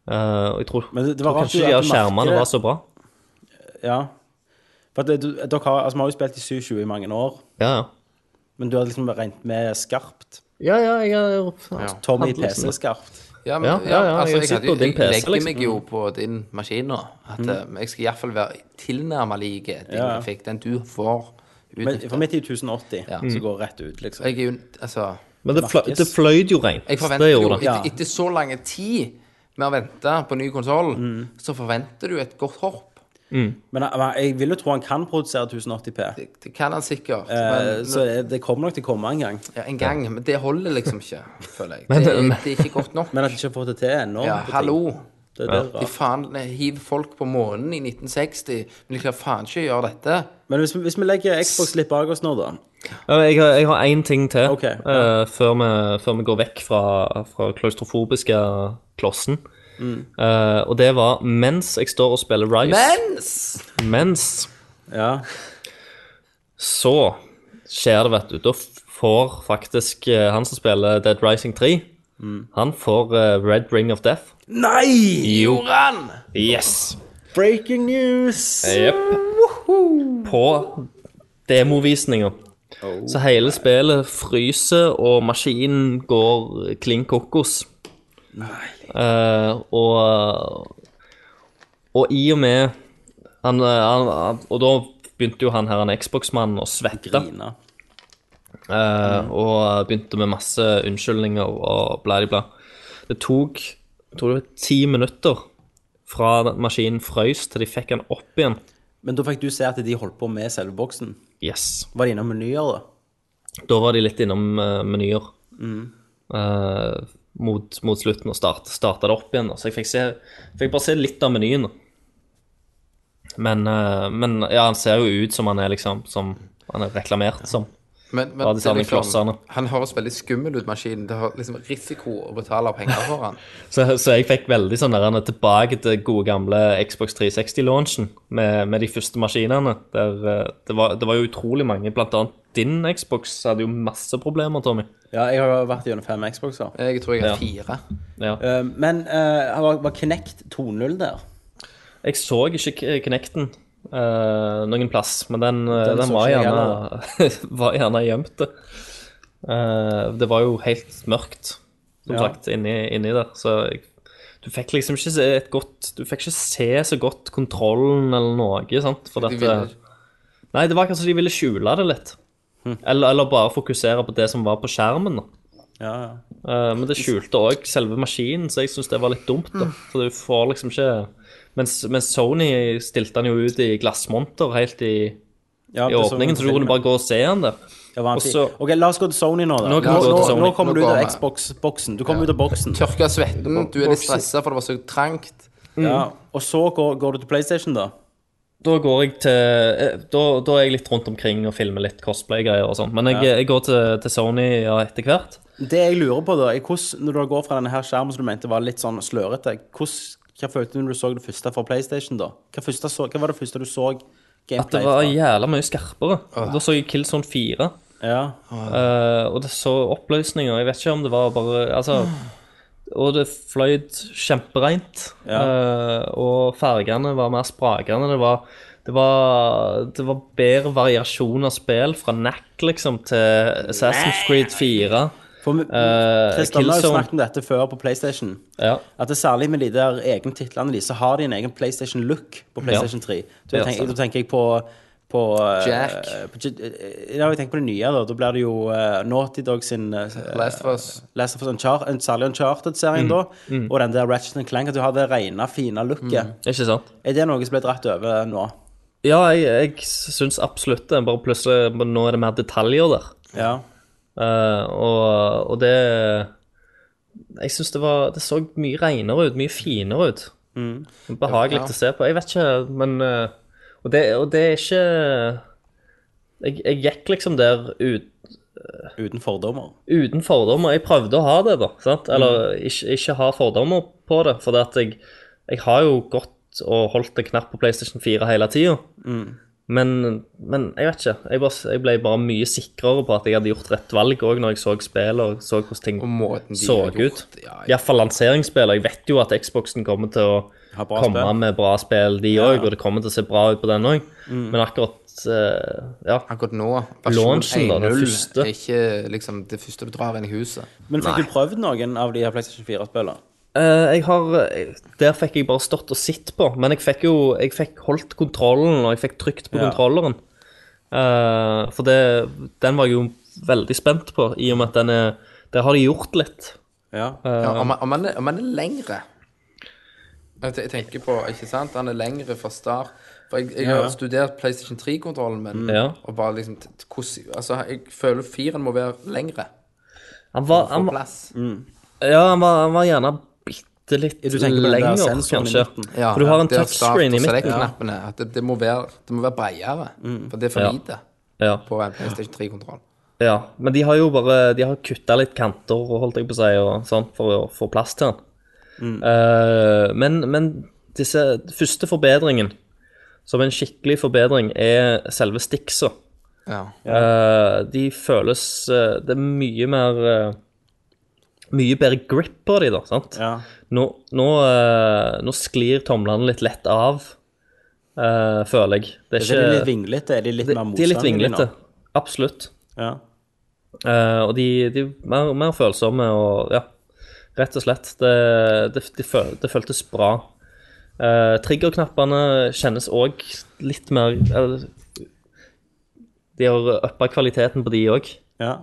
S7: Eh, og jeg tror,
S3: Men det- det var
S7: tror
S3: rart du-
S7: kanskje de
S3: at
S7: her
S3: du merker
S7: skjermene
S3: det.
S7: var så bra.
S3: Ja. For at det, du, dere har, altså, vi har jo spilt i 720 i mange år,
S7: Ja, ja.
S3: men du har liksom regnet med skarpt.
S7: Ja, ja, jeg har
S3: Tommy
S7: handlet liksom.
S3: PC-skarpt.
S2: Ja, men, ja,
S7: Ja, ja, ja,
S2: altså,
S7: jeg
S2: jeg,
S7: sitter
S2: hadde jo-
S7: på din
S2: jeg
S7: PC,
S2: legger
S7: liksom. Mm.
S2: meg jo på din maskin nå. At eh, jeg skal iallfall være tilnærma lik din
S3: Ja, ja.
S2: grafikk, den du får
S3: Men for
S2: utnytta.
S3: mitt er jo 1080,
S7: Mm.
S3: som går rett ut, liksom.
S2: Jeg er jo Altså
S7: Men det, fløy,
S3: Markus.
S7: det fløy jo rent.
S2: Jeg
S7: Det
S2: forventer jo,
S7: gjorde det.
S2: etter, etter så lang tid med å vente på ny konsoll,
S7: Mm.
S2: så forventer du et godt hopp.
S3: Men jeg- men jeg vil jo tro han kan produsere 1080P.
S2: Det, det kan han sikkert.
S3: Eh,
S2: Men,
S3: så det- det kommer nok til å komme en gang.
S2: ja, en gang. Men det holder liksom ikke, føler jeg.
S7: <laughs> Men-
S2: Det, er-
S7: <laughs> men-
S2: det er ikke godt nok.
S3: Men at de ikke har fått det til ennå.
S2: Ja,
S3: på ting.
S2: hallo.
S3: Det er det
S7: Ja.
S2: De
S3: rart.
S2: faen de hiver folk på månen i 1960, men de klarer faen ikke å gjøre dette.
S3: Men hvis, vi- hvis vi legger Xbox litt bak oss nå, da
S7: Ja, men Jeg har, jeg har én ting til
S3: Ok, ja.
S7: eh, før, vi, før vi går vekk fra, fra klaustrofobiske klossen. Eh, og det var mens jeg står og spiller Rise,
S2: Mens!
S7: mens
S3: Ja.
S7: så skjer det, vet du. Da f- får faktisk eh, han som spiller Dead Rising 3, han får eh, Red Ring of Death.
S3: Nei!
S2: Joran!
S7: Yes!
S3: Breaking news!
S7: Jepp. På demovisninga. Så hele spillet fryser, og maskinen går klin kokos. Eh, og, og i og med han, eh, han, han, Og da begynte jo han her, han Xbox-mannen, å svette.
S3: Grina.
S7: Eh, Og begynte med masse unnskyldninger og bla, bla, bla. Det tok jeg tror det var ti minutter fra den maskinen frøys til de fikk den opp igjen.
S3: Men da fikk du se at de holdt på med selve boksen.
S7: Yes.
S3: Var de innom menyer, da?
S7: Da var de litt innom eh, menyer eh, mot, mot slutten og start, starta det opp igjen. da. Så jeg fikk, se, fikk bare se litt av menyen. da. Men, eh, men ja, han ser jo ut som han er liksom som han er reklamert som.
S2: Men, men
S7: Ja, de
S2: det er
S7: samme klossene.
S2: han høres veldig skummel ut, maskinen. Det har liksom risiko å betale penger for han.
S7: Så, så jeg fikk veldig sånn der han er tilbake til gode gamle Xbox 360-launchen med, med de første maskinene. Der, eh, det, var, det var jo utrolig mange. Blant annet din Xbox hadde jo masse problemer, Tommy.
S3: Ja, jeg har jo vært gjennom fem Xboxer.
S2: Jeg tror jeg
S7: Ja.
S2: har fire.
S7: Ja.
S3: Eh, men eh, var, var Kinect 2.0 der?
S7: Jeg så ikke K- Kinecten eh, noen plass, men den, eh,
S3: Den
S7: den,
S3: så
S7: var,
S3: ikke jeg
S7: gjerne, <laughs> var gjerne gjemt. det. Eh, det var jo helt mørkt, som
S3: Ja.
S7: sagt, inni, inni der. Så jeg, du fikk liksom ikke se et godt Du fikk ikke se så godt kontrollen eller noe, sant? For
S2: De
S7: dette,
S2: ville-
S7: Nei, det var kanskje de ville skjule det litt.
S3: Hm.
S7: Eller, eller bare fokusere på det som var på skjermen. da.
S3: Ja, ja.
S7: Eh, men det skjulte òg selve maskinen, så jeg syns det var litt dumt. da. For du får liksom ikke Mens, mens Sony stilte han jo ut i glassmonter helt i,
S3: ja
S7: i åpningen, så du kunne bare gå og se han der.
S3: og
S7: og så-
S3: OK, la oss gå til Sony nå, da.
S7: Nå kan
S3: nå,
S7: vi gå til
S3: nå,
S7: Sony.
S3: nå kommer
S2: Nå
S3: du ut
S2: går
S3: av
S2: vi.
S3: Xbox-boksen. Du kommer ut av boksen.
S2: Tørka svetten, du er litt
S7: Bokser.
S2: stressa for det var så trangt.
S3: Ja. Og så går, går du til PlayStation, da.
S7: Da går jeg til eh, Da, da er jeg litt rundt omkring og filmer litt cosplay-greier og sånn. Men jeg, jeg går til, til Sony ja, etter hvert.
S3: Det jeg lurer på, da, er hvordan, når du går fra denne her skjermen som du mente var litt sånn slørete, hvordan, hva følte du når du så det første fra PlayStation, da? Hva, første så, hva var det første du så
S7: At det
S3: gameplay
S7: var
S3: fra?
S7: jævla mye skarpere. Da så jeg Killzone 4.
S3: Ja.
S7: Eh, og det så oppløsninger. Jeg vet ikke om det var bare Altså Og det fløyt kjempereint.
S3: Ja.
S7: eh, og fargene var mer sprakende. Det var, Det var, det var bedre variasjon av spill, fra Knack liksom til Assassin's Creed 4.
S3: For vi,
S7: eh,
S3: Christian, vi har jo
S7: Killzone.
S3: snakket om dette før på PlayStation.
S7: Ja.
S3: At det er særlig med de der egne titlene de, så har de en egen PlayStation-look på PlayStation 3. Da
S7: Ja,
S3: tenker,
S7: stemmer.
S3: da tenker jeg på på, eh,
S2: Jack.
S3: på J- eh, ja, jeg tenker på det nye. Da Da blir det jo eh, Naughty Dog sin eh,
S2: Last of Us.
S3: Last of Us Unchar en- særlig Uncharted-serien
S7: Mm.
S3: da. Og den der Ratchet and Clank. At du har det rene, fine looket.
S7: Ikke sant?
S3: Er det noe som ble dratt over nå?
S7: Ja, jeg, jeg syns absolutt det. Bare plutselig Nå er det mer detaljer der.
S3: Ja.
S7: Eh, og, og det Jeg syns det var Det så mye renere ut, mye finere ut. Behagelig å se på. Jeg vet ikke, men eh, Og det, og det er ikke jeg, jeg gikk liksom der ut,
S3: Uten fordommer.
S7: uten fordommer. Jeg prøvde å ha det, da. Sant? Eller
S2: Mm.
S7: ikke, ikke ha fordommer på det. For at jeg, jeg har jo gått og holdt en knapp på PlayStation 4 hele tida.
S2: Mm.
S7: Men, men jeg vet ikke. Jeg, bare, jeg ble bare mye sikrere på at jeg hadde gjort rett valg òg når jeg så spill og så hvordan ting
S2: Og måten de
S7: så
S2: har
S7: ut.
S2: gjort det, ja, ja.
S7: Iallfall lanseringsspill. og Jeg vet jo at Xboxen kommer til å
S3: Ha bra
S7: komme
S3: spill.
S7: med bra spill, de òg, og det kommer til å se bra ut på den òg.
S2: Mm.
S7: Men akkurat eh, Ja.
S2: Akkurat nå,
S7: Launchen, da, den
S2: 1.0
S7: første.
S2: er ikke liksom, det første du drar inn i huset.
S3: Men fikk du prøvd noen av de her PlayStation 4-spillene?
S7: Eh, jeg har Der fikk jeg bare stått og sett på, men jeg fikk jo Jeg fikk holdt kontrollen, og jeg fikk trykt på
S3: Ja.
S7: kontrolleren. Eh, for det, den var jeg jo veldig spent på, i og med at den er Der har de gjort litt.
S3: Ja.
S7: Eh,
S2: Ja, om, han- om, han er, om han er lengre Um, Jeg te- jeg tenker på, ikke sant? Han er lengre fra start. For jeg, jeg har
S3: ja.
S2: studert PlayStation 3-kontrollen min.
S7: Mm. Ja.
S2: Og bare liksom t- t- hvordan- Altså, jeg føler firen må være lengre.
S7: Han var,
S2: Få
S7: han, Mm. var-
S2: plass.
S7: ja, han, var, han var gjerne bitte litt
S3: du tenker på den der
S7: lenger,
S3: sensoren i
S7: kanskje.
S3: midten?
S2: Ja,
S7: for du har en
S2: det er start- og
S7: touchscreen i midten. Ja.
S2: select-knappene, At det, det, må være, det må være bredere. For det er for
S7: Ja.
S2: lite
S7: Ja,
S2: på en PlayStation 3-kontroll.
S7: ja. Men de har jo bare De har kutta litt kanter, holdt jeg på å si, og sånn, for å få plass til han.
S3: Mm.
S7: Eh, men, men disse første forbedringen, som en skikkelig forbedring, er selve stiksa.
S2: Ja.
S7: Eh, de føles eh, Det er mye mer eh, Mye bedre grip på de, da. sant?
S3: Ja.
S7: Nå, nå, eh, nå sklir tomlene litt lett av, eh, føler jeg. Det
S3: Er de
S7: er
S3: litt
S7: ikke
S3: vinglete? Er de litt
S7: De,
S3: mer
S7: de er litt
S3: motstandelige nå?
S7: vinglete. Absolutt.
S3: Ja.
S7: Eh, og de, de er mer, mer følsomme og ja, rett og slett. Det, det, de føl, det føltes bra. Eh, Triggerknappene kjennes òg litt mer eller, De har uppa kvaliteten på de òg.
S3: ja.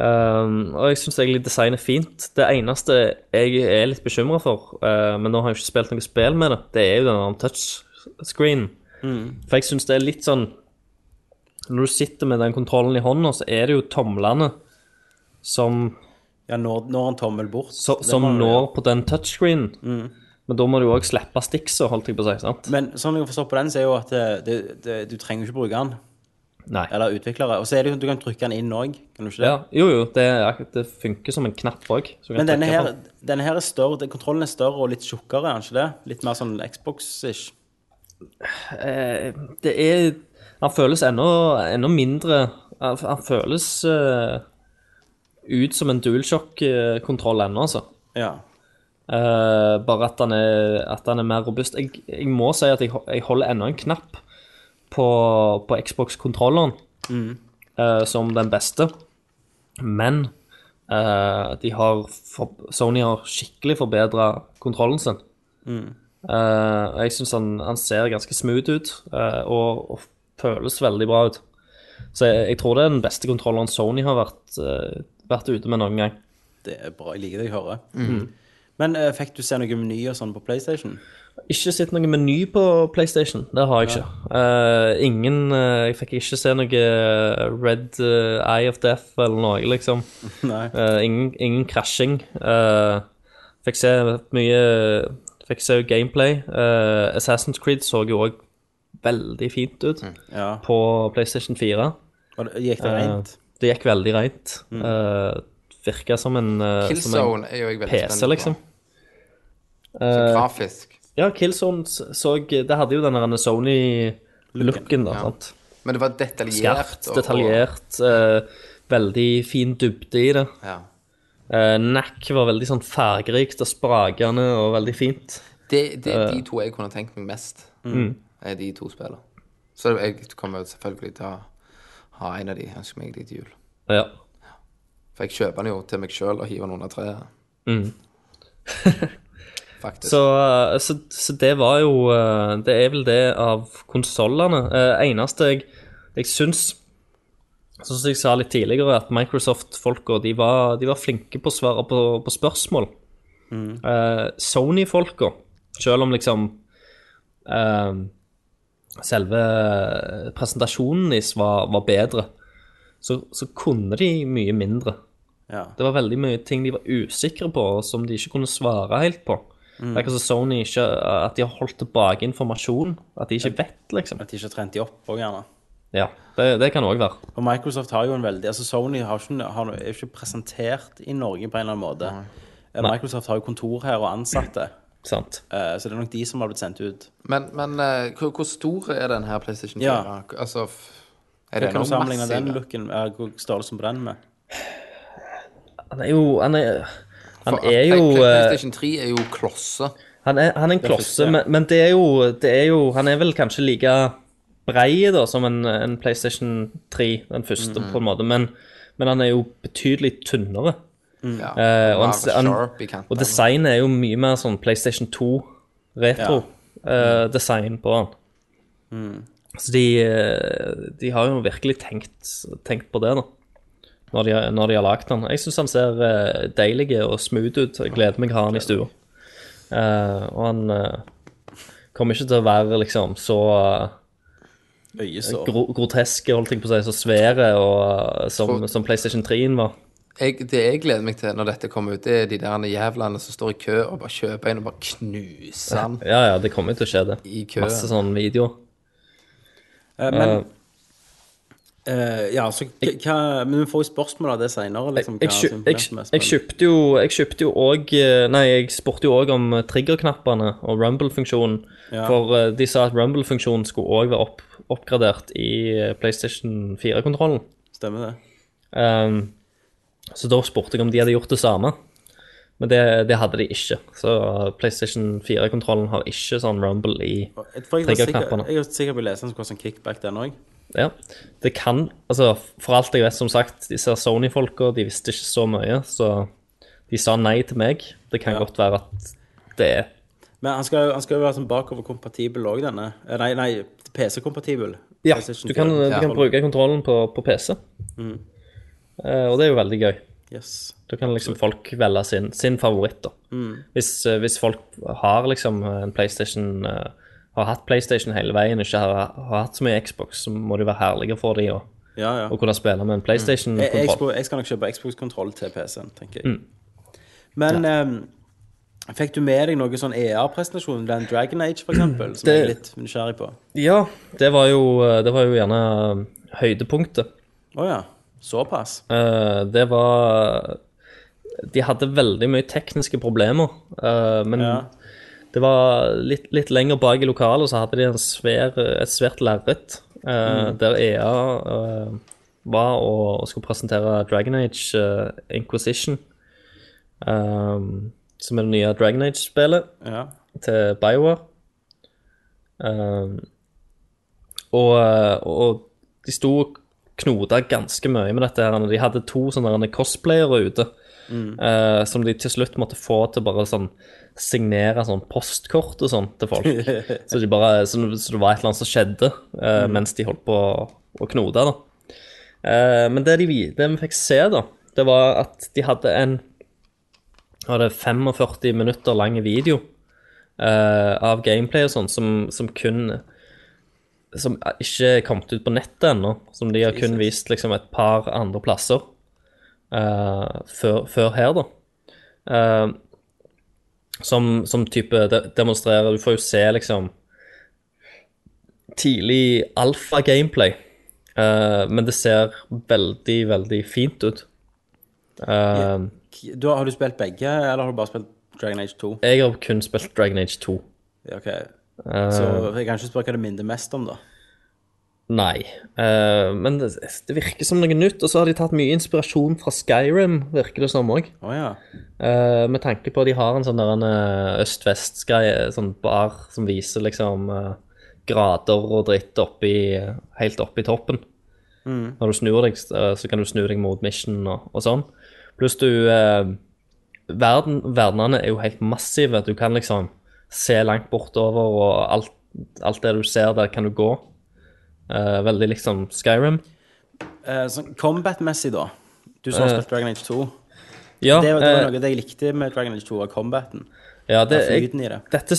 S7: Ehm, og jeg syns egentlig design er fint. Det eneste jeg er litt bekymra for, eh, men nå har jeg ikke spilt noe spill med det, det er jo den touchscreenen.
S3: Mm.
S7: For jeg syns det er litt sånn Når du sitter med den kontrollen i hånda, så er det jo tomlene som
S3: ja når, når en tommel bort.
S7: så,
S3: Det
S7: som
S3: må du Mm.
S7: når
S3: gjøre.
S7: på den touchscreenen. Men da må du òg slippe stiksa, holdt jeg på å si. sant?
S3: Men sånn jeg forstår på den, så er jo at det, det, det, du trenger jo ikke bruke den.
S7: Nei.
S3: Eller utviklere. Og så er det jo du kan trykke den inn òg, kan du ikke det?
S7: Ja, jo, jo, det, er akkurat- det funker som en knapp òg.
S3: Men denne her, denne her er større, den kontrollen er større og litt tjukkere, er den ikke det? Litt mer sånn Xbox-ish.
S7: Det er Han føles enda, enda mindre Han, han føles eh, ut som en dualsjokk-kontroll ennå, altså.
S3: Ja.
S7: Eh, bare at han, er, at han er mer robust. Jeg, jeg må si at jeg, ho- jeg holder ennå en knapp på, på Xbox-kontrolleren eh, som den beste, men eh, de har for, Sony har skikkelig forbedra kontrollen sin. Eh, og jeg syns han, han ser ganske smooth ut eh, og, og føles veldig bra ut. Så jeg, jeg tror det er den beste kontrolleren Sony har vært, eh, vært ute med noen gang.
S3: Det er bra. Jeg liker det jeg hører. Men eh, fikk du se noe meny og sånn på PlayStation?
S7: Ikke sett noe meny på PlayStation. Det har jeg ikke. Eh, ingen eh, Jeg fikk ikke se noe Red eh, Eye of Death eller noe, liksom.
S3: <laughs> Nei.
S7: Eh, ingen, ingen krasjing. Eh, fikk se mye Fikk se gameplay. Eh, Assassin's Creed så jo òg veldig fint ut
S3: Mm, Ja.
S7: på PlayStation 4.
S3: Og det- Gikk
S7: Eh,
S3: det rent? Mm.
S7: Det gikk veldig rent. Uh, Virka som en, eh, som en
S2: Killzone er jo jeg veldig
S7: PC, liksom. Eh,
S2: på. Så grafisk.
S7: Ja, Killzone s- så Det hadde jo den der Sony-looken, da. sant?
S2: Men det var detaljert.
S7: Skarpt,
S2: og-
S7: detaljert, eh, veldig fin dybde i det.
S2: Og, ja.
S7: Uh, Nack var veldig sånn fargerikt og spragende og veldig fint. Eh. Mm.
S3: Mm.
S2: Det det er de to jeg kunne tenkt meg mest. Er de to spillene. Så jeg kommer selvfølgelig til å ha en av de. Jeg ønsker meg de til jul.
S7: Ja.
S2: For jeg kjøper den jo til meg sjøl og hiver den under treet.
S7: Mm.
S2: <laughs> Faktisk.
S7: Så, eh, så, så det var jo eh, Det er vel det av konsollene. Eh, Eneste jeg, jeg syns Sånn som jeg sa litt tidligere, at Microsoft-folka de var, de var flinke på å svare på, på spørsmål. Eh, Sony-folka, selv om liksom eh, Selve presentasjonen deres var, var bedre, så, så kunne de mye mindre.
S3: Ja.
S7: Det var veldig mye ting de var usikre på, og som de ikke kunne svare helt på.
S3: Mm.
S7: Det er ikke så Sony ikke, eh, at de har holdt tilbake informasjon. At de ikke vet, liksom.
S3: At de ikke har trent de opp òg, gjerne.
S7: Ja, det, det kan òg være.
S3: Og Microsoft har jo en veldig Altså Sony har ikke, har, er jo ikke presentert i Norge på en eller annen måte. Eh,
S7: Nei.
S3: Microsoft har jo kontor her og ansatte,
S7: Sant.
S3: eh, så det er nok de som har blitt sendt ut.
S2: Men, men eh, hvor, hvor stor er den her PlayStation 4?
S3: Ja.
S2: Altså, f- er
S3: Hva
S2: det
S3: kan du
S2: noe
S3: sammenligne
S2: massiv?
S3: den looken, eh, hvor størrelsen på den med?
S7: Han er jo Han er, han
S2: For
S7: er
S2: at
S7: jo
S2: Play-
S7: eh,
S2: PlayStation 3 er jo klosse.
S7: Han er, han er
S3: er
S7: en
S3: første,
S7: klosse,
S3: ja.
S7: men, men det, er jo, det er jo Han er vel kanskje like brei da, som en, en PlayStation 3, den første, på en måte, men, men han er jo betydelig tynnere.
S3: Mm.
S2: Ja.
S7: Eh, og,
S2: Mer
S7: han, han,
S2: sharp i kanten.
S7: og designet er jo mye mer sånn PlayStation 2
S2: Mm.
S7: retro-design på han. Så de, eh, de har jo virkelig tenkt, tenkt på det, da. Når de, har- når de har lagd han. Jeg syns han ser eh, deilig og smooth ut. Jeg gleder meg å ha han i stua. Eh, og han eh, kommer ikke til å være liksom så eh,
S3: Øyesår.
S7: gro groteske, holdt jeg på å si, så svære og, eh, som, som PlayStation 3-en var.
S2: jeg, det jeg gleder meg til når dette kommer ut, det er de der jævlene som står i kø og bare kjøper en og bare knuser den
S7: Ja, ja, det kommer jo til å skje, det.
S2: i køen.
S7: Masse sånn sånne videoer.
S3: Eh, men eh, Ja, så k- hva Men vi får jo spørsmål av det seinere, liksom.
S7: Jeg,
S3: hva
S7: kjø-
S3: som imponerte
S7: jeg,
S3: mest,
S7: jeg
S3: men-
S7: kjøpte jo Jeg kjøpte jo òg Nei, jeg spurte jo òg om eh, triggerknappene og rumble-funksjonen.
S3: Ja.
S7: For eh, de sa at rumble-funksjonen skulle òg være opp, oppgradert i eh, PlayStation 4-kontrollen.
S3: Stemmer det?
S7: Ehm, så da spurte jeg om de hadde gjort det samme. Men det, det hadde de ikke. Så eh, PlayStation 4-kontrollen har ikke sånn rumble i
S3: Og Jeg, for jeg, var sikker,
S7: Triggerknappene.
S3: jeg var sikker på å lese den skulle ha sånn kickback, den òg.
S7: Ja, det kan Altså, for alt jeg vet, som sagt, disse Sony-folka, de visste ikke så mye, så de sa nei til meg. Det kan
S3: Ja.
S7: godt være at det er
S3: Men han skal, jo- han skal jo være sånn bakoverkompatibel òg, denne. Eh, Nei, nei PC-kompatibel.
S7: Ja,
S3: PlayStation Mm.
S7: du kan,
S3: 4.
S7: du kan bruke kontrollen på, på PC. Eh, og det er jo veldig gøy.
S3: Yes.
S7: Da kan liksom folk velge sin, sin favoritt, da.
S3: Mm.
S7: Hvis, eh, hvis folk har liksom en PlayStation eh, Har hatt PlayStation hele veien og ikke har, har hatt så mye Xbox, så må det være herligere for dem å,
S3: Ja, ja. E-
S7: å kunne spille med en
S3: Jeg, jeg,
S7: PlayStation-kontroll.
S3: skulle, jeg skal nok kjøpe Xbox-kontroll til PC-en, tenker
S7: Mm.
S3: jeg. Men eh, fikk du med deg noe sånn ER-presentasjon? Den Dragon Age, for eksempel, som jeg er
S7: Det-
S3: litt nysgjerrig på? Å
S7: Ja, det var jo, det var jo gjerne eh, høydepunktet.
S3: ja. Såpass?
S7: Eh, det var De hadde veldig mye tekniske problemer, eh, men
S3: Ja.
S7: det var litt, litt lenger bak i lokalet så hadde de en svær, et svært lerret eh, der EA eh, var og, og skulle presentere Dragon Age eh, Inquisition, eh, som er det nye Dragon Age-spillet
S3: Ja.
S7: til BioWare. Ehm, og, og de sto og knota ganske mye med dette. her. De hadde to sånne her cosplayere ute. eh, som de til slutt måtte få til bare sånn signere sånn postkort og sånn til folk. så, de bare, så, så det var et eller annet som skjedde eh, mens de holdt på å, å knote. da. Eh, men det, de, vi- det vi fikk se, da, det var at de hadde en var det 45 minutter lang video eh, av gameplay og sånn, som, som kun Som ikke er kommet ut på nettet ennå. Som de har kun vist liksom et par andre plasser eh, før, før her, da. Eh, som, som type de demonstrerer Du får jo se liksom tidlig alfa-gameplay. Eh, men det ser veldig, veldig fint ut. Eh,
S3: Du, har du spilt begge, eller har du bare spilt Dragon Age 2?
S7: Jeg har kun spilt Dragon Age 2.
S3: Ja, OK.
S7: Eh.
S3: Så jeg kan ikke spørre hva det minner mest om, da.
S7: Nei. Eh, men det, det virker som noe nytt. Og så har de tatt mye inspirasjon fra Skyrim, virker det som òg.
S3: Å ja.
S7: Eh, med tanke på at de har en sånn der en, eh, øst-vest-greie, sånn bar som viser liksom eh, grader og dritt oppi, helt oppi toppen.
S3: Mm.
S7: Når du snur deg, så kan du snu deg mot Mission og, og sånn. Pluss du eh, verden, Verdenene er jo helt massive. Du kan liksom se langt bortover, og alt, alt det du ser der, kan du gå. Eh, veldig liksom Skyrim.
S3: Eh, sånn combat-messig, da. Du som har
S7: Eh.
S3: spilt Dragon Age 2.
S7: Ja,
S3: det, var- det var
S7: eh,
S3: noe av det jeg likte med Dragon Age 2, var combaten.
S7: Ja, det,
S3: Det er
S7: jeg,
S3: flyten i det.
S7: dette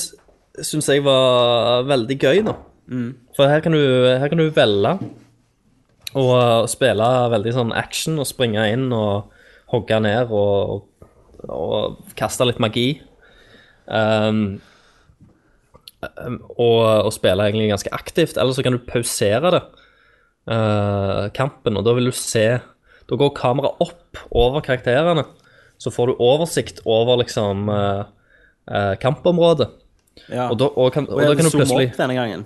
S7: syns jeg var veldig gøy, da.
S3: Mm.
S7: For her kan du, her kan du velge å uh, spille veldig sånn action og springe inn og hogge ned og, og, og kaste litt magi. Um, um, og, og spille egentlig ganske aktivt. Eller så kan du pausere det, uh, kampen, og da vil du se Da går kameraet opp over karakterene. Så får du oversikt over liksom uh, uh, kampområdet.
S3: Ja.
S7: Og da, og kan, og da
S3: jeg
S7: kan du
S3: zoomer
S7: plutselig
S3: opp denne gangen.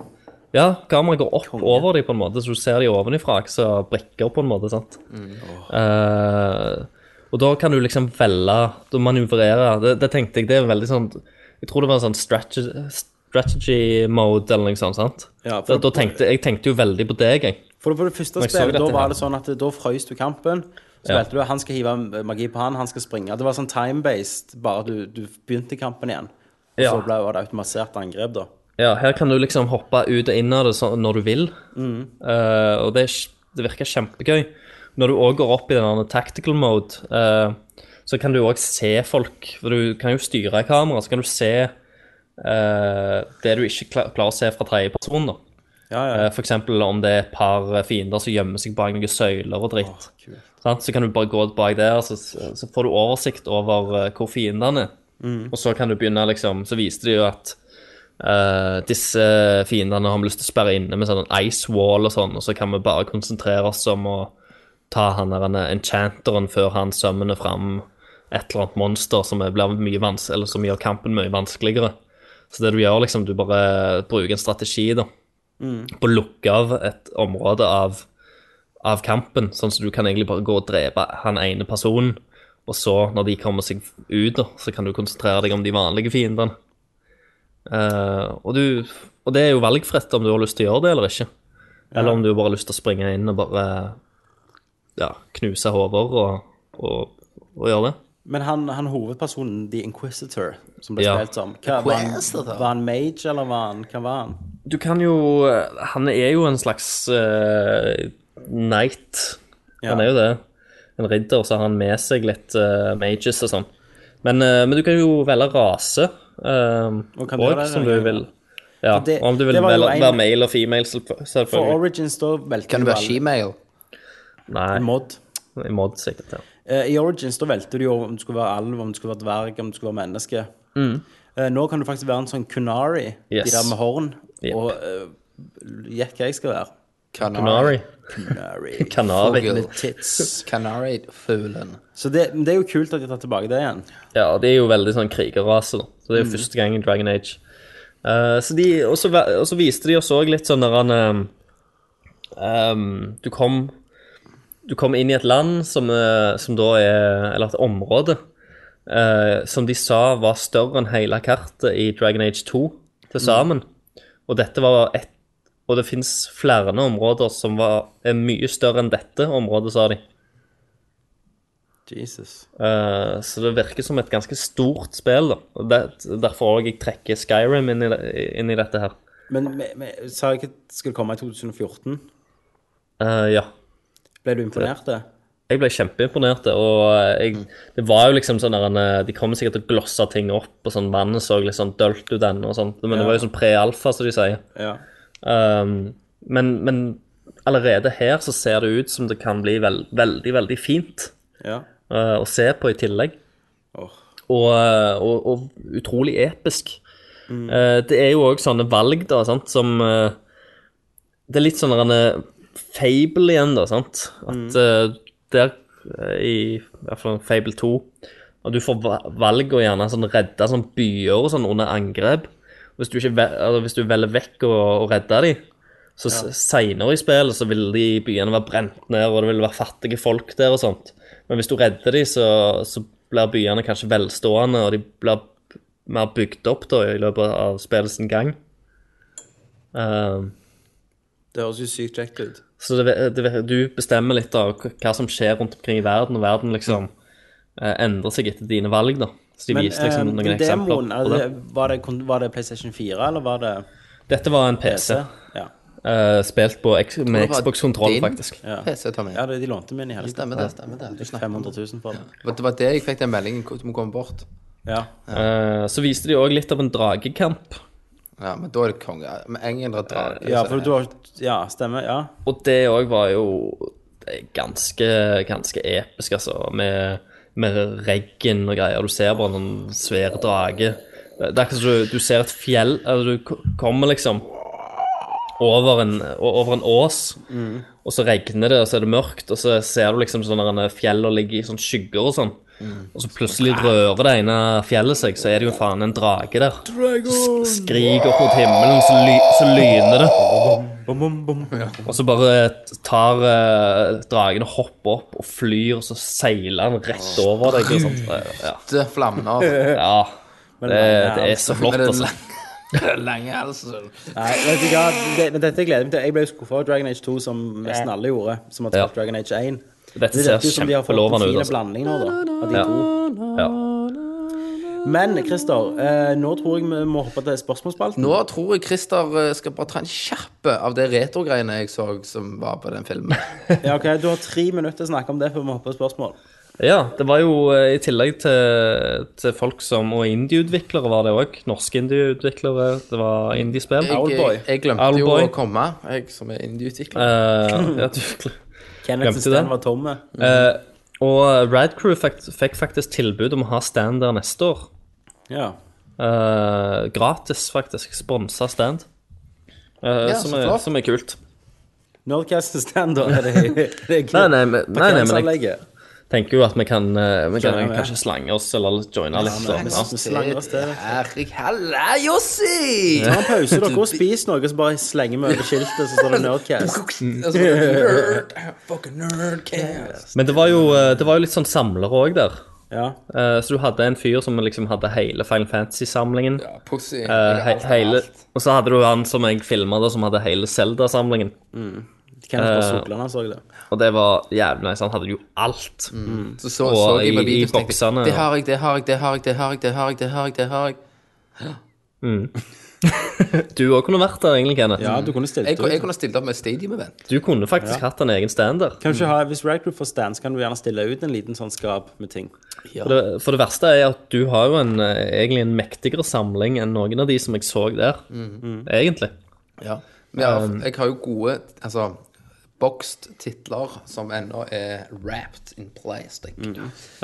S7: ja, kameraet går opp over dem, på en måte, så du ser dem ovenifra, ikke så brikker på en måte, sant?
S3: Mm,
S7: Eh, og da kan du liksom velge, du manøvrere, det, det tenkte jeg, det er veldig sånn, jeg tror det var en sånn strategy, strategy mode eller noe sånt, sant?
S3: Ja, for-
S7: da, da tenkte, jeg tenkte jo veldig på deg, jeg.
S3: For på det første
S7: Men jeg så
S3: spillet, da
S7: dette
S3: var
S7: her.
S3: det sånn at da frøys du kampen. Så
S7: Ja.
S3: valgte du han skal hive magi på han, han skal springe. Det var sånn time-based, bare du, du begynte kampen igjen. Og
S7: Ja.
S3: så ble var det automatisert angrep, da.
S7: Ja, her kan du liksom hoppe ut og inn av det sånn når du vil.
S3: Mhm.
S7: Eh, og det, er kj- det virker kjempegøy. Når du òg går opp i den der tactical mode, eh, så kan du òg se folk. For du kan jo styre kameraet, så kan du se eh, det du ikke kla- klarer å se fra tredjeperson. da.
S3: Ja, ja.
S7: Eh, for eksempel om det er et par eh, fiender som gjemmer seg bak noen søyler og dritt.
S3: kult.
S7: Sant? så kan du bare gå bak der, så, så får du oversikt over eh, hvor fiendene er.
S3: Mm.
S7: Og så kan du begynne, liksom Så viste de jo at eh, disse fiendene har vi lyst til å sperre inne med sånn en ice wall og sånn, og så kan vi bare konsentrere oss om å ta han der denne enchanteren før han sømmer fram et eller annet monster som er- blir mye vans eller som gjør kampen mye vanskeligere. Så det du gjør, liksom, du bare bruker en strategi, da
S3: Mm.
S7: på å lukke av et område av, av kampen, sånn at du kan egentlig bare gå og drepe han ene personen, og så, når de kommer seg ut, da, så kan du konsentrere deg om de vanlige fiendene. Eh, og, du, og det er jo valgfritt om du har lyst til å gjøre det eller ikke. Eller om du bare har lyst til å springe inn og bare ja, knuse hoder og, og, og gjøre det.
S3: Men han, han hovedpersonen, The Inquisitor, som ble
S7: Ja.
S3: spilt som hva, var, han, var han mage, eller var han, hva var han?
S7: Du kan jo Han er jo en slags eh, knight. Han
S3: Ja.
S7: er jo det. En ridder, så har han med seg litt eh, mages og sånn. Men, eh, men du kan jo velge rase eh,
S3: Og kan du
S7: og
S3: gjøre det,
S7: som
S3: ja,
S7: du
S3: ja.
S7: vil. Ja,
S3: For det-
S7: og om du vil
S3: det var jo
S7: velge,
S3: en-
S7: være male eller female, selvfø-
S3: For
S7: selvfølgelig.
S3: Origins, da valgte
S2: Kan det
S3: du
S2: være
S3: alle-
S2: shemale?
S7: Nei,
S3: Mod.
S7: i mod sikkert. Ja.
S3: Eh, I Origins da valgte du jo om du skulle være alv, om du skulle være dverg, om du skulle være menneske. Eh, nå kan du faktisk være en sånn kunari, de
S7: Mm. Yes.
S3: der med horn,
S7: Yep.
S3: og eh, gjett hva jeg skal være.
S7: Kanari.
S3: Kunari.
S7: <laughs> Kanari.
S2: Fogel.
S3: Med tits.
S2: Canary-fuglen.
S3: Så det, men det er jo kult at de tar tilbake det igjen.
S7: Ja, de er jo veldig sånn krigerrase, da. Så det er jo første gang i Dragon Age. Eh, så de, og så va- og så viste de oss òg litt sånn der han eh, um, Du kom Du kom inn i et land som, eh, som da er Eller et område eh, som de sa var større enn hele kartet i Dragon Age 2 til sammen. Og dette var ett Og det fins flere områder som var, er mye større enn dette området, sa de.
S3: Jesus.
S7: Eh, så det virker som et ganske stort spill. da. Og Det, derfor òg jeg trekker Skyrim inn i, det- inn i dette her.
S3: Men men- men sa jeg ikke at det skulle komme i 2014?
S7: Eh, ja.
S3: Ble du imponert? det?
S7: Jeg ble kjempeimponert. Og eh, jeg, det var jo liksom sånn der en, eh, De kommer sikkert til å glosse ting opp, og sånn vannet så litt sånn dølt ut ennå og sånt. Men det var jo sånn pre-alfa, som de sier.
S3: Ja.
S7: Um, men, men allerede her så ser det ut som det kan bli vel, veldig, veldig fint
S3: ja.
S7: eh, å se på i tillegg.
S3: Åh.
S7: og, eh, og, og utrolig episk. Eh, det er jo òg sånne valg da, sant, som eh, Det er litt sånn en fable igjen, da, sant? At eh, der eh, i i hvert fall Fable 2 og du får va- valg og gjerne sånn redde sånn byer og sånn under angrep. Hvis du, ikke ve eller hvis du velger vekk og, og redder de, så ja. seinere i spillet så vil de byene være brent ned, og det vil være fattige folk der og sånt. Men hvis du redder de, så, så blir byene kanskje velstående, og de blir mer bygd opp da i løpet av spillets gang. Um,
S3: Det høres jo sykt kjekt ut.
S7: så det, det, du bestemmer litt av hva- hva som skjer rundt omkring i verden, og verden liksom eh, endrer seg etter dine valg, da. Så de
S3: Men
S7: viste liksom
S3: eh,
S7: noen
S3: den
S7: eksempler.
S3: demoen, altså,
S7: på
S3: er det, var, det, kon- var det PlayStation 4, eller var det
S7: Dette var en PC.
S3: Ja.
S7: eh, spilt på X med
S2: det var
S7: Xbox-kontroll,
S2: din?
S7: faktisk.
S3: Ja.
S2: PC, Tommy.
S3: ja, det, de lånte min i helga.
S2: Stemmer det, stemmer det. Du snakker om
S3: 500 000 for den.
S2: det. var det jeg fikk den meldingen hvor du må komme bort.
S3: Ja.
S7: Eh, så viste de òg litt av en dragekamp.
S2: Ja, men da er det konge. Med engelen og drage.
S3: ja,
S2: så-
S3: for du har Ja, stemmer. Ja.
S7: Og det òg var jo det er ganske, ganske episk, altså. Med, med regn og greier. Du ser bare noen svære drage. Det er akkurat som du, du ser et fjell Eller du k- kommer liksom over en, over en ås, og så regner det, og så er det mørkt, og så ser du liksom sånne derne fjell og ligger i sånne skygger og sånn. Og så plutselig rører det ene fjellet seg, så er det jo faen en drage der. Som sk- skriker opp mot himmelen, så, ly, så lyner det.
S3: Bom, bom, bom.
S7: Og så bare tar eh, dragen og hopper opp og flyr, og så seiler han rett over deg. Og sånt. Eh, Ja.
S2: Det flammer
S7: <laughs>
S2: av.
S7: ja. Det, det er så flott,
S2: Men det er
S7: altså.
S2: lang- Lange halsen.
S3: Nei, vet du hva, det, men dette gleder jeg meg til. Jeg ble jo skuffa av Dragon Age 2, som nesten alle gjorde, som har
S7: Ja.
S3: spilt Dragon Age 1.
S7: Dette
S3: Det
S7: ser
S3: virker jo som de har fått en
S7: kjempelovende
S3: fin
S7: ut. Altså.
S3: blanding nå, da, av de
S7: Ja.
S3: to.
S7: Ja.
S3: Men Christer, eh, nå tror jeg vi må hoppe til spørsmålsspalten.
S2: Nå tror jeg Christer eh, skal bare ta en kjappe av det retrogreiene jeg så som var på den
S7: <laughs>
S2: filmen.
S3: Ja, ok, Du har tre minutter til å snakke om det før vi hopper til spørsmål.
S7: ja, det var jo eh, i tillegg til, til folk som Og indieutviklere var det òg. Norske indieutviklere. Det var indiespill.
S2: Jeg, jeg, jeg glemte jo
S7: Owlboy.
S2: å komme, jeg som er indieutvikler.
S7: Eh, ja, du, <laughs>
S3: Kenneths
S7: Glemte den.
S3: stand var tomme.
S7: Eh, og Radcrew fikk, fikk faktisk tilbud om å ha stand der neste år.
S3: Ja.
S7: Eh, gratis, faktisk. Sponsa stand. Eh, som,
S2: så
S7: er,
S2: flott.
S7: som er kult.
S3: Nerdcast stand, da. Er det, det er
S7: <laughs> Nei, nei, men, nei, nei, men jeg
S3: parkeringsanlegget.
S7: tenker jo at vi kan, eh, vi kan
S3: Joine med.
S7: kanskje slange oss eller joine litt. sånn, ja.
S3: Vi slanger oss til.
S2: Herregud, halla, Jossi!
S3: Ta en pause, dere, og spis noe, så bare slenger vi over skiltet, så
S7: <laughs>
S3: står det Nerdcast.
S2: Altså, Nerd, fucking nerdcast.
S7: Men det var jo, eh, det var jo litt sånn samlere òg der.
S3: Ja.
S7: Eh, så du hadde en fyr som liksom hadde hele Final Fantasy-samlingen.
S2: Ja, Pussy.
S7: eh, he hele, og så hadde du han som jeg filma, som hadde hele Zelda-samlingen.
S3: Kenneth bare
S2: Eh,
S3: sukla når han så det.
S7: Og det var jævlig nice. Han hadde jo alt.
S2: Så så,
S7: Og
S2: så jeg
S7: i-
S2: på
S7: i
S2: videoen og
S7: boksene,
S2: tenkte Det
S7: ja.
S2: har jeg, det har jeg, det har jeg, det har jeg, det har jeg, det har jeg, det har jeg.
S7: Du òg kunne vært der, egentlig, Kenneth.
S3: Ja, du kunne stilt
S2: Jeg, jeg
S3: ut.
S2: kunne stilt opp med stadium-event.
S7: Du kunne faktisk hatt en egen stand der.
S3: Kan du ikke ha, hvis Right Group får stand, så kan du gjerne stille ut en liten sånn skap med ting.
S7: For det, for det verste er at du har jo en, eh, egentlig en mektigere samling enn noen av de som jeg så der,
S3: Mm.
S7: egentlig.
S2: Ja. Men
S7: Um,
S2: jeg, jeg har jo gode altså, boxed titler som ennå er wrapped in plastic.
S7: Ja,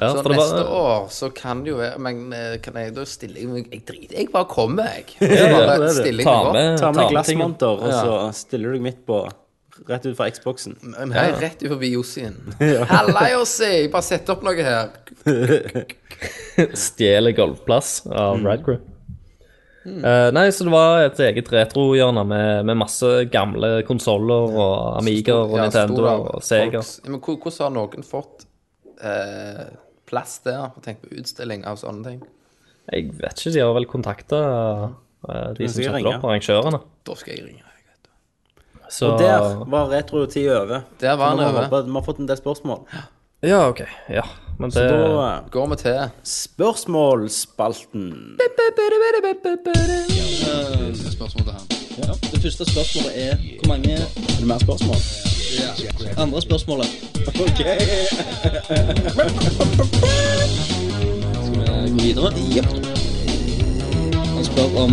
S2: så
S7: for det var-
S2: neste år så kan det jo være Men eh, kan jeg da stille jeg meg Jeg driter. Jeg bare kommer, jeg.
S7: ja,
S2: Bare
S7: det er det.
S2: stiller
S7: Ta
S2: meg opp.
S7: Eh, med-
S3: Ta med en
S7: tingen.
S3: glassmonter, og så stiller du deg midt på, rett ut fra Xboxen.
S2: Men her er jeg rett utenfor Jossien. Halla, Jossi! Jeg bare setter opp noe her.
S7: <laughs> Stjeler golfplass av
S2: Mm.
S7: Red Crew. Eh, nei, så det var et eget retrohjørne med, med masse gamle konsoller og Amiga og
S2: Ja,
S7: Nintendo
S2: stor-
S7: og Sega.
S2: folks- Ja, Men hvor- hvordan har noen fått eh, plass der? Tenk på utstilling av sånne ting.
S7: Jeg vet ikke, de har vel kontakta de som
S3: skal
S7: setter
S3: ringe.
S7: opp arrangørene.
S2: Da skal jeg ringe. deg, vet du.
S7: Så
S3: Der var retro-tid over.
S2: Ah. Der var
S3: Så nå
S2: den over.
S3: må
S2: Eh.
S3: Vi håpe at vi har fått en del spørsmål.
S7: Ja, OK. Ja. Men det
S3: Så da eh,
S2: Går vi til
S3: Spørsmålsspalten.
S10: Det første spørsmålet er hvor mange
S3: Er det mer spørsmål?
S10: andre spørsmålet. Skal vi gå videre? Jepp. Han spør om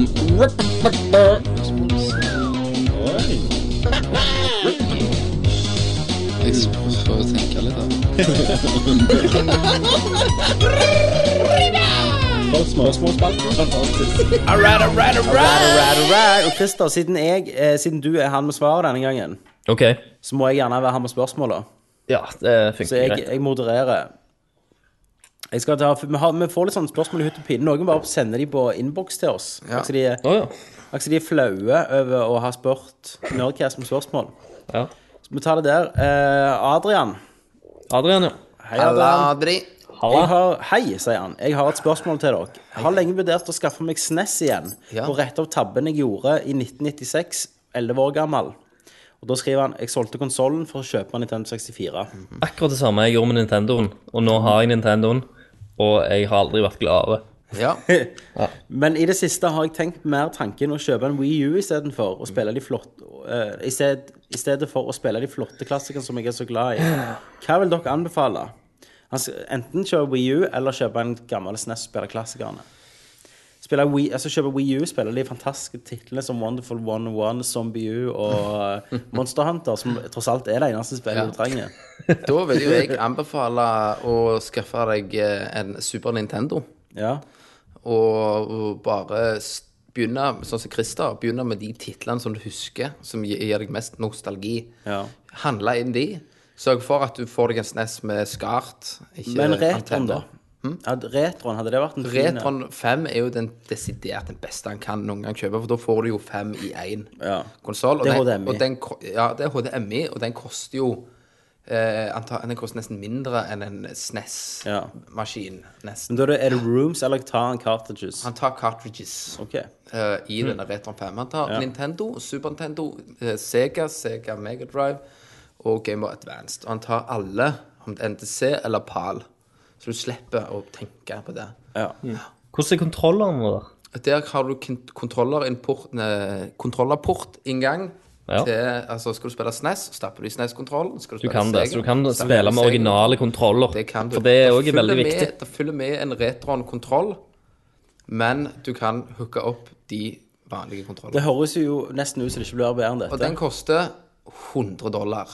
S3: Alright, alright. Og Christer, siden, jeg, eh, siden du er han med svaret denne gangen,
S7: OK.
S3: så må jeg gjerne være han med spørsmålet.
S7: Ja, det
S3: Så
S7: funker
S3: jeg,
S7: greit.
S3: jeg modererer. Jeg skal ta, vi, har, vi får litt sånne spørsmål i hutt og pinne. Noen bare sender de på innboks til oss. Ja. Altså de, er-
S7: Å
S3: akkurat som de er flaue over å ha spurt Nerdcast om spørsmål.
S7: ja. ja.
S3: Så vi tar det der. Eh, Adrian.
S7: Adrian, ja.
S3: Hei, Adrian.
S2: Aladri.
S3: Jeg har, hei, sier han. Jeg har et spørsmål til dere. Jeg har lenge vurdert å skaffe meg SNES igjen
S2: Ja.
S3: og rette opp tabben jeg gjorde i 1996 11 år gammel. Og Da skriver han jeg solgte konsollen for å kjøpe Nintendo 64.
S10: Akkurat det samme jeg gjorde med Nintendoen. Og nå har jeg Nintendoen, og jeg har aldri vært gladere.
S2: Ja.
S3: Men i det siste har jeg tenkt mer tanken å kjøpe en Wii U istedenfor. Og spille de flotte eh, i, sted, I stedet for å spille de flotte klassikerne som jeg er så glad i. Hva vil dere anbefale? Han skal enten kjøpe Wii U eller kjøpe en gammel SNES og spille klassikerne. Spille Wii, altså kjøpe Wii U, spille de fantastiske titlene som Wonderful 101, Zombie U og eh, Monster Hunter, som tross alt er det eneste spillet du
S2: <laughs>
S3: trenger.
S2: Da vil jo jeg anbefale å skaffe deg eh, en Super Nintendo.
S3: Ja.
S2: Og og bare s- begynne, sånn som Christer, begynne med de titlene som du husker, som gi- gir deg mest nostalgi.
S3: ja.
S2: Handle inn de. Sørg for at du får deg en SNES med skart. Ikke
S3: Men retroen,
S2: antenne. Hm?
S3: da? Had- Retroen, hadde det vært en fin
S2: Retron 5 er jo den desidert den beste han kan noen gang kjøpe, for da får du jo fem i én
S3: Ja.
S2: konsoll.
S3: Det er
S2: den-
S3: HDMI.
S2: Og den, ko- ja, det er HDMI, og den koster jo eh, anta, Den koster nesten mindre enn en
S3: Ja.
S2: SNES-maskin. Nesten.
S3: Men da er det- er det rooms, eller tar han cartridges?
S2: Han tar cartridges
S3: Ok. Mm.
S2: eh, i denne Retron 5. Han tar Nintendo, Super Nintendo, eh, Sega, Sega Megadrive og Game of Advanced. Og han tar alle, om det er NTC eller PAL. Så du slipper å tenke på det.
S3: Ja.
S10: Hvordan er kontrollene der?
S2: Der har du kont- kontrollerimport- nei, kontrollerportinngang.
S10: Ja.
S2: Til, altså, skal du spille SNES, så stapper du i SNES-kontrollen. Skal
S10: Du
S2: spille
S10: kan det,
S2: Sega,
S10: så du kan
S2: stapper i
S10: spille med
S2: Sega.
S10: originale kontroller.
S2: Det kan du.
S10: For det er
S2: Det
S10: òg
S2: følger
S10: veldig
S2: med,
S10: viktig.
S2: Det følger med en retron-kontroll, men du kan hooke opp de vanlige
S3: Det
S2: kontrollene.
S3: høres jo nesten ut som det ikke blir bedre enn dette.
S2: Og den koster 100 dollar.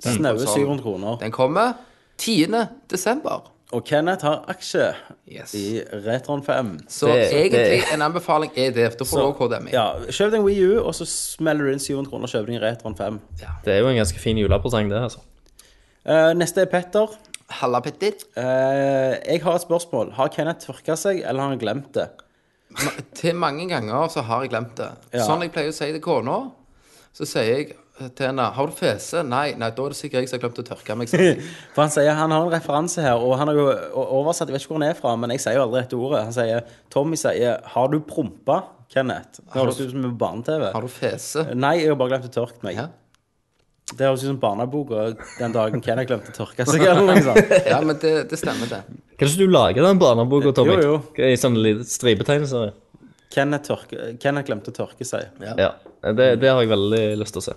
S2: Den
S3: Snaue
S2: konsollen.
S3: 700 kroner.
S2: Den kommer 10. desember.
S3: Og Kenneth har aksje
S2: Yes.
S3: i Retron 5.
S2: Så
S10: Det-
S2: egentlig
S10: det-
S2: en anbefaling er det. for Da får du også HDMI.
S3: Ja, kjøp deg en Wii U, og så smeller du inn 700 kroner og kjøper deg en Retron 5.
S10: Det er jo en ganske fin julepresang, det. altså.
S3: Eh, neste er Petter.
S2: Halla, Petter.
S3: Eh, jeg har et spørsmål. Har Kenneth tørka seg, eller har han glemt det?
S2: Ma- Til mange ganger så har jeg glemt det.
S3: Ja.
S2: Sånn jeg pleier å si til kona, så sier jeg til henne Har du fese? Nei, nei, da er det sikkert jeg som har glemt å tørke meg. sier jeg.
S3: For han sier han har en referanse her, og han har jo o- oversatt Jeg vet ikke hvor han er fra, men jeg sier jo aldri dette ordet. Han sier Tommy sier 'Har du prompa, Kenneth?' Det høres ut som en barne-TV.
S2: Har du fese?
S3: Nei, jeg har bare glemt å tørke meg.
S2: Ja.
S3: Det høres ut som barneboka den dagen Kenneth glemte å tørke seg.
S2: <laughs>
S3: eller noe sånt.
S2: Ja, men det, det stemmer, det.
S10: Hva er det som du lager den barneboka, Tommy?
S3: Jo, jo.
S10: I sånn sånne lille stripetegnelser?
S3: Kenneth, tørke, Kenneth glemte å tørke seg.
S10: Ja. Det, det har jeg veldig lyst til å se.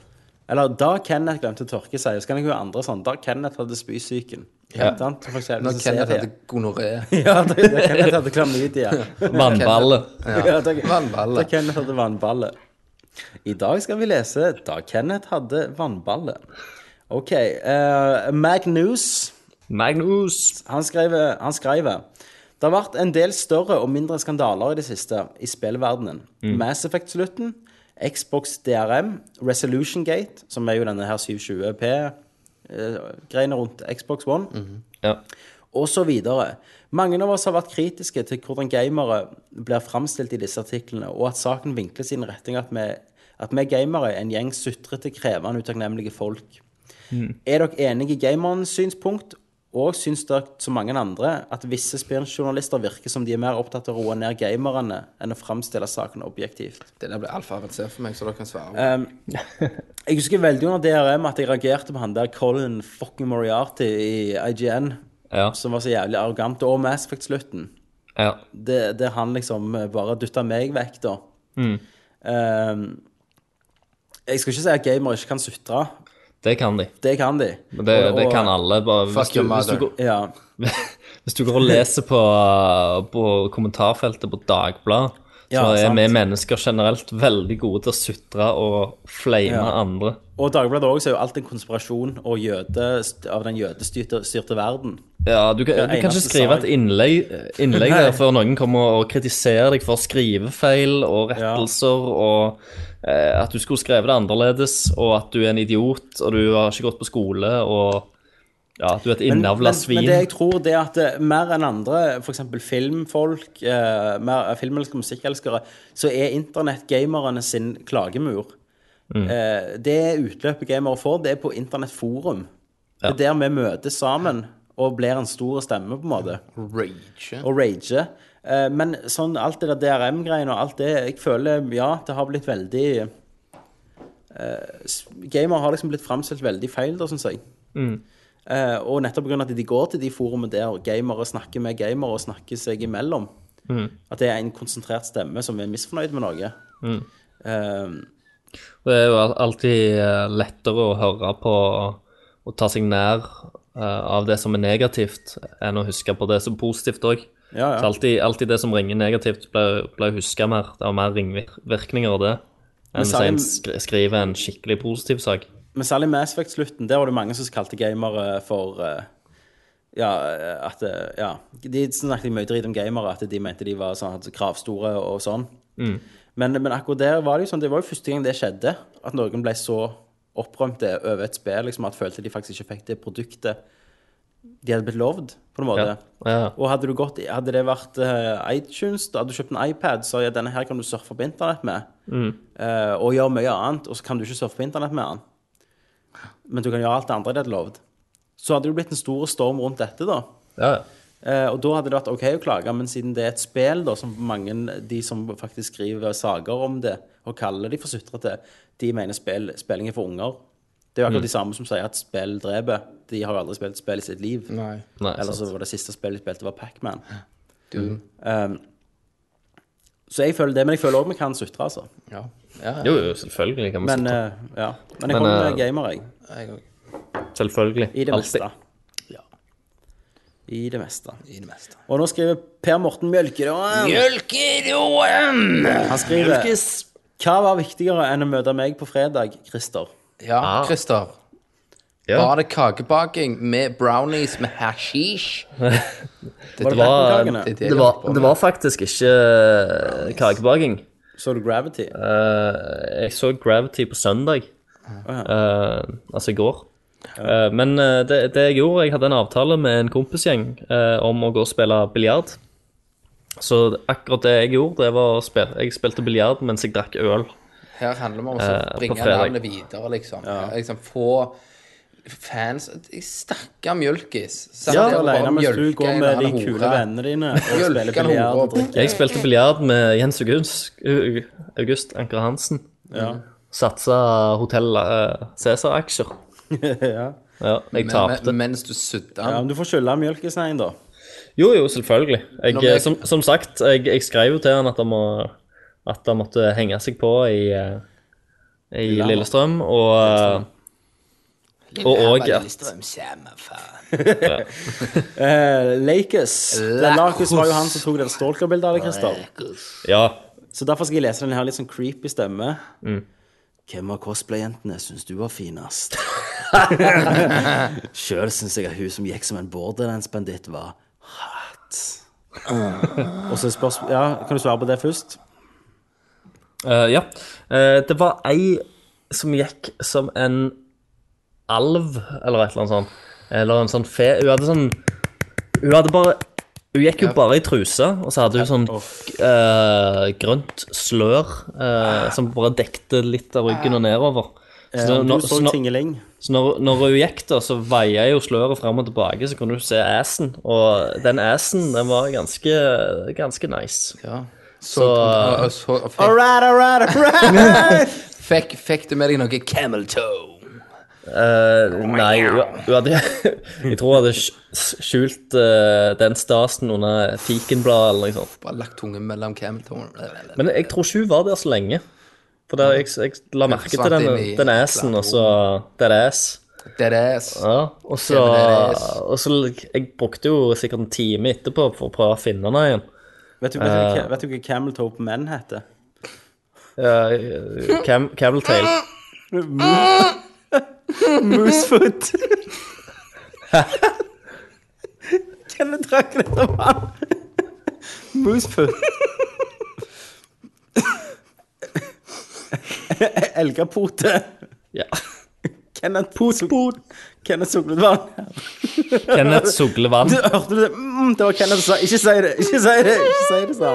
S3: Eller da Kenneth glemte å tørke seg. Så kan jeg jo andre sånn. Da Kenneth hadde spysyken. Ja. Sant? For eksempel,
S2: Når
S3: så ser
S2: Kenneth
S3: jeg-
S2: hadde gonoré.
S3: <laughs> Ja, da, da Kenneth hadde klamydia.
S10: Vannballe.
S3: <laughs> Ja, da,
S2: Vannballe.
S3: da Kenneth hadde vannballe. I dag skal vi lese Da Kenneth hadde vannballe. OK. eh, Magnus
S10: Magnus.
S3: han skriver, han skriver Det har vært en del større og mindre skandaler i det siste i spillverdenen. Mass Effect-slutten, Xbox DRM, Resolution Gate, som er jo denne her 720P-greiene rundt Xbox One,
S10: Ja.
S3: og så videre. Mange av oss har vært kritiske til hvordan gamere blir framstilt i disse artiklene, og at saken vinkles i den retning at vi, at vi gamere er en gjeng sutrete, krevende, utakknemlige folk. Er dere enige i gamerens synspunkt, og syns dere som mange andre at visse spionjournalister virker som de er mer opptatt av å roe ned gamerne enn å framstille saken objektivt? Um,
S2: Det der ble altfor avansert for meg, så dere kan svare.
S3: Jeg husker veldig under DRM at jeg reagerte på han der Colin fucking Moriarty i IGN,
S10: Ja.
S3: som var så jævlig arrogant, og Mass Effect-slutten.
S10: ja.
S3: det, det han liksom eh, bare dytta meg vekk, da.
S10: Mm.
S3: Ehm, jeg skal ikke si at gamere ikke kan sutre.
S10: Det kan de.
S3: Det kan de.
S10: Men det,
S3: Og-
S10: det
S3: og-
S10: kan alle. Bare, hvis,
S2: Fuck your
S10: du, hvis, du
S2: mother.
S10: går,
S3: Ja.
S10: <laughs> hvis du går og leser på, på kommentarfeltet på Dagbladet, så
S3: Ja,
S10: er
S3: sant.
S10: vi mennesker generelt veldig gode til å sutre og flame
S3: Ja.
S10: andre.
S3: Og Dagbladet også er jo alt en konspirasjon og jøde, av den jødestyrte styrte verden.
S10: Ja, du kan, du kan ikke
S3: eneste
S10: skrive et
S3: sak.
S10: innlegg, innlegg der før noen kommer og kritiserer deg for skrivefeil og rettelser, og eh, at du skulle skrevet det annerledes, og at du er en idiot, og du har ikke gått på skole, og ja, at du er et
S3: Men, men,
S10: innavla
S3: men
S10: svin.
S3: det jeg tror, det er at eh, mer enn andre, f.eks. filmfolk, eh, mer, eh, filmelskere, musikkelskere, så er internett gamerne sin klagemur.
S10: Mm.
S3: Eh, det utløpet gamere får, det er på internettforum. Det er der vi møtes sammen og blir en stor stemme, på en måte,
S2: Rage.
S3: og rager. Eh, men sånn alt det der DRM-greiene og alt det, jeg føler ja, det har blitt veldig eh, s- Gamer har liksom blitt framstilt veldig feil, da, syns jeg.
S7: Mm.
S3: Eh, og nettopp pga. at de går til de forumene der gamere snakker med gamere og snakker seg imellom.
S7: Mm.
S3: At det er en konsentrert stemme som er misfornøyd med noe.
S7: Mm.
S3: Eh,
S7: Det er jo al- alltid eh, lettere å høre på og ta seg nær eh, av det som er negativt, enn å huske på det som er positivt òg.
S3: Ja, ja.
S7: Så alltid, alltid det som ringer negativt, blir, blir huska mer. Det har mer ringvirkninger av det
S3: Men
S7: enn hvis
S3: særlig-
S7: en skri- skriver en skikkelig positiv sak.
S3: Men særlig Mass Effect-slutten, der var det mange som kalte gamere for eh, Ja, eh, at eh, Ja. De snakket mye dritt om gamere, at de mente de var sånn, hadde kravstore og sånn.
S7: Mm.
S3: Men, men akkurat der var det jo sånn, det var jo første gang det skjedde, at noen ble så opprømte over et spill liksom, at følte de faktisk ikke fikk det produktet de hadde blitt lovd, på en måte.
S7: Ja. Ja.
S3: Og hadde, du gått, i- hadde det vært eh, iTunes, da hadde du kjøpt en iPad, så ja, denne her kan du surfe på internett med,
S7: Mm.
S3: eh, og gjøre mye annet, og så kan du ikke surfe på internett med den. Men du kan gjøre alt det andre de hadde lovd. Så hadde det jo blitt en stor storm rundt dette, da.
S7: Ja, ja.
S3: Eh, og da hadde det vært OK å klage, men siden det er et spill, da, som mange de som faktisk skriver saker om det, og kaller de for sutrete, de mener spill, spilling er for unger. Det er jo akkurat
S7: Mm.
S3: de samme som sier at spill dreper. De har jo aldri spilt spill i sitt liv.
S2: Nei.
S7: Nei,
S3: Eller så
S7: sant.
S3: var det siste spillet de spilte, var Pac-Man. Um, så jeg føler det, men jeg føler òg vi kan sutre, altså.
S2: Ja. ja, ja.
S7: Jo, jo, selvfølgelig kan vi
S3: Men,
S7: sitte
S3: eh, ja. men
S7: Men,
S3: jeg kommer med
S7: eh,
S3: gamer, jeg.
S2: Jeg òg.
S7: Selvfølgelig.
S3: eh, I det
S7: Alltid.
S3: meste.
S2: Ja.
S3: I det meste.
S2: I det meste.
S3: Og nå skriver Per Morten Mjølkeråen. Han skriver Hva var viktigere enn å møte meg på fredag, Christer?
S2: Ja,
S7: Ah.
S2: Christer.
S7: Ja.
S2: Var det kakebaking med brownies med hashish?
S3: Var det
S7: var-
S3: Blackpool-kakene?
S2: Det er det
S7: Det
S2: jeg
S7: var,
S2: holdt på
S7: det
S2: med.
S7: var faktisk eh, ikke kakebaking.
S3: Så du Gravity?
S7: Eh, jeg så Gravity på søndag, Eh, altså i går. Eh, men eh, det, det jeg gjorde, jeg hadde en avtale med en kompisgjeng eh, om å gå og spille biljard. Så akkurat det jeg gjorde, det var å spille Jeg spilte biljard mens jeg drakk øl.
S2: Her handler det om å
S7: Eh, på
S2: bringe
S7: fredag.
S2: navnet videre, liksom. liksom få fans Stakkar mjølkis. Sant?
S3: Ja,
S2: Det var bare
S3: alene mens du
S2: mjølke
S3: går
S2: en
S3: med
S2: annen
S3: de
S2: hore.
S3: kule vennene dine og spiller
S2: Mjølke en
S3: biljard
S2: hore
S3: og
S2: og
S3: drikker.
S7: Jeg spilte biljard med Jens August, Au- August Anker Hansen.
S3: Ja.
S7: Satsa Hotell eh, Cæsar-aksjer.
S3: <laughs> ja.
S7: Ja, jeg
S2: Men-
S7: tapte.
S2: men- Mens du sudde
S3: ja,
S2: han.
S3: men du får skylde mjølkesneien, da.
S7: Jo, jo, selvfølgelig. Jeg,
S2: Når vi-
S7: som, som sagt, jeg, jeg skrev jo til han at han, må, at han måtte henge seg på i, eh, i Lillestrøm, og eh, og òg at
S3: Eh, Lakers. Det Lakers var jo han som tok det stalkerbildet av deg, Christer.
S7: Ja.
S3: Så derfor skal jeg lese den her litt sånn creepy stemme. Hvem av cosplay-jentene syns du var finest? Sjøl syns jeg at hun som gikk som en borderlandsbanditt, var hot. Og så spørs... Ja, kan du svare på det først?
S7: eh, ja. Eh, det var ei som gikk som en alv, eller et eller annet sånt. Eller en sånn fe. Hun hadde sånn Hun hadde bare Hun gikk jo bare i truse, og så hadde hun sånn eh, grønt slør eh, som bare dekte litt av ryggen og nedover. Så,
S3: Eh,
S7: når-
S3: Ah. du så
S7: så når-
S3: Tingeling.
S7: Så når, når hun gikk, da, så veia jo sløret fram og tilbake, så kunne du se assen. Og den assen, den var ganske, ganske nice.
S2: Ja. Så,
S7: Så
S2: og- og så, og fikk,
S3: Alright, alright, alright!
S2: fikk, fikk du med deg noe camel toe?
S7: eh,
S2: Oh
S7: Nei, hun, hun hadde <laughs> Jeg tror hun hadde skj- skjult eh, den stasen under fikenbladet eller noe sånt.
S2: Bare lagt tungen mellom camel toe
S7: Men jeg tror ikke hun var der så lenge. For da jeg, jeg la merke til den,
S2: forsvant inn i
S7: den assen, og så That ass.
S2: Dead ass.
S7: Ja, og så,
S2: Dead ass.
S7: og så Jeg brukte jo sikkert en time etterpå for å prøve å finne henne igjen.
S3: Vet du, vet, du, hva- vet du hva Camel Toe på menn heter?
S7: Uh, cam, Cameltail.
S3: Moosefoot. Kenneth drakk dette vann. Moosefoot. Elgapote.
S2: <laughs>
S7: Ja.
S3: Kenneth Potepot. Kenneth Sogledvann.
S7: Kenneth Suglevann.
S2: <laughs>
S3: Du hørte du det? Mm, det var Kenneth som sa Ikke si det! Ikke si det! Ikke si det, sa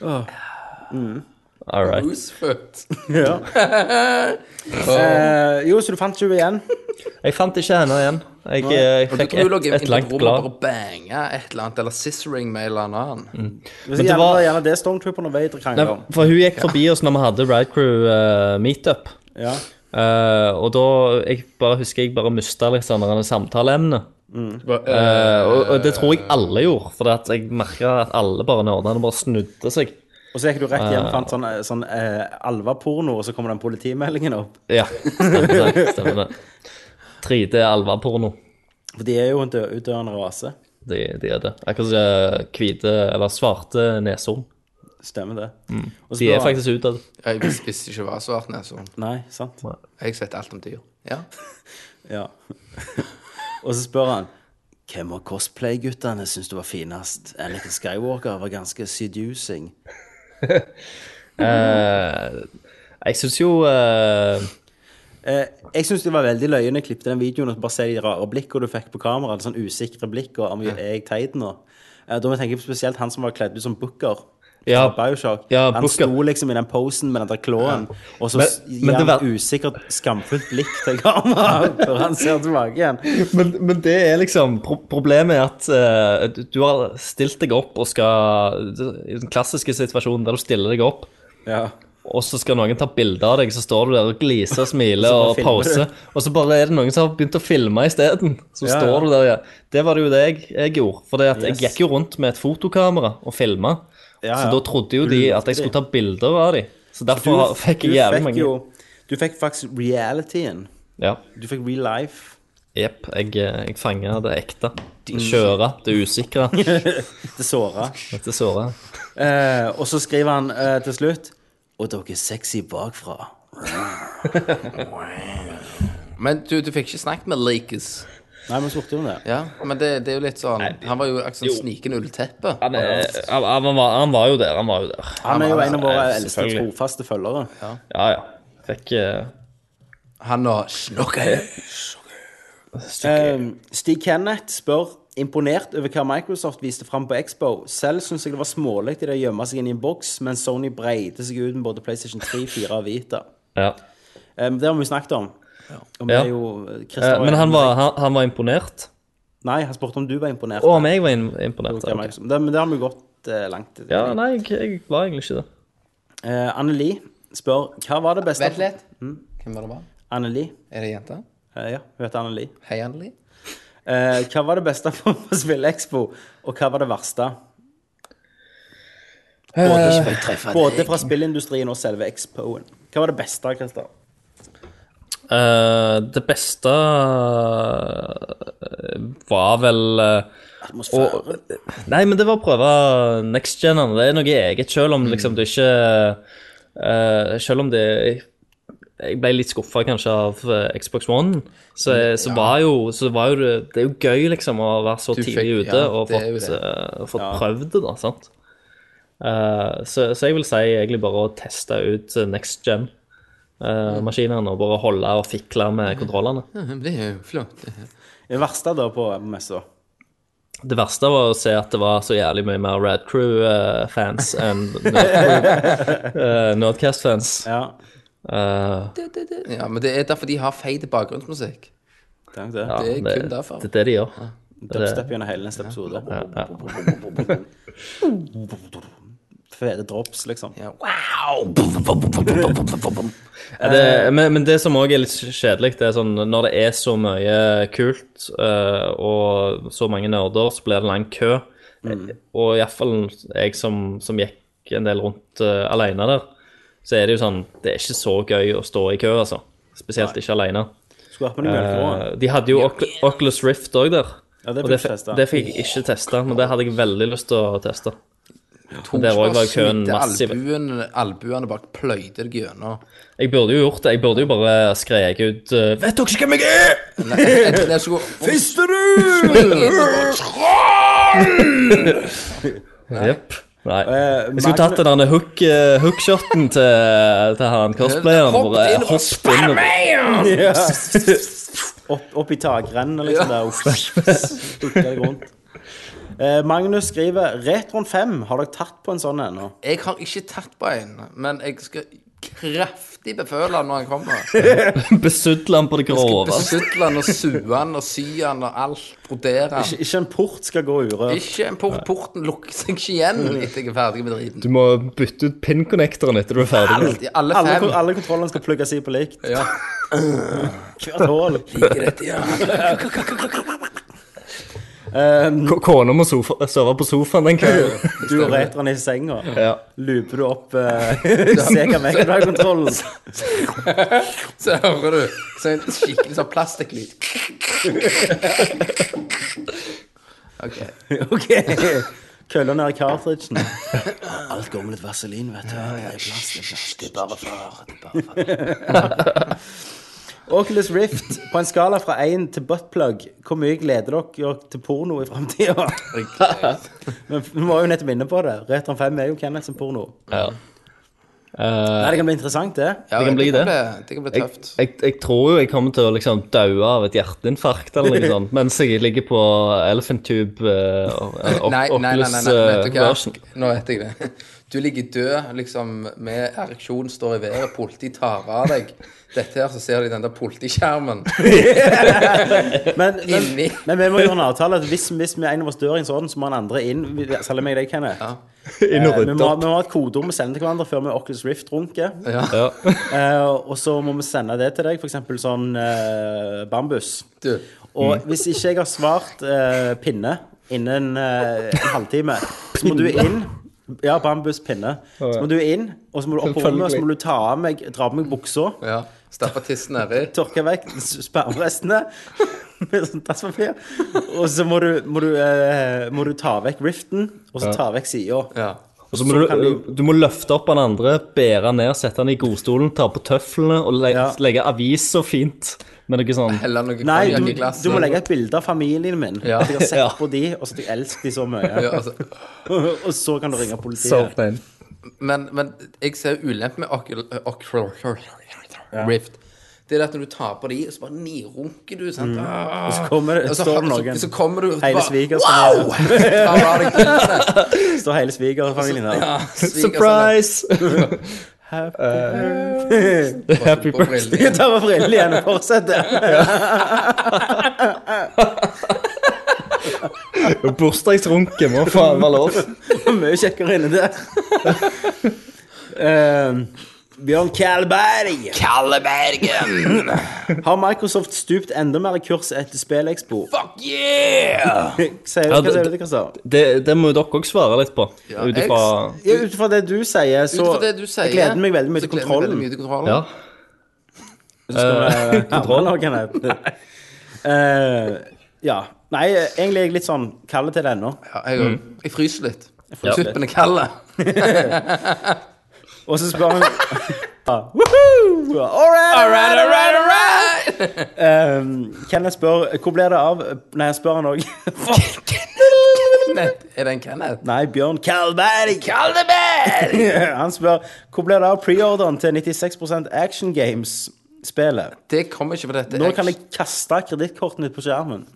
S3: han.
S7: All right.
S2: Husfødt.
S3: Ja. Eh, jo, så du fant ikke henne igjen?
S7: Jeg fant ikke henne igjen. Jeg, eh, jeg
S2: Og du
S7: fikk
S2: tror du lå
S7: et,
S2: inne
S7: et
S2: på
S7: langt
S2: rommet
S7: blad.
S2: og bare banga et eller annet, eller scissoring med en eller annen.
S7: Mm.
S3: Men det
S7: det
S3: var
S7: var-
S3: gjerne det Stormtrooperne og Vader
S7: Nei,
S3: krangler om.
S7: for hun gikk forbi oss når vi hadde Ride Crew eh, meetup.
S3: Ja.
S7: Eh, og da jeg bare husker jeg bare mista liksom det samtaleemnet.
S3: Mm.
S7: Eh, og, og det tror jeg alle gjorde, for at jeg merka at alle bare nerdene bare snudde seg.
S3: Og så gikk du rett hjem og fant sånn, eh, sånn eh, alveporno, og så kommer den politimeldingen opp.
S7: Ja, stemmer det. stemmer det 3D alveporno.
S3: For de er jo en dø- utdøende rase.
S7: De, de er det. Akkurat som eh, hvite eller svarte neshorn.
S3: Stemmer det. Og så
S7: Mm. De er
S3: ble-
S7: faktisk utad.
S2: Jeg vis- visste ikke hva svart nese var.
S3: Nei, sant.
S2: Jeg vet alt om dyr. Ja.
S3: Ja. <laughs> og så spør han hvem av cosplay-guttene syns du var finest? Anakin Skywalker var ganske seducing.
S7: Eh, jeg syns jo eh,
S3: Eh, jeg syns det var veldig løye når jeg klippet den videoen, og bare se de rare blikkene du fikk på kamera. Det sånn usikre blikk, og om jeg- er jeg teit nå? Eh, da må jeg tenke på spesielt han som var kledd ut som Booker.
S7: Ja.
S3: fra Bioshock.
S7: Ja,
S3: han sto
S7: Booker.
S3: liksom i den posen med den der klåen, og så
S7: Men-
S3: gir
S7: men det
S3: han
S7: var-
S3: et usikkert, skamfullt blikk til kamera <laughs> før han ser tilbake igjen.
S7: men, men det er liksom pro Problemet er at eh, du, du har stilt deg opp og skal I den klassiske situasjonen der du stiller deg opp,
S3: Ja.
S7: og så skal noen ta bilde av deg, så står du der og gliser og smiler
S3: <laughs> Og
S7: og
S3: så bare filmer
S7: poser, og så bare er det noen som har begynt å filme isteden. Så
S3: Ja, ja.
S7: står du der, ja. Det var det jo det jeg, jeg gjorde. For det at jeg
S3: Yes.
S7: gikk jo rundt med et fotokamera og filma,
S3: Ja,
S7: så
S3: ja.
S7: da trodde jo de at jeg skulle ta bilder av dem. Så
S3: Du,
S7: derfor fikk jeg
S3: du
S7: jævlig
S3: fikk
S7: mange.
S3: jo- Du fikk faktisk realityen.
S7: Ja.
S3: Du fikk real life.
S7: Jepp. Jeg, eh, jeg fanga det ekte. Det skjøre, det usikre,
S3: <laughs> Det såra.
S7: det såre.
S3: Eh, og så skriver han eh, til slutt Og dere er sexy bakfra.
S2: Men du, du fikk ikke snakket med Lakers.
S3: Nei, vi spurte jo om det.
S2: Ja, men det, det er jo litt sånn Han var jo akkurat sånn snikende under teppet.
S7: Han, er, han, han, var, han var jo der, han var jo der.
S3: Han er jo en av våre
S7: Ja,
S3: eldste
S7: selvfølgelig.
S3: trofaste følgere.
S7: Ja, ja. Fikk eh,
S2: Han og Snokke.
S7: <laughs>
S3: Eh, Stig Kenneth spør imponert over hva Microsoft viste fram på Expo. Selv syns jeg det var smålig i det å gjemme seg inn i en boks, men Sony breide seg ut med både PlayStation 3, 4 og Vita.
S7: Ja.
S3: Eh, det har vi jo snakket om. Og vi
S7: Ja.
S3: er jo, Christer
S7: Eh,
S3: var
S7: Men
S3: jo-
S7: han var, han, han var imponert.
S3: Nei, han spurte om du var imponert.
S7: Og om jeg var im- imponert.
S3: Det er
S7: ok.
S3: Microsoft. Det, men det har vi gått eh, langt i.
S7: Ja, nei, jeg, jeg var egentlig ikke det.
S3: Eh, Anne Li spør hva var det beste
S2: Vent litt. Mm. Hvem var det? var?
S3: Anne Li.
S2: Er det jenta?
S3: Eh, ja, hun heter Anne Li.
S2: Hei, Anneli.
S3: Eh, hva var det beste på å spille Expo, og hva var det verste?
S7: Eh,
S3: Både fra spillindustrien og selve Expoen. Hva var det beste, Christer?
S7: Eh, det beste eh, var vel eh, og, Nei, men det var å prøve next gen-ene. Det er noe eget, selv om liksom du ikke eh, Selv om det Jeg ble litt skuffa kanskje av eh, Xbox One, så, eh, så, var jo, så var jo det, det er jo gøy liksom å være så
S2: Du fikk-
S7: tidlig ute
S2: ja,
S7: og
S2: det er jo
S7: fått,
S2: det.
S7: eh, fått prøvd det, da. sant? Eh, så, så jeg vil si egentlig bare å teste ut next
S2: Mm.
S7: gen-maskinene og bare holde og fikle med kontrollene.
S2: <laughs> Det er jo flott.
S3: Det verste da på messa?
S7: Det verste var å se at det var så jævlig mye mer Rad Crew-fans enn Nerdcrew, eh, Nerdcast-fans.
S3: Ja,
S7: Eh,
S2: Ja, men det er derfor de har feit bakgrunnsmusikk.
S3: tenk det.
S7: ja,
S2: Det er kun derfor.
S7: Det er det de gjør.
S3: Dubstep gjennom hele neste episode.
S7: Ja.
S3: Fede drops, liksom.
S2: Ja.
S7: Ja, det, men, men det som òg er litt kjedelig, det er sånn når det er så mye kult eh, og så mange nerder, så blir det lang kø.
S2: Mm.
S7: Og iallfall jeg som, som gikk en del rundt eh, alene der, så er det jo sånn Det er ikke så gøy å stå i kø, altså. Spesielt ikke alene.
S3: Skulle hatt med deg melkerå.
S7: Eh, de hadde jo Oc- Oculus Rift òg der.
S3: Ja, det
S7: og
S3: fikk
S7: det,
S3: du testet.
S7: det fikk jeg ikke testa, men det hadde jeg veldig lyst til å teste. Men Der òg var køen
S2: Smitte
S7: massiv.
S2: Albuen, albuene bak pløyde deg gjennom.
S7: Jeg burde jo gjort det. Jeg burde jo bare skreket ut eh, 'Vet dere ikke hvem jeg er?!'
S2: Fister du!
S7: Jepp. Nei.
S3: Eh,
S7: Jeg skulle tatt den der hook, eh, hookshoten til, til han cosplayeren.
S2: Hopp
S7: Bare
S2: inn og
S7: hopp inn og <laughs>
S3: Opp, opp i takrennet, liksom. Der. Dukker deg rundt. Eh, Magnus skriver Retron 5, har dere tatt på en sånn ennå?
S2: Jeg har ikke tatt på en, men jeg skal kraftig beføle den når han kommer.
S7: <laughs> Besudle han på det groveste.
S2: Besudle den og sue den og sy den og alt. Brodere
S3: Ikke,
S2: den.
S3: ikke en port skal gå eh. urørt.
S2: Ikke en port, porten lukker seg ikke igjen etter jeg er ferdig med driten.
S10: Du må bytte ut pin-connectoren etter du er ferdig.
S2: Alt, i alle
S3: Alle,
S2: fem.
S3: kon- alle kontrollene skal plugges i på likt.
S2: Ja.
S3: Hvert <laughs> hull.
S2: Liker dette, ja.
S3: Eh,
S10: K- Kona må sofa, sove på sofaen den kvelden.
S3: du og retroen i senga.
S10: Ja.
S3: Looper du <laughs> opp uh, Sega Megadrive-kontrollen?
S2: Så hører du så en skikkelig sånn plastikklyd. OK.
S3: <laughs> OK. Kølla ned i cartridgen. <laughs> Alt går med litt vaselin, vet du. Det er plast, det er plast.
S2: Det er bare far. Det er bare far.
S3: <laughs> Oculus Rift, på en skala fra 1 til buttplug, hvor mye gleder dere til porno i <laughs> framtida? Men vi var jo nettopp inne på det. Retron 5 er jo Kenneth som porno.
S7: Ja.
S3: Nei, det kan bli interessant, det.
S2: Ja,
S7: kan bli det.
S2: bli- Det kan bli
S7: Jeg,
S2: tøft.
S7: jeg, jeg tror jo jeg kommer til å liksom daue av et hjerteinfarkt eller noe sånt mens jeg ligger på Elephant Tube eh, og- eh,
S2: <laughs> Nei, nei, nei, nei,
S7: Oculus
S2: nei,
S7: eh,
S2: vet du
S7: version.
S2: hva? Nå vet jeg det. Du ligger død, liksom, med ereksjon står i været, politiet tar av deg. Dette her, så ser de den der politiskjermen.
S3: Men, men,
S2: Inni.
S3: men vi må gjøre en avtale at hvis, hvis vi er en av oss dør i en sånn, så må den andre inn. Vi- Selv om jeg er deg, Kenneth.
S10: Inn og
S3: Eh, vi,
S10: rydde
S3: må,
S10: opp.
S3: vi må ha et kodeord vi sender til hverandre før vi Oculus Rift-runker.
S7: Ja.
S2: <laughs>
S3: Eh, og så må vi sende det til deg, f.eks. sånn eh, bambus.
S2: Du,
S3: Og hvis ikke jeg har svart eh, pinne innen eh, en halvtime, så må du inn Ja, bambus, pinne. Så må du inn, og så må du opp på rommet, og så må du ta av meg, dra på meg buksa.
S2: ja. Stappa tissen nedi.
S3: tørke vekk spermrestene med sånn tasspapir. Og så må du, må, du, eh, må du ta vekk riften, og så ta vekk sida.
S2: Ja.
S10: Og <laughs> så må du, du må løfte opp den andre, bære ned, sette den i godstolen, ta på tøflene og le
S3: Ja.
S10: legge aviser fint. Men det er ikke sånn
S2: Heller noe
S3: Nei, du,
S2: konjakk i
S3: du
S2: glasset.
S3: må legge et bilde av familien min.
S2: Ja.
S3: At jeg har sett
S10: Ja.
S3: på de, og så at jeg elsker de så mye.
S2: Ja, altså.
S3: og så kan du ringe politiet.
S10: Sovne inn.
S2: men, men jeg ser ulempen med Ocul- Ocul- Rift. Det er det at når du tar på de, så bare nirunker du. sant? Ah. Og
S3: Mm. Så kommer det,
S2: så,
S3: står
S2: så,
S3: det noen.
S2: så kommer du og
S3: Hele
S2: bare-
S3: svigers-
S2: <laughs> Wow! Tar av deg
S3: <laughs>
S2: pillene.
S3: står hele svigerfamilien der. <laughs>
S2: Ja, svigersene.
S10: Surprise! Happy
S2: sånn
S10: birthday.
S2: På brillene.
S3: Jeg tar meg frille igjen og
S2: <laughs>
S3: fortsetter.
S10: Bursdagsrunke må faen være lov.
S3: <laughs> Mye kjekkere inni det. Ehm, Bjørn Kalberg.
S2: Kallebergen!
S3: <laughs> Har Microsoft stupt enda mer i kurset etter SpillExpo?
S2: Fuck yeah!
S3: Sier-
S10: Ja,
S3: Hva
S10: det-
S3: sier du til Kristian?
S10: Det, det må jo dere òg svare litt på.
S2: Ja,
S10: Ut ifra
S3: Ja, Ut fra det du sier,
S2: Ut
S3: så
S2: fra det du sier,
S3: jeg gleder meg veldig mye
S2: så
S3: til
S2: gleder jeg meg
S3: kontrollen.
S2: veldig <laughs> mye til kontrollen.
S10: Ja.
S3: Eh, kontrollen. Eh, ja. Nei, egentlig er jeg litt sånn kald til det ennå.
S2: Ja, jeg, jeg fryser litt.
S3: fryser litt.
S2: Tuppen er kald. <laughs>
S3: Og så spør han Ja, woohoo! All right, all right, all right, all right! Ehm, Kenneth spør Hvor blir det av Nei, jeg spør han
S2: <laughs>
S3: òg.
S2: Nett, er det en Kenneth?
S3: Nei, Bjørn Kalberg.
S2: Kalleberg!
S3: <laughs> Han spør hvor blir det av preorderen til 96 Action Games-spillet?
S2: Det kommer ikke på dette.
S3: Nå kan jeg kaste kredittkortet mitt på skjermen.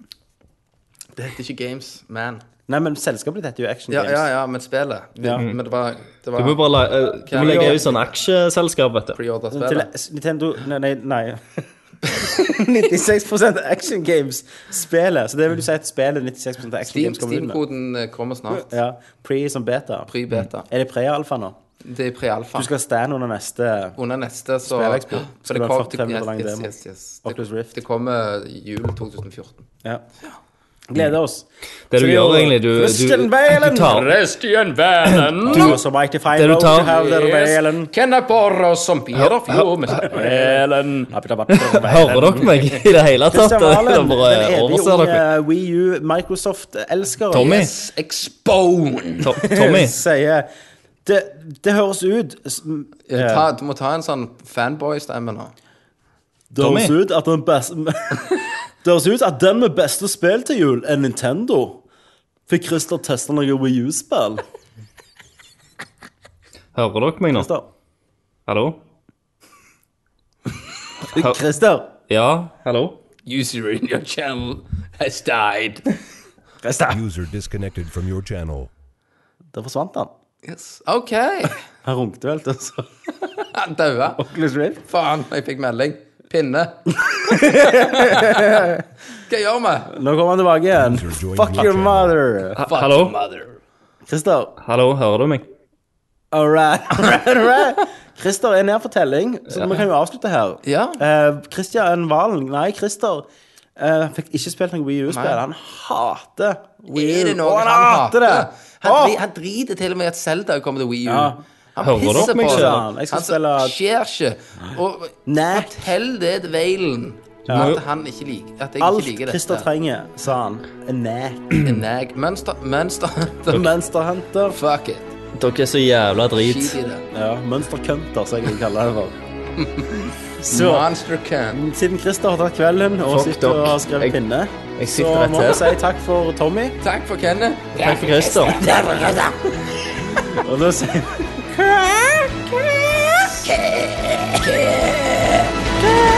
S2: Det heter ikke Games, man.
S3: Nei, men selskapet ditt heter jo Action
S2: Ja,
S3: Games.
S2: ja, ja, men spillet.
S3: Ja.
S2: Men det var,
S10: Du
S2: det
S10: må
S2: var
S10: bare la- eh, du må legge ut sånn aksjeselskap, vet du.
S3: Til
S2: preorder-spillet.
S3: Nintendo Nei, nei. nei. <laughs> 96 Action Games-spillet. Så det vil du si at spillet 96 av Action
S2: Steam-
S3: Games kommer ut med.
S2: Steam-koden eh, kommer snart.
S3: Ja, Pre som beta.
S2: Pre-beta.
S3: Er det pre-alfa nå?
S2: Det er pre-alfa.
S3: Du skal stand under neste
S2: Under neste, så
S3: Spillexpo.
S2: Så
S3: Skal
S2: det
S3: du ha
S2: kommer
S3: 45 minutter lang
S2: yes,
S3: demo.
S2: yes, yes.
S3: Oculus
S2: Det,
S3: Rift.
S2: det kommer jul 2014.
S3: Ja. Gleder oss.
S10: Det du
S3: Så
S10: gjør egentlig, du, du,
S3: Christian
S10: du
S3: Valen!
S10: tar
S2: Christian Valen!
S3: Du er så mighty fine
S10: Det du
S3: road
S10: tar-
S3: to have that Valen.
S2: Kenneborg som Pirafjord med Valen.
S10: <laughs> Hører dere meg i det hele tatt?
S3: Christian
S10: Dere
S3: Valen,
S10: <laughs> bare
S3: den evige
S10: overser dere.
S3: unge Wii U Microsoft-elsker.
S10: Tommy,
S2: Yes, expone!
S10: To- Tommy,
S3: sier det, det høres ut som-
S2: Ta, du må ta en sånn fanboy-stemme nå.
S3: Det
S10: Tommy?
S3: høres ut at den beste <laughs> Det høres ut at den med beste spill til jul er Nintendo. Fikk Christer teste noe Wii U-spill?
S10: hører dere meg nå?
S3: Christer?
S10: Hallo?
S3: Christer?
S10: Ja, hallo?
S2: User in your channel has died.
S13: User disconnected from your channel.
S3: Der forsvant han.
S2: Yes. OK. <laughs>
S3: Han runkte vel, <laughs> altså.
S2: Han daua.
S3: Oculus Rift.
S2: Faen, jeg fikk melding.
S7: <laughs>
S2: Pinne. Hva gjør vi?
S3: Nå kommer han tilbake igjen. Fuck your mother.
S7: Ha- Hallo?
S3: Christer.
S7: Hallo, hører du meg?
S3: All <laughs> right, all right, all right. Christer er ned for telling, så vi kan jo avslutte her.
S2: Ja.
S3: Eh, Christian Valen Nei, Christer eh, fikk ikke spilt noe Wii U-spill.
S2: Nei.
S3: Han hater Wii U.
S2: Er det noe
S3: Å,
S2: han hater? Han,
S3: Å!
S2: dri, han driter til og med i at Zelda kommer til Wii U.
S3: Ja.
S2: Han
S7: Hører
S2: pisser
S7: dere
S2: på
S7: meg,
S2: det.
S3: søren? Jeg skal
S2: Han
S3: spille-
S2: skjer ikke. Og
S3: Nei.
S2: fortell det til Valen.
S7: må jo-
S2: At han ikke liker At jeg
S3: Alt
S2: ikke liker
S3: Christer
S2: dette.
S3: trenger, sa han, er nek.
S2: Nei. Mønster, mønster
S3: Mønsterhunter.
S2: <laughs> Fuck it.
S7: Dere er så jævla drit.
S2: Skit i det.
S3: Ja, mønsterkønter, som jeg vil kalle det
S2: <laughs>
S3: for. Så
S2: Monster can.
S3: siden Christer har tatt kvelden og
S7: Fuck
S3: sitter og
S7: dere.
S3: har skrevet
S7: Jeg-
S3: pinne,
S7: jeg
S3: så
S7: sitter rett
S3: må
S7: her.
S3: vi si takk for Tommy.
S2: Takk for Kenneth.
S7: Takk for Christer.
S3: Og da sier vi